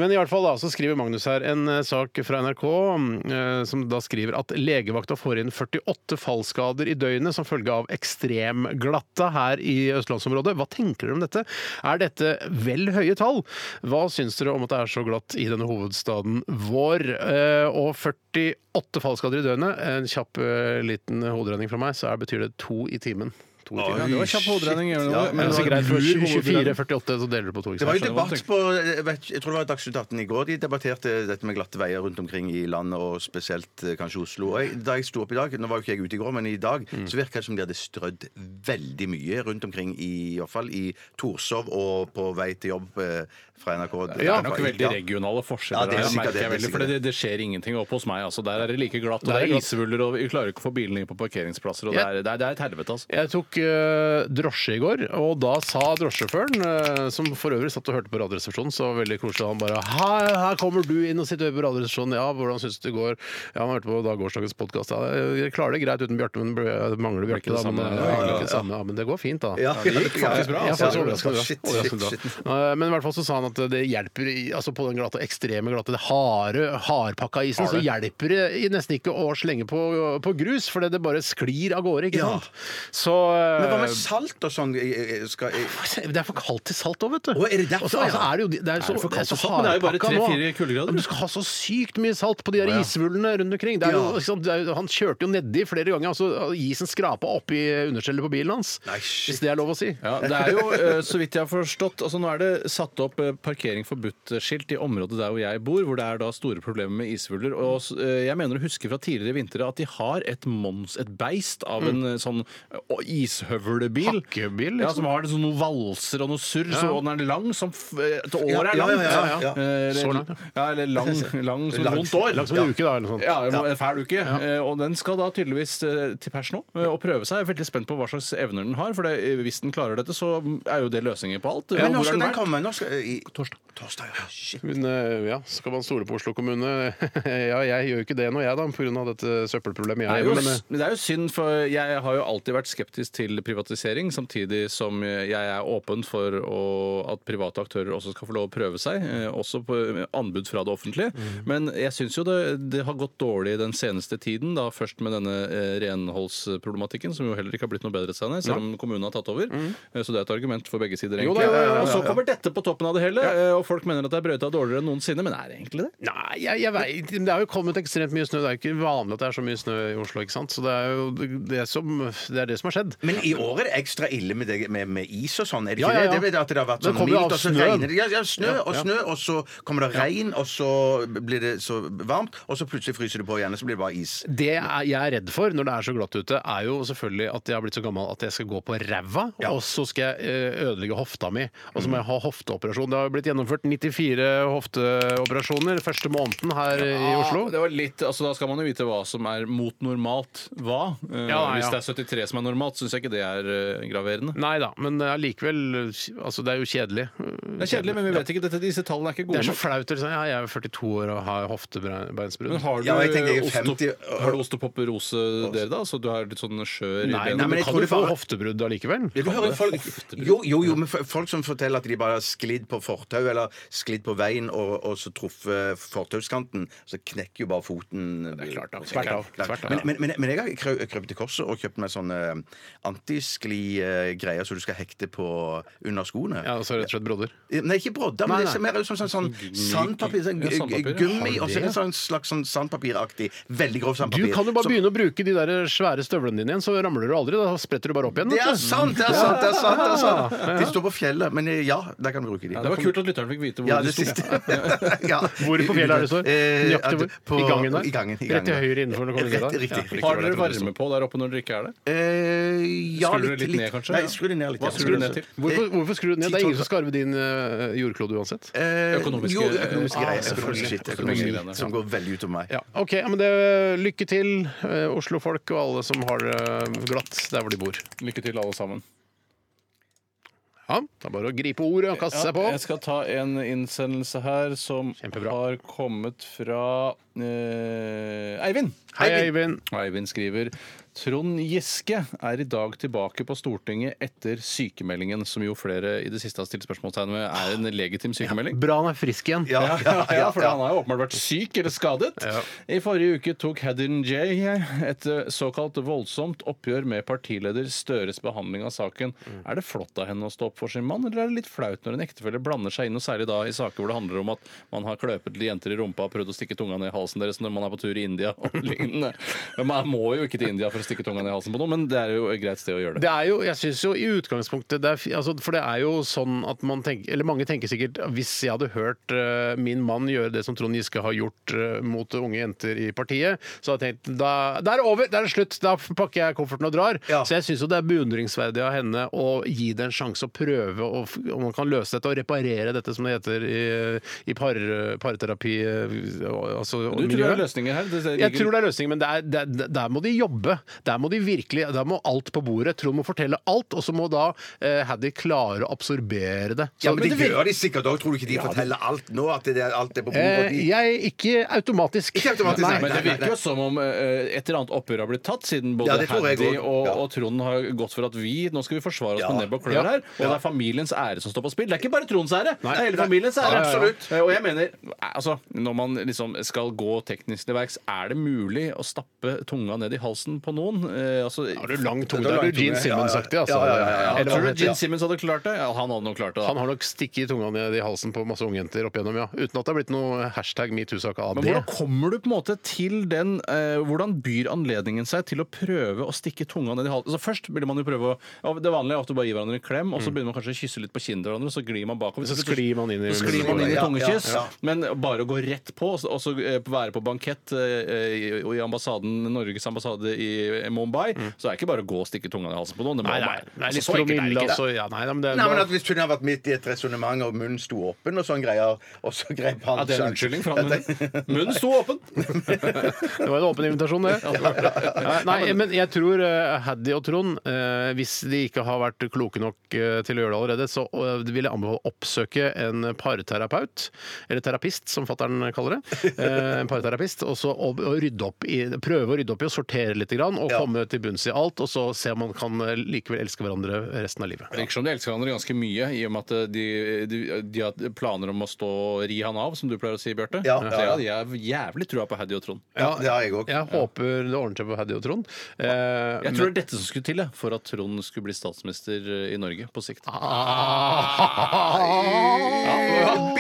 [SPEAKER 4] Men i hvert fall da, så skriver Magnus her en eh, sak fra NRK eh, som da skriver at legevakta får inn 48 fallskader i døgnet som følge av ekstremglatta her i østlandsområdet. Hva tenker dere om dette? Er dette vel høye tall? Hva syns dere om at det er så glatt i denne hovedstaden vår? Eh, Og 48 fallskader i døgnet, en kjapp eh, liten hoderegning fra meg, så er, betyr det to i timen. To i
[SPEAKER 5] Ja,
[SPEAKER 4] timen.
[SPEAKER 5] det var kjapp hoderegning. gjør det
[SPEAKER 6] Ja,
[SPEAKER 5] noe?
[SPEAKER 4] Men
[SPEAKER 5] Men
[SPEAKER 4] det er så
[SPEAKER 5] det
[SPEAKER 4] greit,
[SPEAKER 5] var
[SPEAKER 4] for
[SPEAKER 5] lur
[SPEAKER 4] 24,
[SPEAKER 5] hoderegning.
[SPEAKER 4] 48, så deler du på to. ikke
[SPEAKER 6] Det
[SPEAKER 4] sant?
[SPEAKER 6] var jo
[SPEAKER 5] skjønner hva du
[SPEAKER 6] debatt på jeg, vet, ikke, jeg tror det var Dagsnytt 18 i går. De debatterte dette med glatte veier rundt omkring i landet, og spesielt eh, kanskje Oslo. Og jeg, da jeg sto opp i dag, nå var jo ikke jeg ute i går, men i dag, så virka det som de hadde strødd veldig mye rundt omkring, i, i hvert fall i Torshov og på vei til jobb eh, fra NRK.
[SPEAKER 5] Det er nok veldig regionale
[SPEAKER 6] Ja,
[SPEAKER 5] forskjeller.
[SPEAKER 6] det er
[SPEAKER 5] her,
[SPEAKER 6] sikkert
[SPEAKER 5] merker jeg
[SPEAKER 6] det, det er
[SPEAKER 5] veldig,
[SPEAKER 6] sikkert
[SPEAKER 5] for det, det skjer ingenting oppe hos meg. Altså, der er det like glatt, og
[SPEAKER 4] Der
[SPEAKER 5] det
[SPEAKER 4] er
[SPEAKER 5] er
[SPEAKER 4] glatt.
[SPEAKER 5] isvuller, og vi klarer ikke å få bilene inn på parkeringsplasser. Og det,
[SPEAKER 4] Ja.
[SPEAKER 5] er, det, er, det er et helvete, altså.
[SPEAKER 4] Jeg tok eh, drosje i går, og da sa drosjesjåføren, eh, som for øvrig satt og hørte på Radioresepsjonen, så var det veldig koselig. Han bare her, 'Her kommer du inn og sitter på Radioresepsjonen.' 'Ja, hvordan syns du det går?' 'Ja, han hørte på da gårsdagens podkast.' Ja, 'Jeg klarer det greit uten Bjarte, men jeg mangler Bjarte, da.'
[SPEAKER 5] det samme,
[SPEAKER 4] Men,
[SPEAKER 5] ja,
[SPEAKER 4] eh, det blir ikke det samme, ja, men det går fint, da.
[SPEAKER 6] Ja, ja, det gikk faktisk
[SPEAKER 4] Ja,
[SPEAKER 6] altså.
[SPEAKER 4] faktisk overraskende bra.
[SPEAKER 6] Shit,
[SPEAKER 4] Overraskende
[SPEAKER 6] shit, shit.
[SPEAKER 4] bra. Eh, Men i hvert fall så sa han at det hjelper i- altså på den glatte, ekstreme glatte, det harde, hardpakka isen, så hjelper det i- nesten ikke å slenge på, på grus, fordi det bare sklir av gårde, ikke
[SPEAKER 6] Ja.
[SPEAKER 4] sant? Så eh,
[SPEAKER 6] Men hva med salt og sånn? Jeg- jeg- jeg Skal jeg
[SPEAKER 4] det er for kaldt til salt òg, vet du.
[SPEAKER 6] Å, er det derfor,
[SPEAKER 4] Og så- altså,
[SPEAKER 6] ja?
[SPEAKER 4] er det, jo, det er jo så,
[SPEAKER 5] det for
[SPEAKER 4] det er så
[SPEAKER 5] kaldt til salt? Men det er jo bare
[SPEAKER 4] hardpakka nå.
[SPEAKER 5] 3-4 kuldegrader.
[SPEAKER 4] Men Du skal ha så sykt mye salt på de der isvullene rundt omkring. Det er jo,
[SPEAKER 6] Ja.
[SPEAKER 4] ikke sant, det er jo, han kjørte jo nedi flere ganger. Altså, isen skrapa oppi understellet på bilen hans.
[SPEAKER 6] Nei, shit.
[SPEAKER 4] hvis det er lov å si.
[SPEAKER 5] Ja, det er jo, eh, så vidt jeg har forstått altså Nå er det satt opp eh, parkering forbudt-skilt i området der hvor jeg bor, hvor det er da store problemer med isvuller. Og s- eh, jeg mener å huske fra tidligere vintre at de har et mons, et beist av en eh, sånn eh, hakshøvelbil.
[SPEAKER 4] Hakkebil, liksom.
[SPEAKER 5] Ja, som har det sånn noen valser og noe surr, så og den er lang som f- eh, Et år
[SPEAKER 6] Ja,
[SPEAKER 5] er
[SPEAKER 6] ja,
[SPEAKER 5] lang.
[SPEAKER 6] ja, ja, ja.
[SPEAKER 5] Eh,
[SPEAKER 4] Så lang,
[SPEAKER 5] Ja, eller lang, lang som et
[SPEAKER 6] Lang.
[SPEAKER 5] vondt år.
[SPEAKER 4] Langt som en uke, da. eller noe sånt.
[SPEAKER 5] Ja, en en fæl uke. Eh, Og den skal da tydeligvis eh, til pers nå eh, og prøve seg. Jeg er veldig spent på hva slags evner den har, for det, eh, hvis den klarer dette, så er jo det løsningen på alt.
[SPEAKER 6] Men når
[SPEAKER 5] Hvor har
[SPEAKER 6] skal den
[SPEAKER 5] vært?
[SPEAKER 6] komme? Når skal, i, torsdag. ja. Shit.
[SPEAKER 4] Men eh, ja, skal man stole på Oslo kommune? ja, jeg gjør jo ikke det nå, jeg, da, pga. dette søppelproblemet
[SPEAKER 5] Det er,
[SPEAKER 4] jeg
[SPEAKER 5] jo,
[SPEAKER 4] har. Men, eh,
[SPEAKER 5] det er jo synd, for jeg har jo alltid vært skeptisk til privatisering, samtidig som jeg er åpen for å, at private aktører også skal få lov å prøve seg, eh, også på anbud fra det offentlige.
[SPEAKER 4] Mhm.
[SPEAKER 5] Men jeg syns jo det, det har gått dårlig den seneste tiden, da først med denne eh, renholdsproblematikken, som jo heller ikke har blitt noe bedre, Steinar, selv om kommunen har tatt over. Eh, Så det er et argument for begge sider,
[SPEAKER 4] Mhm. Jo da,
[SPEAKER 5] egentlig.
[SPEAKER 4] jo, jo, jo,
[SPEAKER 5] Og så
[SPEAKER 4] ja, ja.
[SPEAKER 5] kommer dette på toppen av det hele, eh, og folk mener at det er brøyta dårligere enn noensinne, men er det egentlig det?
[SPEAKER 4] eh, Nei, jeg, jeg vet, ikke. det er jo kommet ekstremt mye snø. Det er jo ikke vanlig at det er så mye snø i Oslo. ikke sant? Så det er jo det som, det, er det som har skjedd.
[SPEAKER 6] Men i år er det ekstra ille med, det, med, med is og sånn. Er det
[SPEAKER 4] Ja,
[SPEAKER 6] ikke
[SPEAKER 4] ja, ja.
[SPEAKER 6] det? Det, er vel at det har vært
[SPEAKER 4] Det
[SPEAKER 6] sånn
[SPEAKER 4] kommer jo
[SPEAKER 6] mildt,
[SPEAKER 4] av
[SPEAKER 6] og så
[SPEAKER 4] snøen.
[SPEAKER 6] regner det. Ja, ja, snø og
[SPEAKER 4] ja.
[SPEAKER 6] snø, og så kommer det regn, og så blir det så varmt, og så plutselig fryser det på igjen, og så blir det bare is.
[SPEAKER 4] Det er, jeg er redd for når det er så glatt ute, er jo selvfølgelig at jeg har blitt så gammel at jeg skal gå på ræva,
[SPEAKER 6] Ja.
[SPEAKER 4] og så skal jeg eh, ødelegge hofta mi. Og
[SPEAKER 5] Mm.
[SPEAKER 4] så må jeg ha hofteoperasjon. Det har jo blitt gjennomført 94 hofteoperasjoner første måneden her i Oslo.
[SPEAKER 5] Ja, Det var litt, altså Da skal man jo vite hva som er mot normalt hva. Eh,
[SPEAKER 4] Ja, ja.
[SPEAKER 5] Hvis det er 73 som er normalt, syns jeg ikke det er eh, graverende.
[SPEAKER 4] Nei da, men allikevel altså, Det er jo kjedelig.
[SPEAKER 5] Det er kjedelig, men vi vet ikke. Dette, disse tallene er ikke
[SPEAKER 4] Det
[SPEAKER 5] gode
[SPEAKER 4] er så
[SPEAKER 5] nok.
[SPEAKER 4] flaut. eller sånn, Ja, jeg er 42 år og har hoftebeinsbrudd.
[SPEAKER 5] Men har du,
[SPEAKER 6] Ja, jeg tenker jeg er
[SPEAKER 5] osteop-
[SPEAKER 6] 50
[SPEAKER 5] har du osteopopperose der, da? Så du har litt sånn skjør i
[SPEAKER 4] Nei, nei,
[SPEAKER 5] benet?
[SPEAKER 4] men
[SPEAKER 6] jeg
[SPEAKER 4] kan
[SPEAKER 6] tror
[SPEAKER 4] du
[SPEAKER 6] det
[SPEAKER 4] få
[SPEAKER 6] bare-
[SPEAKER 4] hoftebrudd allikevel?
[SPEAKER 6] Ja, du hører folk, jo, jo, jo, men f- folk som forteller at de bare har sklidd på fortau eller sklidd på veien og, og så truffet fortauskanten, så knekker jo bare foten. Det er klart,
[SPEAKER 4] Tvert av, tvert av.
[SPEAKER 6] Men, men, men, men jeg har krø- krøpet til korset og kjøpt meg sånne eh, antiskli-greier som du skal hekte på under skoene.
[SPEAKER 4] Ja, altså rett og slett brodder.
[SPEAKER 6] Eh, Nei, ikke brodder, men
[SPEAKER 4] Nei,
[SPEAKER 6] det ser mer ut som sånn, sånn sandpapir. Sånn,
[SPEAKER 5] Ja, sandpapir, ja.
[SPEAKER 6] gummi,
[SPEAKER 4] Har
[SPEAKER 6] og så
[SPEAKER 4] det?
[SPEAKER 6] en sånn slags sånn sandpapiraktig. Veldig grovt
[SPEAKER 4] Du
[SPEAKER 6] sandpapir.
[SPEAKER 4] kan jo bare
[SPEAKER 6] Som-
[SPEAKER 4] begynne å bruke de der svære støvlene dine igjen, så ramler du aldri. Da spretter du bare opp igjen.
[SPEAKER 6] Det
[SPEAKER 4] vet
[SPEAKER 6] er
[SPEAKER 4] du.
[SPEAKER 6] sant! Det er sant! det er sant, det er sant. De står på fjellet, men eh, ja, der kan du bruke de.
[SPEAKER 5] Ja, det var kult at lytteren fikk vite hvor
[SPEAKER 6] Ja,
[SPEAKER 5] de
[SPEAKER 6] det
[SPEAKER 5] sto.
[SPEAKER 6] siste. ja.
[SPEAKER 4] Hvor på fjellet er det står?
[SPEAKER 6] Eh,
[SPEAKER 4] Nøyaktig hvor?
[SPEAKER 6] på-
[SPEAKER 4] I gangen der?
[SPEAKER 6] I gangen, i
[SPEAKER 4] Rett til
[SPEAKER 6] gangen.
[SPEAKER 4] høyre innenfor når du kommer inn
[SPEAKER 6] Rett-
[SPEAKER 4] der?
[SPEAKER 6] riktig,
[SPEAKER 4] Ja.
[SPEAKER 6] riktig.
[SPEAKER 5] Har dere varme på der oppe når dere ikke er det?
[SPEAKER 6] Eh, ja,
[SPEAKER 5] Skrur du
[SPEAKER 6] litt,
[SPEAKER 5] litt ned, kanskje?
[SPEAKER 6] Nei, skru det ned litt.
[SPEAKER 5] Hva
[SPEAKER 6] ja.
[SPEAKER 5] skrur du ned til?
[SPEAKER 4] Hvorfor, hvorfor skrur du ned? Det er ingen som skal arve din eh, jordklode uansett.
[SPEAKER 6] Eh,
[SPEAKER 5] Økonomiske-
[SPEAKER 6] jo, økonomiske
[SPEAKER 5] Ah,
[SPEAKER 6] greier.
[SPEAKER 5] selvfølgelig.
[SPEAKER 6] Økonomiske shit.
[SPEAKER 5] Økonomiske
[SPEAKER 6] Økonomiske
[SPEAKER 5] greier, ja.
[SPEAKER 6] som går veldig ut over meg.
[SPEAKER 4] Ja, ok, ja, men det, Lykke til, eh, Oslo-folk og alle som har det glatt der hvor de bor.
[SPEAKER 5] Lykke til, alle sammen.
[SPEAKER 4] Ja, Det er bare å gripe ordet og kaste seg på.
[SPEAKER 5] jeg skal ta en innsendelse her som
[SPEAKER 4] Kjempebra.
[SPEAKER 5] har kommet fra eh, Eivind.
[SPEAKER 4] Hei, Eivind.
[SPEAKER 5] Eivind skriver Trond Giske er i dag tilbake på Stortinget etter sykemeldingen, som jo flere i det siste har stilt spørsmålstegn ved er en legitim sykemelding.
[SPEAKER 4] Bra han er frisk igjen.
[SPEAKER 6] Ja,
[SPEAKER 5] Ja, ja, for han har jo åpenbart vært syk eller skadet. I forrige uke tok Haddin J et eh, såkalt voldsomt oppgjør med partileder Støres behandling av saken. Er det flott av henne å stå opp for sin mann, eller er det litt flaut når en ektefelle blander seg inn, og særlig da i saker hvor det handler om at man har kløpet til jenter i rumpa og prøvd å stikke tunga ned i halsen deres når man er på tur i India og lignende? Men Man må jo ikke til India for å stikke tunga ned i halsen på noen, men det er jo et greit sted å gjøre det.
[SPEAKER 4] Det er jo, jeg synes jo i utgangspunktet det er, fi- altså, For det er jo sånn at man tenker Eller mange tenker sikkert Hvis jeg hadde hørt eh, min mann gjøre det som Trond Giske har gjort eh, mot unge jenter i partiet, så hadde jeg tenkt da, Da er det over! Da er det slutt! Da pakker jeg kofferten og drar.
[SPEAKER 6] Ja.
[SPEAKER 4] Så jeg syns jo det er beundringsverdig av henne å gi det en sjanse å prøve å f- om man kan løse dette og reparere dette, som det heter i, i par, parterapi eh, altså,
[SPEAKER 5] Du tror det er løsninger her? Det ligger-
[SPEAKER 4] jeg tror det er løsningen, men det er, det, det- der må de jobbe. Der må de virkelig, der må alt på bordet. Trond må fortelle alt, og så må da eh, Haddy klare å absorbere det.
[SPEAKER 6] Ja,
[SPEAKER 4] Så-
[SPEAKER 6] men det
[SPEAKER 4] vir-
[SPEAKER 6] gjør de sikkert òg. Tror du ikke de forteller alt nå? At det er, alt er på bordet?
[SPEAKER 4] eh, jeg Ikke automatisk.
[SPEAKER 6] Ikke automatisk, nei.
[SPEAKER 5] Men det
[SPEAKER 6] nei,
[SPEAKER 5] virker jo som om eh, et eller annet opprør har blitt tatt, siden både
[SPEAKER 6] Ja, det tror jeg
[SPEAKER 5] Haddy
[SPEAKER 6] også.
[SPEAKER 5] og,
[SPEAKER 6] Ja.
[SPEAKER 5] og Trond har gått for at vi nå skal vi forsvare oss
[SPEAKER 6] Ja.
[SPEAKER 5] med nebb og klør
[SPEAKER 4] Ja.
[SPEAKER 5] her. Og det er familiens ære som står på spill. Det er ikke bare Tronds ære,
[SPEAKER 4] Nei.
[SPEAKER 5] det er hele
[SPEAKER 4] Nei.
[SPEAKER 5] familiens ære.
[SPEAKER 4] Ja, ja, ja.
[SPEAKER 5] Eh, Og jeg mener, altså, når man liksom skal gå teknisk til verks, er det mulig å stappe tunga ned i halsen på noen? Eh, altså,
[SPEAKER 4] Har du lang tunge?
[SPEAKER 6] Det er
[SPEAKER 4] Da er
[SPEAKER 6] lang
[SPEAKER 4] du Gene
[SPEAKER 6] tunge.
[SPEAKER 4] Simmons-aktig, altså.
[SPEAKER 6] Ja, ja, ja, ja, ja.
[SPEAKER 4] Eller hva
[SPEAKER 5] tror du
[SPEAKER 4] han heter.
[SPEAKER 5] Gene Simmons hadde klart det? Ja, han hadde nok klart det,
[SPEAKER 4] Han
[SPEAKER 5] da.
[SPEAKER 4] har nok stikket tunga ned i halsen på masse unge jenter opp igjennom, ja. Uten at det har blitt noe hashtag metoo-sak av
[SPEAKER 5] Men
[SPEAKER 4] det.
[SPEAKER 5] hvordan kommer du på en måte til den eh, Hvordan byr anledningen seg til å prøve å stikke tunga ned i halsen? Altså først burde man jo prøve å ja, Det vanlige er ofte å bare gi hverandre en klem, og så begynner man kanskje å kysse litt på kinnet til hverandre, og så glir man bakover.
[SPEAKER 4] Mm. Så sklir man inn i-
[SPEAKER 5] så sklir man inn i
[SPEAKER 6] Ja, ja,
[SPEAKER 5] tungekyss.
[SPEAKER 6] ja.
[SPEAKER 5] Men bare å gå rett på, og så- og så eh, være på bankett eh, i- og i ambassaden, Norges ambassade i Mumbai, så er det ikke bare å gå og stikke tunga i halsen på noen. Det må
[SPEAKER 4] Mm. Nei, nei,
[SPEAKER 5] være-
[SPEAKER 4] nei,
[SPEAKER 5] altså,
[SPEAKER 4] litt promille,
[SPEAKER 5] det ikke.
[SPEAKER 4] altså. Ja, nei, nei, men det er
[SPEAKER 6] Nei, men
[SPEAKER 4] bare
[SPEAKER 6] at Hvis hun hadde vært midt i et resonnement og munnen sto åpen, og sånn greier, og så grep han
[SPEAKER 5] Ja, det er en unnskyldning for han. Munnen Munnen sto åpen!
[SPEAKER 4] Det var en åpen invitasjon, det. Nei, Nei, men jeg tror eh, Haddy og Trond, eh, hvis de ikke har vært kloke nok eh, til å gjøre det allerede, så eh, vil jeg anbefale å oppsøke en parterapeut, eller terapist, som fattern kaller det. Eh, En parterapist. Og så å- å rydde opp i, prøve å rydde opp i og sortere litt, grann, og komme til bunns i alt. Og så se om man kan eh, likevel elske hverandre resten av livet.
[SPEAKER 5] Det virker som de elsker hverandre ganske mye, i og med at eh, de, de, de har planer om å stå og ri han av, som du pleier å si, Bjarte.
[SPEAKER 6] Ja,
[SPEAKER 5] Så
[SPEAKER 6] ja, ja.
[SPEAKER 5] Jeg har jævlig trua på Haddy og Trond.
[SPEAKER 6] Ja, det har jeg òg.
[SPEAKER 4] Jeg håper det ordner seg for Haddy og Trond. Eh,
[SPEAKER 5] Jeg tror det er dette som skulle til jeg, for at Trond skulle bli statsminister eh, i Norge på sikt.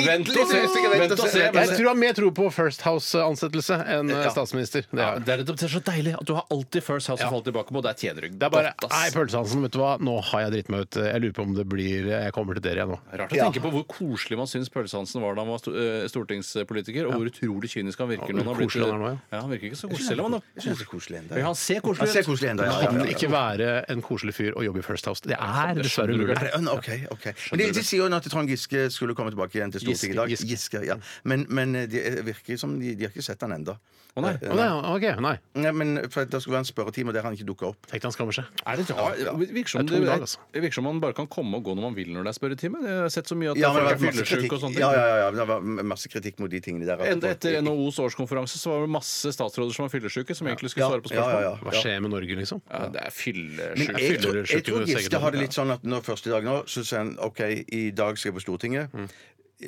[SPEAKER 5] Vent og se! Vent og se.
[SPEAKER 4] Jeg tror jeg har mer tro på First House-ansettelse enn eh, statsminister. Det
[SPEAKER 5] Ja,
[SPEAKER 4] har jeg.
[SPEAKER 5] det, er, det er så deilig at du har alltid First House å falle tilbake på. og Der tjener du
[SPEAKER 4] Det er bare
[SPEAKER 5] godt, ass.
[SPEAKER 4] Nei, Pølsehansen, vet du hva. Nå har jeg dritt meg ut. Jeg lurer på om det blir Jeg kommer til dere, jeg nå.
[SPEAKER 5] Rart å tenke på hvor koselig man syns Pølsehansen var da han var sto- eh, stortingspolitiker, og hvor utrolig kynisk han virker
[SPEAKER 4] Ja,
[SPEAKER 5] når han har blitt
[SPEAKER 4] koselig han er nå,
[SPEAKER 5] Ja, han virker ikke så koselig, selv om han da-
[SPEAKER 6] Jeg synes det er koselig enda,
[SPEAKER 5] Men
[SPEAKER 6] ja.
[SPEAKER 5] Han ser
[SPEAKER 6] Han
[SPEAKER 5] koselig
[SPEAKER 6] ser
[SPEAKER 5] ut.
[SPEAKER 6] koselig enda, ja, ja,
[SPEAKER 4] Kan
[SPEAKER 6] ja.
[SPEAKER 4] ikke være en koselig fyr og jobbe i First House. Det er dessverre
[SPEAKER 5] Sånn, skjønner du
[SPEAKER 4] umulig.
[SPEAKER 5] vel.
[SPEAKER 6] Er det- Ok, ok. Men de, de sier jo nå at Trond Giske skulle komme tilbake igjen til Stortinget i dag.
[SPEAKER 4] Giske,
[SPEAKER 6] Giske, ja. Men, men det virker som de, de har ikke sett han ennå.
[SPEAKER 5] Å, nei.
[SPEAKER 4] Å, nei, OK. Nei.
[SPEAKER 6] Men for det skulle være en spørretime, og der han ikke dukka opp.
[SPEAKER 4] Tenk deg han skammer seg.
[SPEAKER 5] Er det rart? Det virker som,
[SPEAKER 4] Det er tung
[SPEAKER 5] det-
[SPEAKER 4] dag, altså.
[SPEAKER 5] det virker som man bare kan komme og gå når man vil når det er spørretime. Jeg har sett så mye at
[SPEAKER 6] Ja,
[SPEAKER 5] folk er
[SPEAKER 6] men det har vært masse
[SPEAKER 5] fyllesyke og
[SPEAKER 6] kritikk.
[SPEAKER 5] sånne ting.
[SPEAKER 6] Ja, ja, ja, ja. Det var masse kritikk mot de tingene der.
[SPEAKER 5] Enda etter NHOs årskonferanse så var det masse statsråder som var fyllesyke, som egentlig skulle
[SPEAKER 6] Ja,
[SPEAKER 5] svare på
[SPEAKER 6] ja, ja,
[SPEAKER 5] spørsmål.
[SPEAKER 6] ja.
[SPEAKER 4] Hva skjer med Norge, liksom?
[SPEAKER 5] Ja, det er
[SPEAKER 6] Men
[SPEAKER 5] fyllesyke.
[SPEAKER 6] jeg, tror- jeg tror
[SPEAKER 4] sykehus,
[SPEAKER 6] Giske
[SPEAKER 4] sikkert.
[SPEAKER 6] har det litt sånn at når første dag nå, så sier han OK, i dag skal jeg på Stortinget.
[SPEAKER 4] Mm.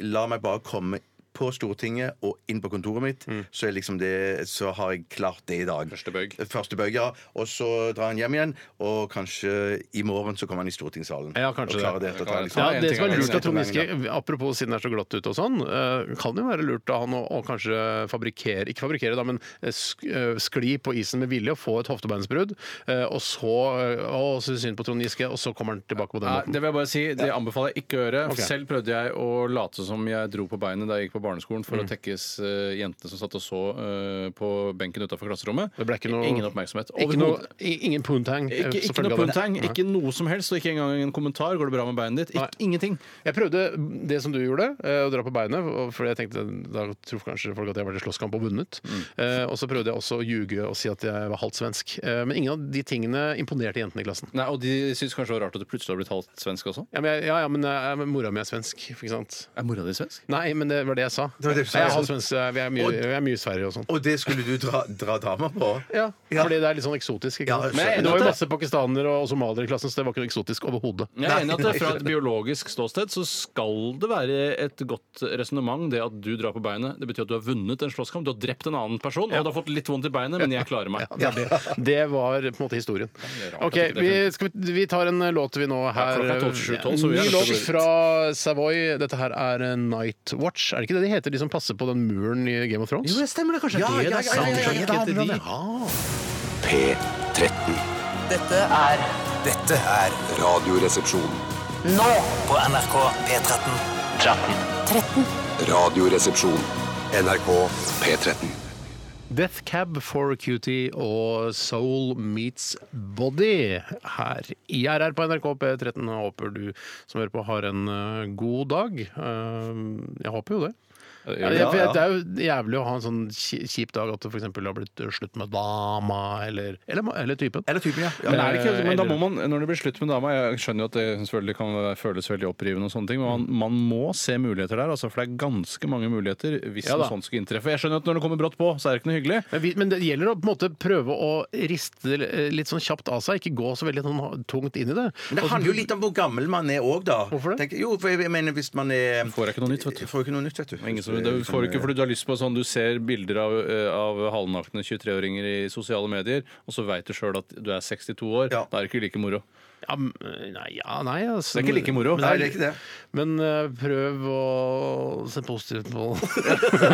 [SPEAKER 6] La meg bare komme på Stortinget og inn på kontoret mitt,
[SPEAKER 4] Mm.
[SPEAKER 6] så, er liksom det, så har jeg klart det i dag.
[SPEAKER 5] Første bøgg.
[SPEAKER 6] Første bøgg, ja. Og så drar han hjem igjen, og kanskje i morgen så kommer han i stortingssalen.
[SPEAKER 4] Ja, kanskje
[SPEAKER 6] og klarer
[SPEAKER 4] det.
[SPEAKER 6] det. etter å ta
[SPEAKER 5] Ja,
[SPEAKER 6] liksom-
[SPEAKER 4] Ja,
[SPEAKER 5] en
[SPEAKER 4] det
[SPEAKER 5] ting
[SPEAKER 4] som
[SPEAKER 5] av
[SPEAKER 4] er
[SPEAKER 5] gangen.
[SPEAKER 4] lurt av Trond Giske, apropos siden det er så glatt ute og sånn, eh, kan det jo være lurt av han å, å kanskje fabrikkere Ikke fabrikkere, da, men eh, sk, eh, skli på isen med vilje og få et hoftebeinsbrudd, eh, og så eh, Å, så synd på Trond Giske, og så kommer han tilbake på den
[SPEAKER 5] Nei,
[SPEAKER 4] måten.
[SPEAKER 5] det vil jeg bare si, det anbefaler jeg ikke å gjøre.
[SPEAKER 4] Ok.
[SPEAKER 5] Selv prøvde jeg å late som jeg dro på beinet da jeg gikk på barneskolen
[SPEAKER 6] Mm.
[SPEAKER 5] for å tekkes eh, jentene som satt og så eh, på benken utafor klasserommet.
[SPEAKER 4] Det ble ikke noe
[SPEAKER 5] Ingen oppmerksomhet.
[SPEAKER 4] Ikke noe, i- ingen poontang. eh,
[SPEAKER 5] Ikke,
[SPEAKER 4] som
[SPEAKER 5] ikke
[SPEAKER 4] følge
[SPEAKER 5] noe
[SPEAKER 4] av det.
[SPEAKER 5] pundtang,
[SPEAKER 4] Nei.
[SPEAKER 5] ikke noe som helst, og ikke engang en kommentar. Går det bra med beinet ditt?
[SPEAKER 4] Nei.
[SPEAKER 5] Ikke, ingenting.
[SPEAKER 4] Jeg prøvde det som du gjorde, eh, å dra på beinet. og- Fordi jeg tenkte, Da tror kanskje folk at jeg har vært i slåsskamp og vunnet.
[SPEAKER 5] Mm.
[SPEAKER 4] Eh, og så prøvde jeg også å ljuge og si at jeg var halvt svensk. Eh, men ingen av de tingene imponerte jentene i klassen.
[SPEAKER 5] Nei, Og de syns kanskje det var rart at du plutselig har blitt halvt svensk også?
[SPEAKER 4] Ja, men, jeg, ja, ja, men, eh, men mora mi er svensk, ikke sant?
[SPEAKER 5] Er mora di svensk?
[SPEAKER 4] Nei, men det var det jeg sa.
[SPEAKER 6] var det du sa,
[SPEAKER 4] jeg er
[SPEAKER 6] ja.
[SPEAKER 4] halvt svensk, eh, vi er mye, vi er mye i Sverige og sånn.
[SPEAKER 6] Og det skulle du dra, dra dama på?
[SPEAKER 4] Ja, fordi det er litt sånn eksotisk. Ikke
[SPEAKER 6] Ja,
[SPEAKER 4] sant?
[SPEAKER 6] jeg skjønner
[SPEAKER 4] men det var jo
[SPEAKER 5] det.
[SPEAKER 4] masse pakistanere og somaliere i klassen, så det var ikke noe eksotisk overhodet.
[SPEAKER 5] Jeg er enig i at det Fra et biologisk ståsted så skal det være et godt resonnement. Det at du drar på beinet, det betyr at du har vunnet en slåsskamp. Du har drept en annen person, og du har fått litt vondt i beinet, men jeg klarer meg.
[SPEAKER 4] Det, er det. det var på en måte historien.
[SPEAKER 5] det er rart
[SPEAKER 4] Ok,
[SPEAKER 5] at det
[SPEAKER 4] vi, skal vi, vi tar en eh, låt vi nå her.
[SPEAKER 5] klokka er 12.27, så vi er
[SPEAKER 4] Ny
[SPEAKER 5] nødt til å
[SPEAKER 4] låt
[SPEAKER 5] gå ut.
[SPEAKER 4] fra Savoy. Dette her er eh, Night Watch. Er det ikke det de heter, de som passer på den muren i Game of Thrones?
[SPEAKER 5] Jo, det stemmer. Det er kanskje
[SPEAKER 6] Ja,
[SPEAKER 5] det
[SPEAKER 6] ja,
[SPEAKER 5] det er
[SPEAKER 6] ja, ja,
[SPEAKER 5] sant.
[SPEAKER 6] ja,
[SPEAKER 5] Kanskje
[SPEAKER 6] ja,
[SPEAKER 5] ikke heter de.
[SPEAKER 1] P13.
[SPEAKER 2] Dette er
[SPEAKER 3] Dette er
[SPEAKER 1] Radioresepsjon.
[SPEAKER 2] nå
[SPEAKER 3] på NRK P13.
[SPEAKER 9] 13.
[SPEAKER 1] Radioresepsjon. NRK P13.
[SPEAKER 4] Death Cab for Cutie og Soul Meets Body her i RR på NRK P13. Jeg håper du som hører på har en eh, god dag. Eh, Jeg håper jo det. Ja, det, for det er jo jævlig å ha en sånn ki- kjip dag at det f.eks. har blitt eh, slutt med dama, eller, eller, eller typen.
[SPEAKER 6] Eller typen, ja. ja.
[SPEAKER 5] Men, er det ikke,
[SPEAKER 4] Eh,
[SPEAKER 5] men da må
[SPEAKER 4] eller-
[SPEAKER 5] man, når det blir slutt med dama Jeg skjønner jo at det selvfølgelig kan være- føles veldig opprivende, og sånne ting, men man, man må se muligheter der. Altså, for det er ganske mange muligheter hvis
[SPEAKER 4] Ja da.
[SPEAKER 5] noe sånt skulle inntreffe. Jeg skjønner at når det kommer brått på, så er det ikke noe hyggelig.
[SPEAKER 4] Men, vi, men det gjelder å på en måte prøve å riste det eh, litt sånn kjapt av seg, ikke gå så veldig sånn tungt inn i det.
[SPEAKER 6] Men det handler jo litt om hvor gammel man er òg, da.
[SPEAKER 4] Hvorfor det?
[SPEAKER 6] Tenker- jo, for jeg mener hvis man er
[SPEAKER 5] Får jeg ikke noe nytt, vet du.
[SPEAKER 6] Får jeg ikke noe nytt, vet du.
[SPEAKER 5] Ingen som, det liksom får du ikke fordi du har lyst på sånn Du ser bilder av, eh, av halvnakne 23-åringer i sosiale medier, og så veit du sjøl at du er 62 år.
[SPEAKER 6] Ja.
[SPEAKER 5] Da er det ikke like moro.
[SPEAKER 4] Ja, m- nei, ja, nei altså,
[SPEAKER 5] Det er ikke like moro.
[SPEAKER 6] Nei, det er ikke det.
[SPEAKER 4] Men eh, prøv å se positivt på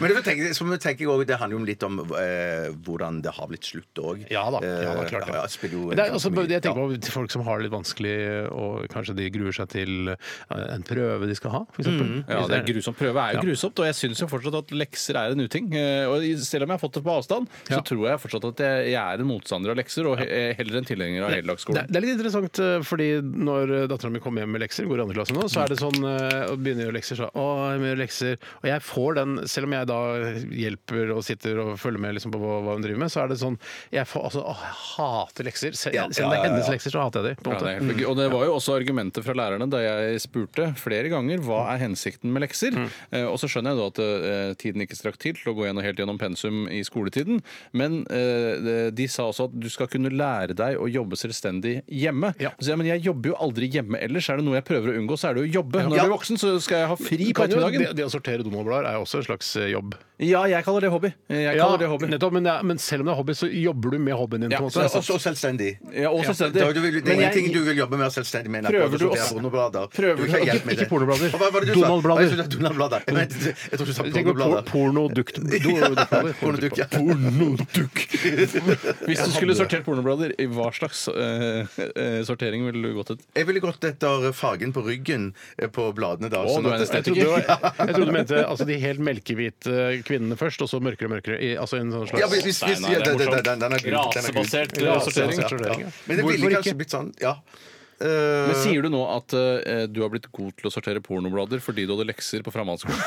[SPEAKER 6] Men det, tenker, så må vi tenke også, det handler jo litt om eh, hvordan det har blitt slutt òg.
[SPEAKER 4] Ja da. Ja, da klart det.
[SPEAKER 6] Eh, Ja, det spiller jo
[SPEAKER 4] Men det er også,
[SPEAKER 6] ganske mye.
[SPEAKER 4] jeg tenker på til folk som har det litt vanskelig, og kanskje de gruer seg til eh, en prøve de skal ha, f.eks.
[SPEAKER 5] Mm, Ja, det er grusomt. Prøve er jo grusomt, og jeg syns jo fortsatt at lekser er en uting. Eh, Og selv om jeg har fått det på avstand,
[SPEAKER 4] Ja.
[SPEAKER 5] så tror jeg fortsatt at jeg, jeg er en motstander av lekser, og he eh, heller en tilhenger av
[SPEAKER 4] Det,
[SPEAKER 5] heldagsskolen.
[SPEAKER 4] det er litt interessant, eh, fordi når dattera mi kommer hjem med lekser, går i andre klasse nå, så er det sånn eh, og begynner å gjøre lekser, så å, jeg må gjøre lekser. Og jeg får den, selv om jeg da hjelper og sitter og følger med liksom, på hva, hva hun driver med, så er det sånn jeg får, altså, å, jeg hater lekser. Selv,
[SPEAKER 6] Ja,
[SPEAKER 4] selv om det er
[SPEAKER 6] ja, ja,
[SPEAKER 4] hennes
[SPEAKER 6] ja.
[SPEAKER 4] lekser, så hater jeg dem.
[SPEAKER 5] Ja, det er helt
[SPEAKER 4] Mm.
[SPEAKER 5] forg- og det var jo også argumentet fra lærerne da jeg spurte flere ganger hva
[SPEAKER 4] Mm.
[SPEAKER 5] er hensikten med lekser. Eh, og så skjønner jeg da at eh, tiden ikke strakk til til å gå gjennom helt gjennom pensum i skoletiden. Men eh, det- de sa også at du skal kunne lære deg å jobbe selvstendig hjemme.
[SPEAKER 4] Ja.
[SPEAKER 5] Så, ja, men jeg jobber jo aldri hjemme ellers. Er det noe jeg prøver å unngå, så er det å jobbe. Når
[SPEAKER 6] Ja.
[SPEAKER 5] du er voksen, så skal jeg ha fri på
[SPEAKER 4] Kan jo, det,
[SPEAKER 5] ettermiddagen.
[SPEAKER 4] det å sortere donorblader er jo også en slags eh, jobb.
[SPEAKER 5] Ja, jeg kaller det hobby. Jeg
[SPEAKER 4] Ja,
[SPEAKER 5] kaller det hobby.
[SPEAKER 4] nettopp, men, det er, men selv om det er hobby, så jobber du med hobbyen din.
[SPEAKER 5] Ja,
[SPEAKER 4] på en
[SPEAKER 6] Så
[SPEAKER 4] måte.
[SPEAKER 6] det er også selvstendig.
[SPEAKER 5] Ja, og selvstendig.
[SPEAKER 6] Det er jo- du vil- det er
[SPEAKER 5] Men jeg-
[SPEAKER 6] ingenting du vil jobbe mer selvstendig med enn
[SPEAKER 5] Prøver
[SPEAKER 6] akkurat å
[SPEAKER 5] du
[SPEAKER 6] sortere
[SPEAKER 5] å-
[SPEAKER 6] pornoblader.
[SPEAKER 5] prøver
[SPEAKER 6] Du
[SPEAKER 5] du-
[SPEAKER 6] får hjelp
[SPEAKER 4] ikke-
[SPEAKER 6] med
[SPEAKER 4] ikke
[SPEAKER 6] det.
[SPEAKER 4] pornoblader.
[SPEAKER 6] Og Hva var det du sa?
[SPEAKER 4] Donald-blader.
[SPEAKER 6] Nei, Jeg trodde donald Jeg mente- jeg tror du sa
[SPEAKER 4] Tenk på por-
[SPEAKER 6] pornoblader.
[SPEAKER 4] pornodukt.
[SPEAKER 6] Ja, pornodukk, ja.
[SPEAKER 5] Hvis du skulle sortert pornoblader, i hva slags eh, eh, sortering ville du gått etter?
[SPEAKER 6] Jeg ville gått etter fargen på ryggen eh, på bladene da.
[SPEAKER 5] Å,
[SPEAKER 6] sånn
[SPEAKER 5] du Altså, er
[SPEAKER 6] at-
[SPEAKER 5] en
[SPEAKER 4] Jeg trodde, det var, jeg trodde du mente altså, de helt melkehvite kvinnene først, og så mørkere og mørkere. I, altså en sånn slags
[SPEAKER 6] Ja, hvis, hvis,
[SPEAKER 5] Nei, nei,
[SPEAKER 6] ja,
[SPEAKER 5] det er
[SPEAKER 6] den- den-
[SPEAKER 5] morsomt.
[SPEAKER 6] den- den er gul, den er gul.
[SPEAKER 5] Rasebasert,
[SPEAKER 6] Ja,
[SPEAKER 5] eh, sortering.
[SPEAKER 6] ja,
[SPEAKER 4] Sortering, ja.
[SPEAKER 6] ja. Men det ville
[SPEAKER 4] Hvorfor
[SPEAKER 6] kanskje
[SPEAKER 4] ikke?
[SPEAKER 6] blitt sånn, ja. Eh,
[SPEAKER 5] Men Sier du nå at eh, du har blitt god til å sortere pornoblader fordi du hadde lekser på framhaldsskolen?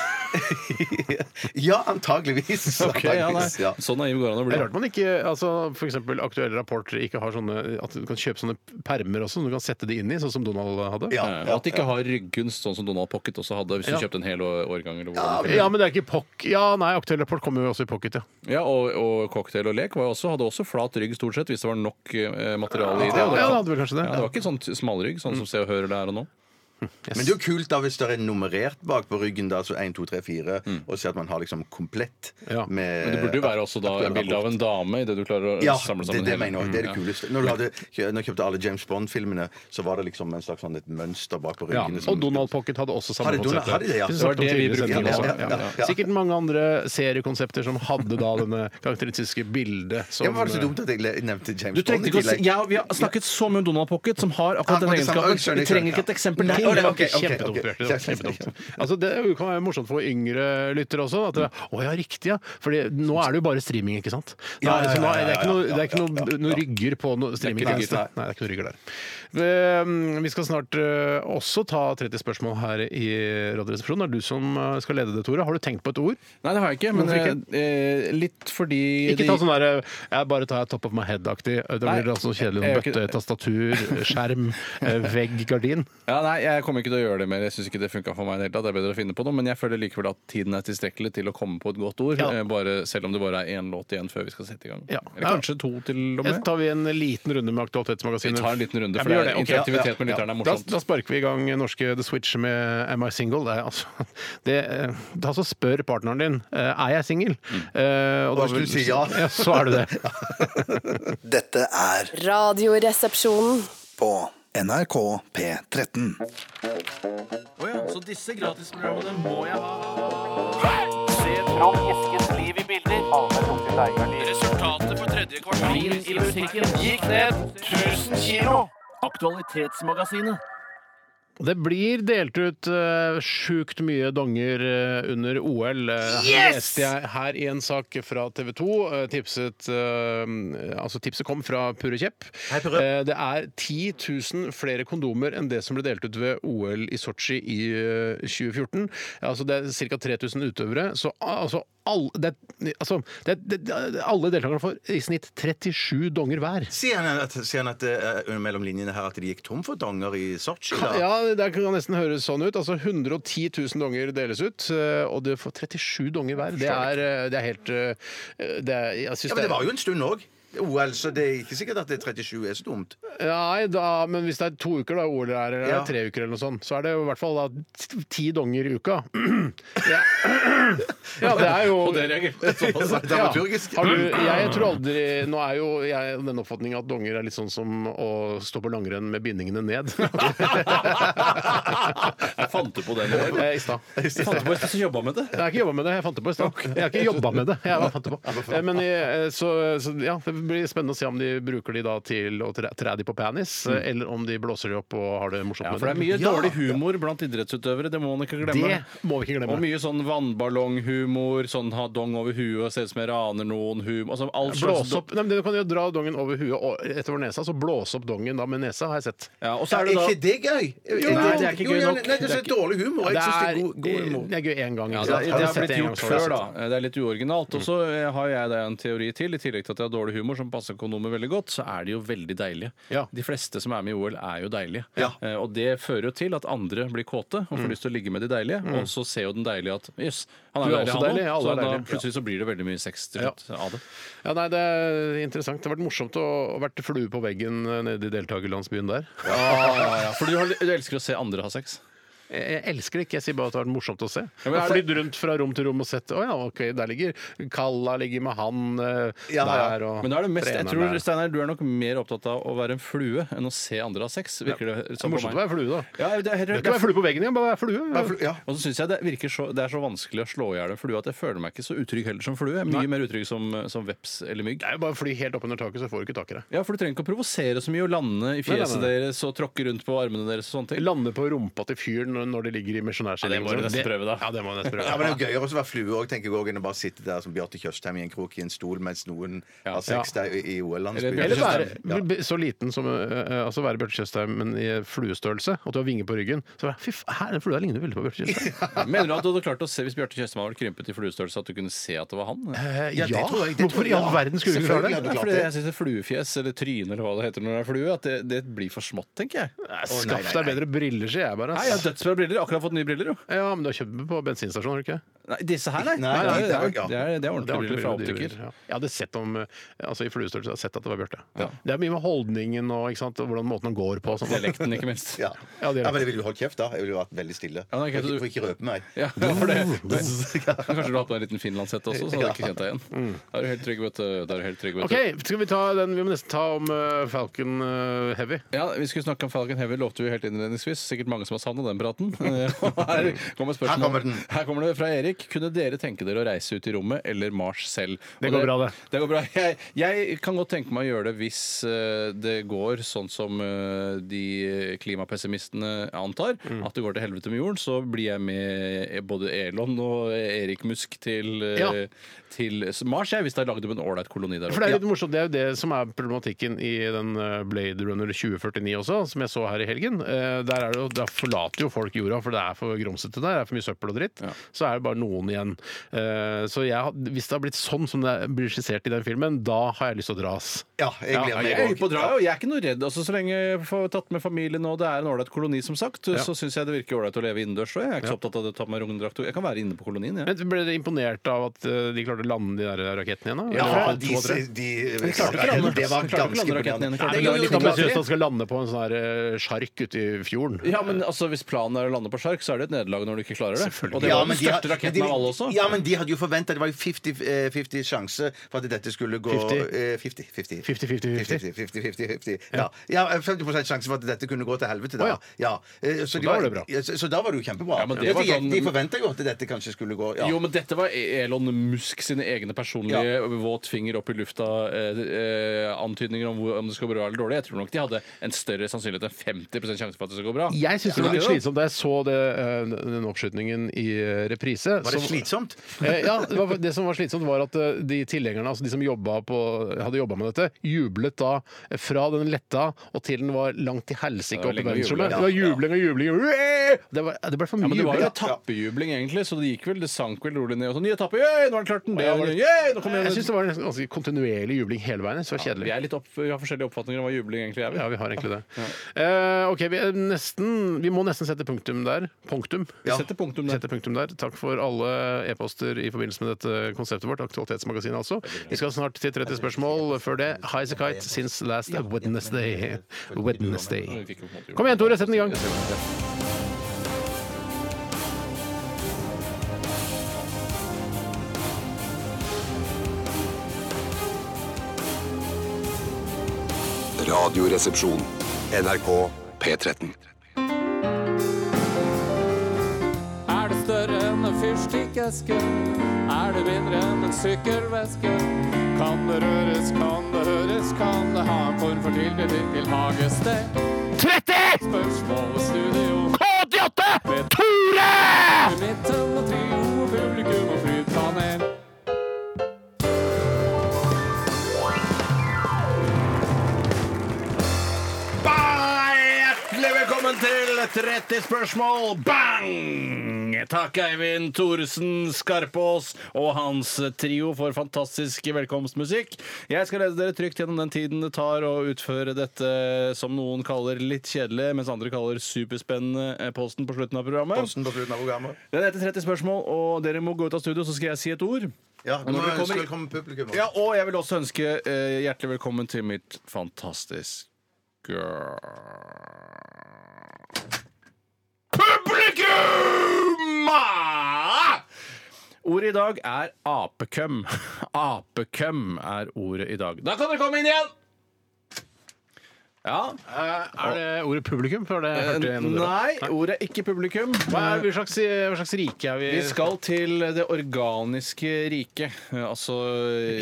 [SPEAKER 6] Eh, ja, antageligvis.
[SPEAKER 5] Ok, ja, nei.
[SPEAKER 6] Antageligvis, ja.
[SPEAKER 5] Så naiv Sånn går det an å
[SPEAKER 4] Det
[SPEAKER 5] bli.
[SPEAKER 4] er rart man ikke altså, for eksempel Aktuelle rapporter ikke har sånne At du kan kjøpe sånne permer også, som du kan sette det inn i, sånn som Donald hadde.
[SPEAKER 6] Ja,
[SPEAKER 5] Eh, Og at de ikke har ryggunst, sånn som Donald Pocket også hadde hvis du
[SPEAKER 4] Ja.
[SPEAKER 5] kjøpte en hel å- årgang. Eller hvordan.
[SPEAKER 4] Ja, men det er ikke pock... Ja, nei, Aktuell rapport kommer jo også i pocket, ja.
[SPEAKER 5] ja, og, og cocktail og lek var jo også, hadde også flat rygg stort sett, hvis det var nok eh, materiale i det.
[SPEAKER 4] Ja,
[SPEAKER 5] og
[SPEAKER 4] det hadde vel kanskje det.
[SPEAKER 5] Ja, det var ikke sånn t- smalrygg, sånn
[SPEAKER 6] Mm.
[SPEAKER 5] som Se og Hør eller her og nå.
[SPEAKER 6] Men det er jo kult da hvis det er nummerert bak på ryggen, da, så 1, 2, 3, 4, og se at man har liksom komplett
[SPEAKER 4] Ja.
[SPEAKER 6] med
[SPEAKER 5] Mm. Men det burde jo være også da
[SPEAKER 6] aktuell
[SPEAKER 5] et bilde av
[SPEAKER 6] rapport.
[SPEAKER 5] en dame i det du klarer å
[SPEAKER 6] Eh, ja,
[SPEAKER 5] samle
[SPEAKER 6] det,
[SPEAKER 5] sammen
[SPEAKER 6] det
[SPEAKER 5] hele. Mm,
[SPEAKER 6] mener jeg. Det er det
[SPEAKER 5] Ja.
[SPEAKER 6] kuleste. Når du hadde, når jeg kjøpte alle James Bond-filmene, så var det liksom en slags sånn et mønster bak på
[SPEAKER 4] Ja,
[SPEAKER 6] ryggen.
[SPEAKER 4] og Donald Pocket hadde også samme
[SPEAKER 6] Hadde Donald-
[SPEAKER 4] konsept.
[SPEAKER 6] hadde det, ja.
[SPEAKER 4] Hvis du snakker
[SPEAKER 6] Det var
[SPEAKER 4] om
[SPEAKER 5] det vi
[SPEAKER 4] tidligere
[SPEAKER 5] brukte,
[SPEAKER 4] sending
[SPEAKER 6] ja,
[SPEAKER 4] også.
[SPEAKER 6] ja, ja, ja.
[SPEAKER 4] Sikkert mange andre seriekonsepter som hadde da denne karakteristiske bildet. Som, eh,
[SPEAKER 6] Ja, men var det så dumt at jeg le- nevnte James
[SPEAKER 5] Du
[SPEAKER 6] Bond
[SPEAKER 5] trengte
[SPEAKER 6] Sånn
[SPEAKER 5] ikke
[SPEAKER 6] i
[SPEAKER 5] å si
[SPEAKER 6] tillegg?
[SPEAKER 5] ja, Vi har snakket så mye om Donald Pocket, som har akkurat
[SPEAKER 6] Ja,
[SPEAKER 5] den
[SPEAKER 6] det samme,
[SPEAKER 5] egenskapen.
[SPEAKER 6] skjønner,
[SPEAKER 5] Vi trenger ikke et eksempel til.
[SPEAKER 6] Nei,
[SPEAKER 4] Det var
[SPEAKER 6] ok, ok,
[SPEAKER 4] kjempedumt,
[SPEAKER 6] ok.
[SPEAKER 4] Bjarte. Det var kjempedumt. Altså, det kan være morsomt for yngre lyttere også. At det, å ja, riktig, ja. Fordi nå er det jo bare streaming, ikke sant? Nå er det, så nå er det ikke noe, det er ikke noe, noe rygger på noe streaming.
[SPEAKER 5] Det er
[SPEAKER 4] Nei,
[SPEAKER 5] ikke
[SPEAKER 4] det
[SPEAKER 5] rygger.
[SPEAKER 4] er ikke noe rygger der. Eh, Vi skal snart eh, også ta 30 spørsmål her i Radioresepsjonen. Det er du som eh, skal lede det, Tore. Har du tenkt på et ord?
[SPEAKER 5] Nei, det har jeg ikke. Men
[SPEAKER 4] Hvorfor ikke?
[SPEAKER 5] eh, litt fordi
[SPEAKER 4] Ikke
[SPEAKER 5] de-
[SPEAKER 4] ta sånn der eh, jeg bare tar top of my head-aktig. Da
[SPEAKER 5] Nei.
[SPEAKER 4] blir det altså kjedelig.
[SPEAKER 5] Jeg
[SPEAKER 4] Noen
[SPEAKER 5] gjør ikke
[SPEAKER 4] bøtte,
[SPEAKER 5] det.
[SPEAKER 4] tastatur, skjerm, eh, vegg, gardin.
[SPEAKER 5] ja, Nei, jeg kommer ikke til å gjøre det mer. Jeg syns ikke det funka for meg i det hele tatt. Det er bedre å finne på noe. Men jeg føler likevel at tiden er tilstrekkelig til å komme på et godt ord.
[SPEAKER 4] Ja.
[SPEAKER 5] eh, Bare, selv om det bare er én låt igjen før vi skal sette i gang.
[SPEAKER 4] Ja.
[SPEAKER 5] Eller kanskje to til og
[SPEAKER 4] Så
[SPEAKER 5] med.
[SPEAKER 4] tar vi en liten runde med
[SPEAKER 5] Vi
[SPEAKER 4] Aktualitetsmagasinet.
[SPEAKER 5] tar en liten runde,
[SPEAKER 4] Ja,
[SPEAKER 5] for
[SPEAKER 4] vi
[SPEAKER 5] det
[SPEAKER 4] gjør
[SPEAKER 5] er
[SPEAKER 4] det, ok.
[SPEAKER 5] interaktivitet med lytterne er
[SPEAKER 4] Da,
[SPEAKER 5] morsomt.
[SPEAKER 4] da sparker vi i gang norske The Switch med Am I single? Det er, altså, det, eh, da så spør partneren din eh, er jeg singel.
[SPEAKER 5] Mm.
[SPEAKER 4] Eh, og da
[SPEAKER 6] hvis
[SPEAKER 4] vil-
[SPEAKER 6] du sier ja.
[SPEAKER 4] ja, så er du det.
[SPEAKER 8] Dette er
[SPEAKER 7] Radioresepsjonen.
[SPEAKER 8] på NRK P13.
[SPEAKER 9] Så disse gratisprogrammene må jeg ha. Se Trond Eskens liv i bilder. Resultatet for tredje kvartal i musikken gikk ned 1000 kilo. Aktualitetsmagasinet.
[SPEAKER 4] Det blir delt ut eh, sjukt mye donger eh, under OL. Eh, Her leste jeg her i en sak fra TV 2. eh, tipset, eh, altså tipset kom fra Purre Kjepp. Eh, det er 10 000 flere kondomer enn det som ble delt ut ved OL i Sotsji i eh, 2014. Ja, altså det er ca. 3000 utøvere. Så ah, altså, all, det, er- altså det, er- det, det, alle deltakerne får i snitt 37 donger hver.
[SPEAKER 6] Sier han at, sier han at eh, under mellom linjene her at de gikk tom for donger i Sotsji? da?
[SPEAKER 4] Ja, det kan nesten høres sånn ut. Altså 110 000 donger deles ut, eh, og du får 37 donger hver. Det er, eh, det er helt eh, det er, jeg synes
[SPEAKER 6] Ja, men det var jo en stund òg. OL, så det er ikke sikkert at det 37 er så dumt.
[SPEAKER 4] Nei, da, men hvis det er to uker, da, OL er eller
[SPEAKER 6] Ja.
[SPEAKER 4] tre uker eller noe sånt, så er det jo i hvert fall da, t- ti donger i uka. ja. ja, det er jo
[SPEAKER 5] Og det reagerer såpass.
[SPEAKER 4] Ja.
[SPEAKER 6] dramaturgisk.
[SPEAKER 4] Har du, jeg tror aldri Nå er jo jeg av den oppfatning at donger er litt sånn som å stå på langrenn med bindingene ned.
[SPEAKER 9] Jeg fant du på det nå?
[SPEAKER 4] Eh, I stad.
[SPEAKER 9] Jeg fant på det, så jobba med det.
[SPEAKER 4] Jeg har ikke jobba med det. Jeg fant det på i stad. Jeg har ikke jobba med det. Jeg bare fant det på. Eh, Men jeg, så, så ja, det blir spennende å se om de bruker de da til å tre, tre de på penis, eh, eller om de blåser de opp og har det morsomt
[SPEAKER 5] Mm. Ja,
[SPEAKER 4] med
[SPEAKER 5] for det er mye dårlig humor blant idrettsutøvere, det må man ikke glemme.
[SPEAKER 4] Det må vi ikke glemme.
[SPEAKER 5] Og mye sånn vannballonghumor, sånn ha dong over huet og se ut som jeg raner noen hum altså, all slags-
[SPEAKER 4] Blåse opp, nei, men Du kan jo dra dongen over huet og etter nesa, så blåse opp dongen da med nesa, har jeg sett.
[SPEAKER 5] Ja, og så er
[SPEAKER 6] Er
[SPEAKER 5] det da
[SPEAKER 6] ikke det gøy? Er
[SPEAKER 5] Jo, nei, det er ikke
[SPEAKER 6] jo,
[SPEAKER 5] gøy
[SPEAKER 6] ja,
[SPEAKER 5] nok.
[SPEAKER 6] Nei, det
[SPEAKER 5] Det
[SPEAKER 6] er
[SPEAKER 5] er
[SPEAKER 6] så dårlig humor. Jeg syns det er god, god humor.
[SPEAKER 4] det er gøy én gang.
[SPEAKER 5] Ja,
[SPEAKER 4] ikke
[SPEAKER 5] det,
[SPEAKER 4] sant?
[SPEAKER 5] det
[SPEAKER 4] Jeg
[SPEAKER 5] har
[SPEAKER 4] sett en
[SPEAKER 5] blitt
[SPEAKER 4] gang, Mm.
[SPEAKER 5] gjort
[SPEAKER 4] så har jeg
[SPEAKER 5] før,
[SPEAKER 4] sett det.
[SPEAKER 5] da. Det er litt uoriginalt. Og så eh, har jeg da en teori til. I tillegg til at jeg har dårlig humor, som passer kondomer veldig godt, så er de jo veldig deilige.
[SPEAKER 4] Ja.
[SPEAKER 5] De fleste som er med i OL, er jo deilige.
[SPEAKER 6] Ja.
[SPEAKER 5] Eh, Og det fører jo til at andre blir kåte og
[SPEAKER 4] Mm.
[SPEAKER 5] får lyst til å ligge med de deilige. Og så ser jo den deilige at jøss, han er
[SPEAKER 4] Du
[SPEAKER 5] jo
[SPEAKER 4] er
[SPEAKER 5] deilig,
[SPEAKER 4] også
[SPEAKER 5] han
[SPEAKER 4] deilig, ja, alle
[SPEAKER 5] også. Så
[SPEAKER 4] er
[SPEAKER 5] da
[SPEAKER 4] deilige.
[SPEAKER 5] plutselig så blir det veldig mye sex til
[SPEAKER 4] Ja.
[SPEAKER 5] slutt av det.
[SPEAKER 4] Ja, nei, det er interessant. Det har vært morsomt å å vært flue på veggen eh, nede i deltakerlandsbyen der.
[SPEAKER 5] For du, har, du elsker å se andre ha sex.
[SPEAKER 4] Jeg jeg elsker det ikke, jeg sier bare at det har vært morsomt å se. Jeg
[SPEAKER 5] men
[SPEAKER 4] har
[SPEAKER 5] altså-
[SPEAKER 4] flydd rundt fra rom til rom og sett Å ja, OK, der ligger Kalla ligger med han eh,
[SPEAKER 6] Ja, ja.
[SPEAKER 4] der og
[SPEAKER 5] Men da er det mest, jeg
[SPEAKER 4] treneren
[SPEAKER 5] tror,
[SPEAKER 4] der.
[SPEAKER 5] Steinar, du er nok mer opptatt av å være en flue enn å se andre ha sex. Virker det
[SPEAKER 4] Det er
[SPEAKER 5] som på
[SPEAKER 4] morsomt å
[SPEAKER 5] meg.
[SPEAKER 4] være flue, da.
[SPEAKER 5] Ja, det er helt
[SPEAKER 4] Du kan ikke være flue på veggen igjen, bare være flue.
[SPEAKER 6] Ja.
[SPEAKER 5] Og så synes jeg Det virker så, det er så vanskelig å slå i hjel en flue at jeg føler meg ikke så utrygg heller som flue. Jeg er Mye mer utrygg som, som veps eller mygg.
[SPEAKER 4] Det er jo bare å fly helt opp under taket, så får du ikke tak i det.
[SPEAKER 5] Ja, for Du trenger ikke å provosere så mye og lande i fjeset
[SPEAKER 4] Nei, nei, nei.
[SPEAKER 5] deres og tråkke rundt på armene deres. og sånne ting.
[SPEAKER 4] Lande på rumpa til fyren når- når de ligger i misjonærstillingen.
[SPEAKER 5] Ja, det må du nesten prøve, da.
[SPEAKER 4] Ja, det må du nesten prøve.
[SPEAKER 6] Ja, men Det er jo gøyere å være flue også, tenker jeg også, enn å bare sitte der som Bjarte Tjøstheim i en krok i en stol mens noen har sex der i- i OL-landsbyen.
[SPEAKER 4] Eller
[SPEAKER 5] Eller
[SPEAKER 4] være
[SPEAKER 6] Ja.
[SPEAKER 4] bli- så liten som eh, eh, altså være Bjarte Tjøstheim, men i fluestørrelse, at du har vinger på ryggen. Så bare, fy faen, her, den flua ligner veldig på Bjarte Tjøstheim.
[SPEAKER 5] Mener du at du hadde klart å se hvis Bjarte Tjøstheim hadde vært krympet i fluestørrelse, at du kunne se at det var han?
[SPEAKER 4] Eh,
[SPEAKER 6] Ja, det tror jeg- det tror
[SPEAKER 4] Hvorfor i
[SPEAKER 6] jeg,
[SPEAKER 4] all
[SPEAKER 6] ja.
[SPEAKER 4] verden skulle du ikke klare
[SPEAKER 6] Selvfølgelig
[SPEAKER 4] det?
[SPEAKER 6] hadde
[SPEAKER 5] Nei,
[SPEAKER 6] du klart
[SPEAKER 5] fordi
[SPEAKER 6] det.
[SPEAKER 5] jeg synes det Fluefjes eller tryne eller hva det heter når det er flue, at det, det blir for smått, tenker jeg.
[SPEAKER 4] Nei, Skaff deg bedre briller, sier jeg bare.
[SPEAKER 5] Nei,
[SPEAKER 4] ass.
[SPEAKER 5] Jeg har dødsbra briller. Akkurat fått nye briller, jo.
[SPEAKER 4] Ja, men du har kjøpt dem på bensinstasjon, har du ikke?
[SPEAKER 5] Nei, disse her, nei.
[SPEAKER 6] Nei,
[SPEAKER 5] Nei,
[SPEAKER 6] de
[SPEAKER 5] det, er,
[SPEAKER 6] der,
[SPEAKER 5] det, er, det
[SPEAKER 6] ja.
[SPEAKER 5] er
[SPEAKER 4] Det er
[SPEAKER 5] ordentlige briller fra
[SPEAKER 4] ordentlig
[SPEAKER 5] optiker.
[SPEAKER 4] briller, ja. Jeg hadde sett om, eh, altså i fluestørrelse, jeg hadde sett at det var Bjarte. Det er mye med holdningen og ikke sant, og hvordan måten han går på. og sånn. sånt.
[SPEAKER 5] Dialekten, ikke minst.
[SPEAKER 6] Ja.
[SPEAKER 4] Ja, det er
[SPEAKER 6] ja, men jeg ville jo holdt kjeft da. Jeg ville jo vært veldig stille.
[SPEAKER 5] Ja, nei, ikke-
[SPEAKER 6] for, ikke, for ikke røpe meg.
[SPEAKER 5] Ja, for det. Kanskje du har hatt på deg en liten finlandshette også, så hadde jeg ikke kjent deg igjen. Da er du helt trygg, vet du. Da er du helt trygg, vet du.
[SPEAKER 4] Ok, skal vi ta den Vi må nesten ta om eh, Falcon eh, Heavy.
[SPEAKER 5] Ja, Vi skulle snakke om Falcon Heavy, lovte vi helt innledningsvis. Sikkert mange som har savna den praten. Eh, og Her kommer, spørsmål.
[SPEAKER 6] Her kommer den.
[SPEAKER 5] Her kommer det fra Erik. Kunne dere tenke dere å reise ut i rommet eller Mars selv?
[SPEAKER 4] Det
[SPEAKER 5] Og
[SPEAKER 4] går bra, det.
[SPEAKER 5] det går bra. Jeg, jeg kan godt tenke meg å gjøre det hvis eh, det går sånn som eh, de klimapessimistene antar,
[SPEAKER 4] Mm.
[SPEAKER 5] at det går til helvete med jorden. Så blir jeg med både Elon og Erik Musk til, eh,
[SPEAKER 4] Ja.
[SPEAKER 5] til Mars, jeg, hvis det er lagd opp en ålreit koloni der
[SPEAKER 4] For Det er litt morsomt, det er jo det som er problematikken i den eh, Blade Runner 2049 også, som jeg så her i helgen. Eh, Der, er det jo, der forlater jo folk jorda, for det er for grumsete der. Det er for mye søppel og dritt. Så er det bare noen igjen. Eh, Så jeg, har- hvis det har blitt sånn som det er- blir skissert i den filmen, da har jeg lyst til å dras.
[SPEAKER 6] Ja, jeg gleder meg.
[SPEAKER 5] jeg er
[SPEAKER 6] også.
[SPEAKER 5] hypp på å dra, og jeg er ikke noe redd. Altså, så lenge jeg får tatt med familien og det er en ålreit koloni, som sagt, så syns jeg det virker ålreit å leve innendørs. og Jeg er ikke så opptatt av det å ta på meg rungdrakt. Jeg kan være inne på kolonien, jeg.
[SPEAKER 4] Men Ble dere imponert av at eh, de klarte å lande de der rakettene igjen? da?
[SPEAKER 6] Ja,
[SPEAKER 4] Eller var det
[SPEAKER 6] de,
[SPEAKER 4] to og tre?
[SPEAKER 6] de,
[SPEAKER 5] De klarte ikke å lande.
[SPEAKER 6] Det var
[SPEAKER 5] De klarte ikke å
[SPEAKER 6] ganske
[SPEAKER 5] lande raketten igjen. De klarte
[SPEAKER 6] imponerende.
[SPEAKER 4] Nei,
[SPEAKER 6] Nei,
[SPEAKER 4] det
[SPEAKER 6] jo,
[SPEAKER 4] er
[SPEAKER 6] jo,
[SPEAKER 4] litt
[SPEAKER 6] de klarte
[SPEAKER 4] ambisiøst
[SPEAKER 6] det.
[SPEAKER 4] at de skal lande på en sånn her, eh, sjark ute i fjorden.
[SPEAKER 5] Ja, men altså, Hvis planen er å lande på sjark, så er det et nederlag når du ikke klarer det. Og det
[SPEAKER 6] Ja,
[SPEAKER 5] var
[SPEAKER 6] men
[SPEAKER 5] den
[SPEAKER 6] de har-
[SPEAKER 5] største raketten
[SPEAKER 6] men de-
[SPEAKER 5] av alle også.
[SPEAKER 6] Ja, men de hadde jo forventa Det var jo 50, eh, 50 sjanse for at dette skulle gå
[SPEAKER 4] 50?
[SPEAKER 6] eh, 50 50
[SPEAKER 4] 50-50-50.
[SPEAKER 6] 50-50-50. Ja. ja, 50 sjanse for at dette kunne gå til helvete.
[SPEAKER 4] Å,
[SPEAKER 6] Da.
[SPEAKER 4] ja.
[SPEAKER 6] Ja. eh, Så, de
[SPEAKER 4] da
[SPEAKER 6] var-
[SPEAKER 4] var det bra.
[SPEAKER 6] ja, så, så da var det jo kjempebra.
[SPEAKER 5] Ja, men det var
[SPEAKER 6] de
[SPEAKER 5] sånn-
[SPEAKER 6] de forventa jo at dette kanskje skulle gå. Ja.
[SPEAKER 5] Jo, men dette var E- Elon Musk sine egne personlige våt finger opp i lufta-antydninger om, hvor- om det skal gå bra eller dårlig. Jeg tror nok de hadde en større sannsynlighet enn 50 sjanse for at det skal gå bra.
[SPEAKER 4] Jeg syns det var
[SPEAKER 5] Ja.
[SPEAKER 4] litt slitsomt da jeg så det, eh, den oppskytningen i eh, reprise.
[SPEAKER 6] Var det
[SPEAKER 4] som-
[SPEAKER 6] slitsomt?
[SPEAKER 4] Eh, ja, det, var, det som var slitsomt, var at eh, de tilhengerne, altså de som jobba på, hadde jobba med dette, jublet da eh, fra den letta og til den var langt til helsike
[SPEAKER 5] var
[SPEAKER 4] opp i
[SPEAKER 5] lenge å juble,
[SPEAKER 4] verdensrommet.
[SPEAKER 5] ja.
[SPEAKER 4] Det var jubling og jubling. Uæ! Det, var, det ble for
[SPEAKER 5] Ja,
[SPEAKER 4] mye
[SPEAKER 5] men det var jo
[SPEAKER 4] jubling.
[SPEAKER 5] etappejubling, egentlig, så det gikk vel, det sank vel rolig ned. Og så ny etappe, yay, nå har han klart den!
[SPEAKER 4] Ja, var
[SPEAKER 5] Yay,
[SPEAKER 4] det-
[SPEAKER 5] yay, nå kommer
[SPEAKER 4] Jeg
[SPEAKER 5] jeg
[SPEAKER 4] syns det var en ganske kontinuerlig jubling hele veien. Så det var
[SPEAKER 5] Vi,
[SPEAKER 4] kjedelig.
[SPEAKER 5] er litt opp, vi har forskjellige oppfatninger om hva jubling egentlig er. vi.
[SPEAKER 4] Ja, vi har egentlig det. Eh, ok, vi, er nesten, vi må nesten sette punktum der. Punktum.
[SPEAKER 5] Vi setter punktum der.
[SPEAKER 4] Vi setter punktum der. Takk for alle e-poster i forbindelse med dette konseptet vårt, Aktualitetsmagasinet altså. Vi skal snart til 30 spørsmål. Før det, Highas a kite since last Wednesday. Wednesday. Kom igjen, Tore, sett den i gang.
[SPEAKER 1] Radioresepsjon. NRK P13.
[SPEAKER 10] Er det større enn en fyrstikkeske? Er det mindre enn en sykkelveske? Kan det røres, kan det høres, kan det ha en form for tilknytning til hagested? 30! Spørsmål og studio. K88! Tore! I midten og trio, publikum og flytpanel.
[SPEAKER 5] Bang! Hjertelig velkommen til 30 spørsmål. Bang! Takk, Eivind Thoresen Skarpås og hans trio for fantastisk velkomstmusikk. Jeg skal lede dere trygt gjennom den tiden det tar å utføre dette som noen kaller litt kjedelig, mens andre kaller superspennende eh, posten på slutten av programmet.
[SPEAKER 6] Posten på slutten av programmet.
[SPEAKER 5] Den heter 30 spørsmål, og dere må gå ut av studio, så skal jeg si et ord.
[SPEAKER 6] Ja,
[SPEAKER 5] Og
[SPEAKER 6] du må
[SPEAKER 5] når dere
[SPEAKER 6] ønske
[SPEAKER 5] kommer-
[SPEAKER 6] velkommen publikum.
[SPEAKER 5] Ja, og jeg vil også ønske eh, hjertelig velkommen til mitt fantastiske Publikum! Ordet i dag er apekøm. Apekøm er ordet i dag. Da kan dere komme inn igjen! Ja.
[SPEAKER 4] Er det ordet publikum? For det hørte jeg gjennom døra.
[SPEAKER 5] Eh, Nei, ordet er ikke publikum.
[SPEAKER 4] Hva er, hva, slags, eh, hva slags rike er vi?
[SPEAKER 5] Vi skal til det organiske riket. Altså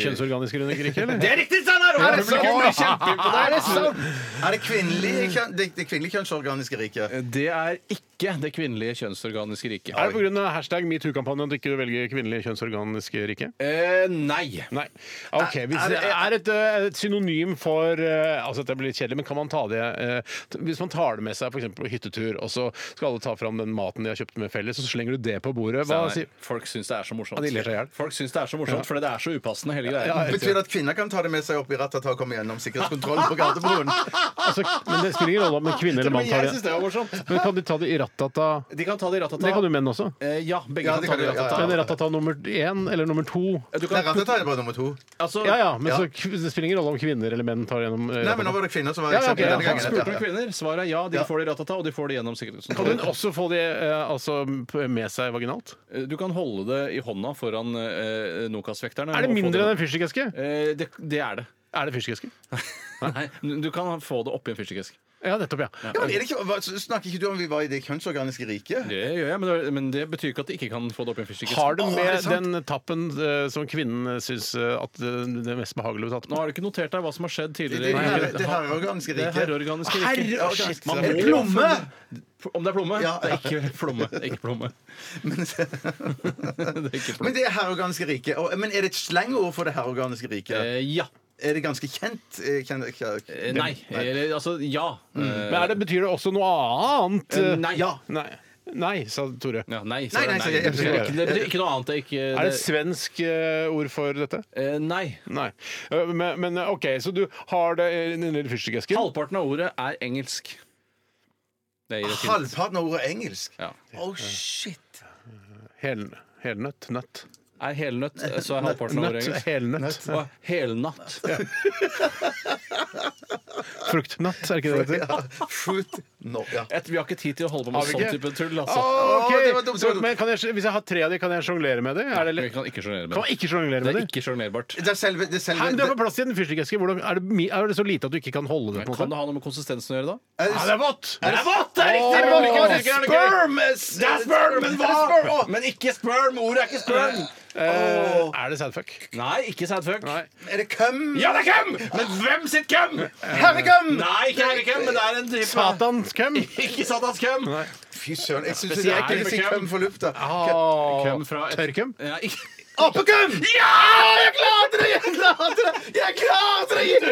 [SPEAKER 4] Kjønnsorganiske runde rike, eller?
[SPEAKER 5] Det er riktig, Steinar!
[SPEAKER 6] Er det
[SPEAKER 5] Publikum blir kjempeimponert.
[SPEAKER 6] Er det kvinnelige kjønn, det, det kvinnelige kjønnsorganiske riket?
[SPEAKER 5] Det er ikke det kvinnelige kjønnsorganiske riket.
[SPEAKER 4] Er det pga. hashtag metoo-kampanjen at du ikke velger kvinnelige kjønnsorganiske rike?
[SPEAKER 5] Eh, nei.
[SPEAKER 4] Nei. Ok, hvis det er et, eh, et synonym for eh, Altså, dette blir litt kjedelig, men kan man ta det eh, t- Hvis man tar det med seg for eksempel på hyttetur, og så skal alle ta fram den maten de har kjøpt med felles, og så slenger du det på bordet Hva
[SPEAKER 5] Steinar,
[SPEAKER 4] sier
[SPEAKER 5] Folk syns det er så morsomt.
[SPEAKER 4] Ja, de ler seg i hjel.
[SPEAKER 5] Folk syns det er så morsomt, fordi det er så upassende, hele greia.
[SPEAKER 6] Betyr det at kvinner kan ta det med seg opp i rattet og komme gjennom sikkerhetskontrollen på Gardermoen?
[SPEAKER 4] altså, Men det spiller ingen rolle om en kvinne eller mann
[SPEAKER 5] Men
[SPEAKER 4] tar
[SPEAKER 5] jeg syns
[SPEAKER 4] det.
[SPEAKER 5] det var morsomt.
[SPEAKER 4] Men kan de ta det i rattata?
[SPEAKER 5] De kan ta det i ratata.
[SPEAKER 4] Det kan jo menn også.
[SPEAKER 5] Eh, ja, begge
[SPEAKER 6] Ja,
[SPEAKER 5] kan
[SPEAKER 6] det
[SPEAKER 5] ta
[SPEAKER 6] kan
[SPEAKER 5] det i
[SPEAKER 6] de, ja,
[SPEAKER 5] ratata. Eh,
[SPEAKER 6] ja.
[SPEAKER 4] Men rattata nummer én eller nummer to
[SPEAKER 5] Du
[SPEAKER 6] Nei,
[SPEAKER 5] kan,
[SPEAKER 6] rattet er bare nummer to.
[SPEAKER 5] altså,
[SPEAKER 4] Ja ja, men så k- det spiller ingen rolle om kvinner eller menn tar gjennom eh,
[SPEAKER 6] Nei, men
[SPEAKER 4] rattata.
[SPEAKER 6] nå var det kvinner som var
[SPEAKER 4] Ja, ja,
[SPEAKER 6] eksempel
[SPEAKER 4] ok, ja,
[SPEAKER 6] denne
[SPEAKER 5] Han
[SPEAKER 6] gangen.
[SPEAKER 5] spurte om kvinner. Svaret er ja, de får det i ratata, og de får det gjennom
[SPEAKER 4] Kan hun
[SPEAKER 5] sikkerhetskontrollen.
[SPEAKER 4] også få det eh, altså, p- med seg vaginalt?
[SPEAKER 5] Eh, Du kan holde det i hånda foran eh, Nokas-vekterne.
[SPEAKER 4] Er det
[SPEAKER 5] og få
[SPEAKER 4] mindre enn en fyrstikkeske?
[SPEAKER 5] Eh, det, det er det.
[SPEAKER 4] Er det fyrstikkeske?
[SPEAKER 5] Nei, du kan få det oppi en fyrstikkeske.
[SPEAKER 4] Ja, nettopp, ja.
[SPEAKER 6] Ja, men er det ikke, hva- snakker ikke du om vi var i det kjønnsorganiske riket?
[SPEAKER 5] Det gjør jeg, men det, men det betyr ikke at de ikke kan få det oppi en fyrstikkeske.
[SPEAKER 4] Har det
[SPEAKER 6] Å,
[SPEAKER 4] med
[SPEAKER 6] er det sant?
[SPEAKER 4] den tappen eh, som kvinnen syns eh, at det det er mest behagelig å ta
[SPEAKER 5] Nå
[SPEAKER 4] på?
[SPEAKER 5] har du ikke notert deg hva som har skjedd
[SPEAKER 6] Det,
[SPEAKER 5] tidligere.
[SPEAKER 6] det,
[SPEAKER 5] i
[SPEAKER 6] det,
[SPEAKER 5] livet.
[SPEAKER 6] det herreorganiske
[SPEAKER 5] Det er
[SPEAKER 6] riket.
[SPEAKER 5] herreorganiske
[SPEAKER 6] Herre-
[SPEAKER 5] riket.
[SPEAKER 6] shit.
[SPEAKER 5] Man
[SPEAKER 6] Er det
[SPEAKER 5] må-
[SPEAKER 6] plomme?
[SPEAKER 5] Om det er plomme?
[SPEAKER 6] Ja.
[SPEAKER 5] Det er ikke plomme. Det er ikke plomme. det er ikke
[SPEAKER 6] Men
[SPEAKER 5] plomme.
[SPEAKER 6] det er herreorganiske riket. Og- Men er det et slengord for det herreorganiske riket?
[SPEAKER 5] Eh, ja.
[SPEAKER 6] Er det ganske kjent? eh, kjent- kjent-
[SPEAKER 5] Eh, Nei. Eller altså ja.
[SPEAKER 6] Mm.
[SPEAKER 5] Eh,
[SPEAKER 4] Men er det, Betyr det også noe annet?
[SPEAKER 5] eh, Nei. Ja.
[SPEAKER 4] Nei, nei sa Tore.
[SPEAKER 5] nei, så
[SPEAKER 6] Nei,
[SPEAKER 5] er det
[SPEAKER 6] nei, så
[SPEAKER 5] nei.
[SPEAKER 6] jeg- jeg-
[SPEAKER 5] Det betyr ikke- det betyr ikke noe annet. Det er ikke
[SPEAKER 4] Er det et svensk eh, ord for dette?
[SPEAKER 5] eh, Nei.
[SPEAKER 4] Nei. Eh, Men, men eh, OK, så du har det i den lille fyrstikkeesken?
[SPEAKER 5] Halvparten av ordet er engelsk. Det gir et hint.
[SPEAKER 6] Halvparten av ordet er engelsk?
[SPEAKER 5] Ja.
[SPEAKER 6] Oh, shit.
[SPEAKER 4] Hel, helnøtt? Nøtt?
[SPEAKER 5] Er helnøtt, eh, så er halvparten av ordet
[SPEAKER 4] Nøtt? Eh,
[SPEAKER 5] engelsk.
[SPEAKER 4] Helnøtt?
[SPEAKER 5] Og helnatt.
[SPEAKER 4] Fruktnøtt, er det ikke det det heter?
[SPEAKER 6] Ja, fruit no, ja.
[SPEAKER 5] Et, vi har ikke tid til å holde på med
[SPEAKER 4] Har vi
[SPEAKER 5] sånn
[SPEAKER 4] ikke?
[SPEAKER 5] type tull.
[SPEAKER 4] Å,
[SPEAKER 5] Altså.
[SPEAKER 6] Å, det var
[SPEAKER 4] ok!
[SPEAKER 6] dumt, det var
[SPEAKER 4] Så,
[SPEAKER 6] dumt.
[SPEAKER 4] men kan jeg, hvis jeg har tre av de, kan jeg sjonglere med det? Er det
[SPEAKER 5] Vi
[SPEAKER 4] litt-
[SPEAKER 5] kan ikke sjonglere med
[SPEAKER 4] kan man
[SPEAKER 5] det.
[SPEAKER 4] ikke sjonglere
[SPEAKER 5] Det
[SPEAKER 4] med
[SPEAKER 5] er
[SPEAKER 4] det?
[SPEAKER 5] ikke sjonglerbart.
[SPEAKER 6] Det er selve, det er selve
[SPEAKER 4] Hæ, men du har
[SPEAKER 6] det,
[SPEAKER 4] på plass i en fyrstikkeske. Hvordan- Er, det mi- er det så lite at du ikke kan holde det? på en måte?
[SPEAKER 5] Kan det ha noe med konsistensen å gjøre, da?
[SPEAKER 6] er,
[SPEAKER 4] Ja, det er vått!
[SPEAKER 6] er det vått? Det er
[SPEAKER 4] Åh,
[SPEAKER 6] riktig!
[SPEAKER 4] det
[SPEAKER 6] men
[SPEAKER 4] var
[SPEAKER 6] ikke-
[SPEAKER 4] ikke-
[SPEAKER 6] det
[SPEAKER 4] det
[SPEAKER 6] er
[SPEAKER 4] er ikke-
[SPEAKER 6] sperm! Det er sperm, men hva?
[SPEAKER 5] Men ikke sperm! Ordet er ikke sperm!
[SPEAKER 4] Eh, er det sadfuck?
[SPEAKER 5] Nei, ikke sadfuck.
[SPEAKER 4] Nei.
[SPEAKER 6] Er det køm?
[SPEAKER 5] Ja, det er køm! Men hvem sitt køm?
[SPEAKER 6] Herregøm!
[SPEAKER 5] Nei, ikke herrekøm, men det er en type
[SPEAKER 4] Satans køm!
[SPEAKER 5] Ikke satans køm!
[SPEAKER 6] Fy søren, jeg syns det er ekkelt å si
[SPEAKER 5] Spesielt med køm.
[SPEAKER 6] køm for lufta.
[SPEAKER 5] Køm fra et-
[SPEAKER 4] Tørrkøm?
[SPEAKER 5] Ja, ikke-
[SPEAKER 6] Apekøm! Ja! Jeg klarte det! Jeg klarte det! Jeg klarte det!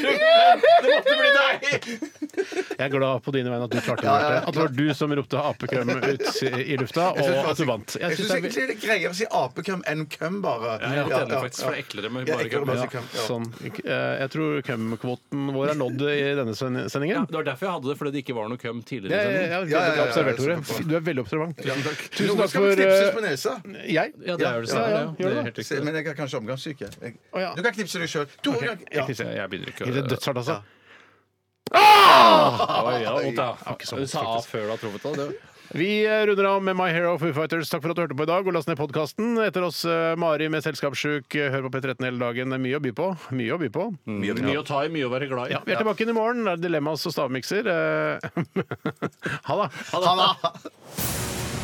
[SPEAKER 5] Det måtte bli deg!
[SPEAKER 4] Jeg er glad på dine vegne at du klarte det. Bjarte. At det var du som ropte 'apekrem' ut i lufta, og at du vant.
[SPEAKER 6] Jeg syns
[SPEAKER 4] det er-
[SPEAKER 6] egentlig det er greiere å si apekøm enn køm, bare.
[SPEAKER 5] Jeg er helt enig, faktisk, for det er eklere med
[SPEAKER 6] Ja,
[SPEAKER 5] bare
[SPEAKER 6] eklere
[SPEAKER 5] køm.
[SPEAKER 6] med
[SPEAKER 5] Ja.
[SPEAKER 6] bare køm, ja.
[SPEAKER 4] Sånn. Ik- eh, Jeg tror køm-kvoten vår er nådd i denne sen-
[SPEAKER 5] Ja,
[SPEAKER 4] sendingen.
[SPEAKER 5] det var derfor jeg hadde det, fordi det ikke var noe køm
[SPEAKER 4] Ja,
[SPEAKER 5] tidligere.
[SPEAKER 4] ja,
[SPEAKER 5] i sendingen.
[SPEAKER 4] ja, veldig
[SPEAKER 6] ja, ja,
[SPEAKER 4] bra
[SPEAKER 6] ja,
[SPEAKER 4] observert,
[SPEAKER 6] ja,
[SPEAKER 4] Tore.
[SPEAKER 6] ja,
[SPEAKER 4] Du er veldig observant. Tusen
[SPEAKER 6] Noen
[SPEAKER 4] takk
[SPEAKER 6] skal vel
[SPEAKER 4] for
[SPEAKER 6] knipses på
[SPEAKER 4] eh,
[SPEAKER 6] nesa.
[SPEAKER 4] Jeg?
[SPEAKER 5] liksom. Ja, det er jo det
[SPEAKER 4] Ja,
[SPEAKER 5] samme.
[SPEAKER 4] ja,
[SPEAKER 5] Ja,
[SPEAKER 4] gjør
[SPEAKER 5] det
[SPEAKER 4] det.
[SPEAKER 5] er helt
[SPEAKER 6] Se,
[SPEAKER 5] riktig.
[SPEAKER 6] Men jeg er kanskje omgangssyk. jeg. Jeg-
[SPEAKER 4] Å, ja.
[SPEAKER 6] Du kan knipse deg sjøl. To
[SPEAKER 4] Ok,
[SPEAKER 6] ganger.
[SPEAKER 4] Jeg
[SPEAKER 6] Ja.
[SPEAKER 4] knipser, jeg begynner ikke. å-
[SPEAKER 5] Ikke dødshardt,
[SPEAKER 4] altså.
[SPEAKER 5] Oi, ja, vondt, ja.
[SPEAKER 4] var ikke så
[SPEAKER 5] Du
[SPEAKER 4] vondt,
[SPEAKER 5] sa A
[SPEAKER 4] faktisk.
[SPEAKER 5] før du har truffet det.
[SPEAKER 4] Vi eh, runder av med My Hero Foo Fighters. Takk for at du hørte på i dag, og last ned podkasten. Etter oss eh, Mari med Selskapssjuk. Eh, Hør på P13 hele dagen. Det er mye å by på. Mye å by på.
[SPEAKER 5] Mye, mye å ta i, mye å være glad
[SPEAKER 4] Mm.
[SPEAKER 5] i.
[SPEAKER 4] Ja, vi er tilbake inn i morgen. Det er Dilemmas og stavmikser. Eh, ha det.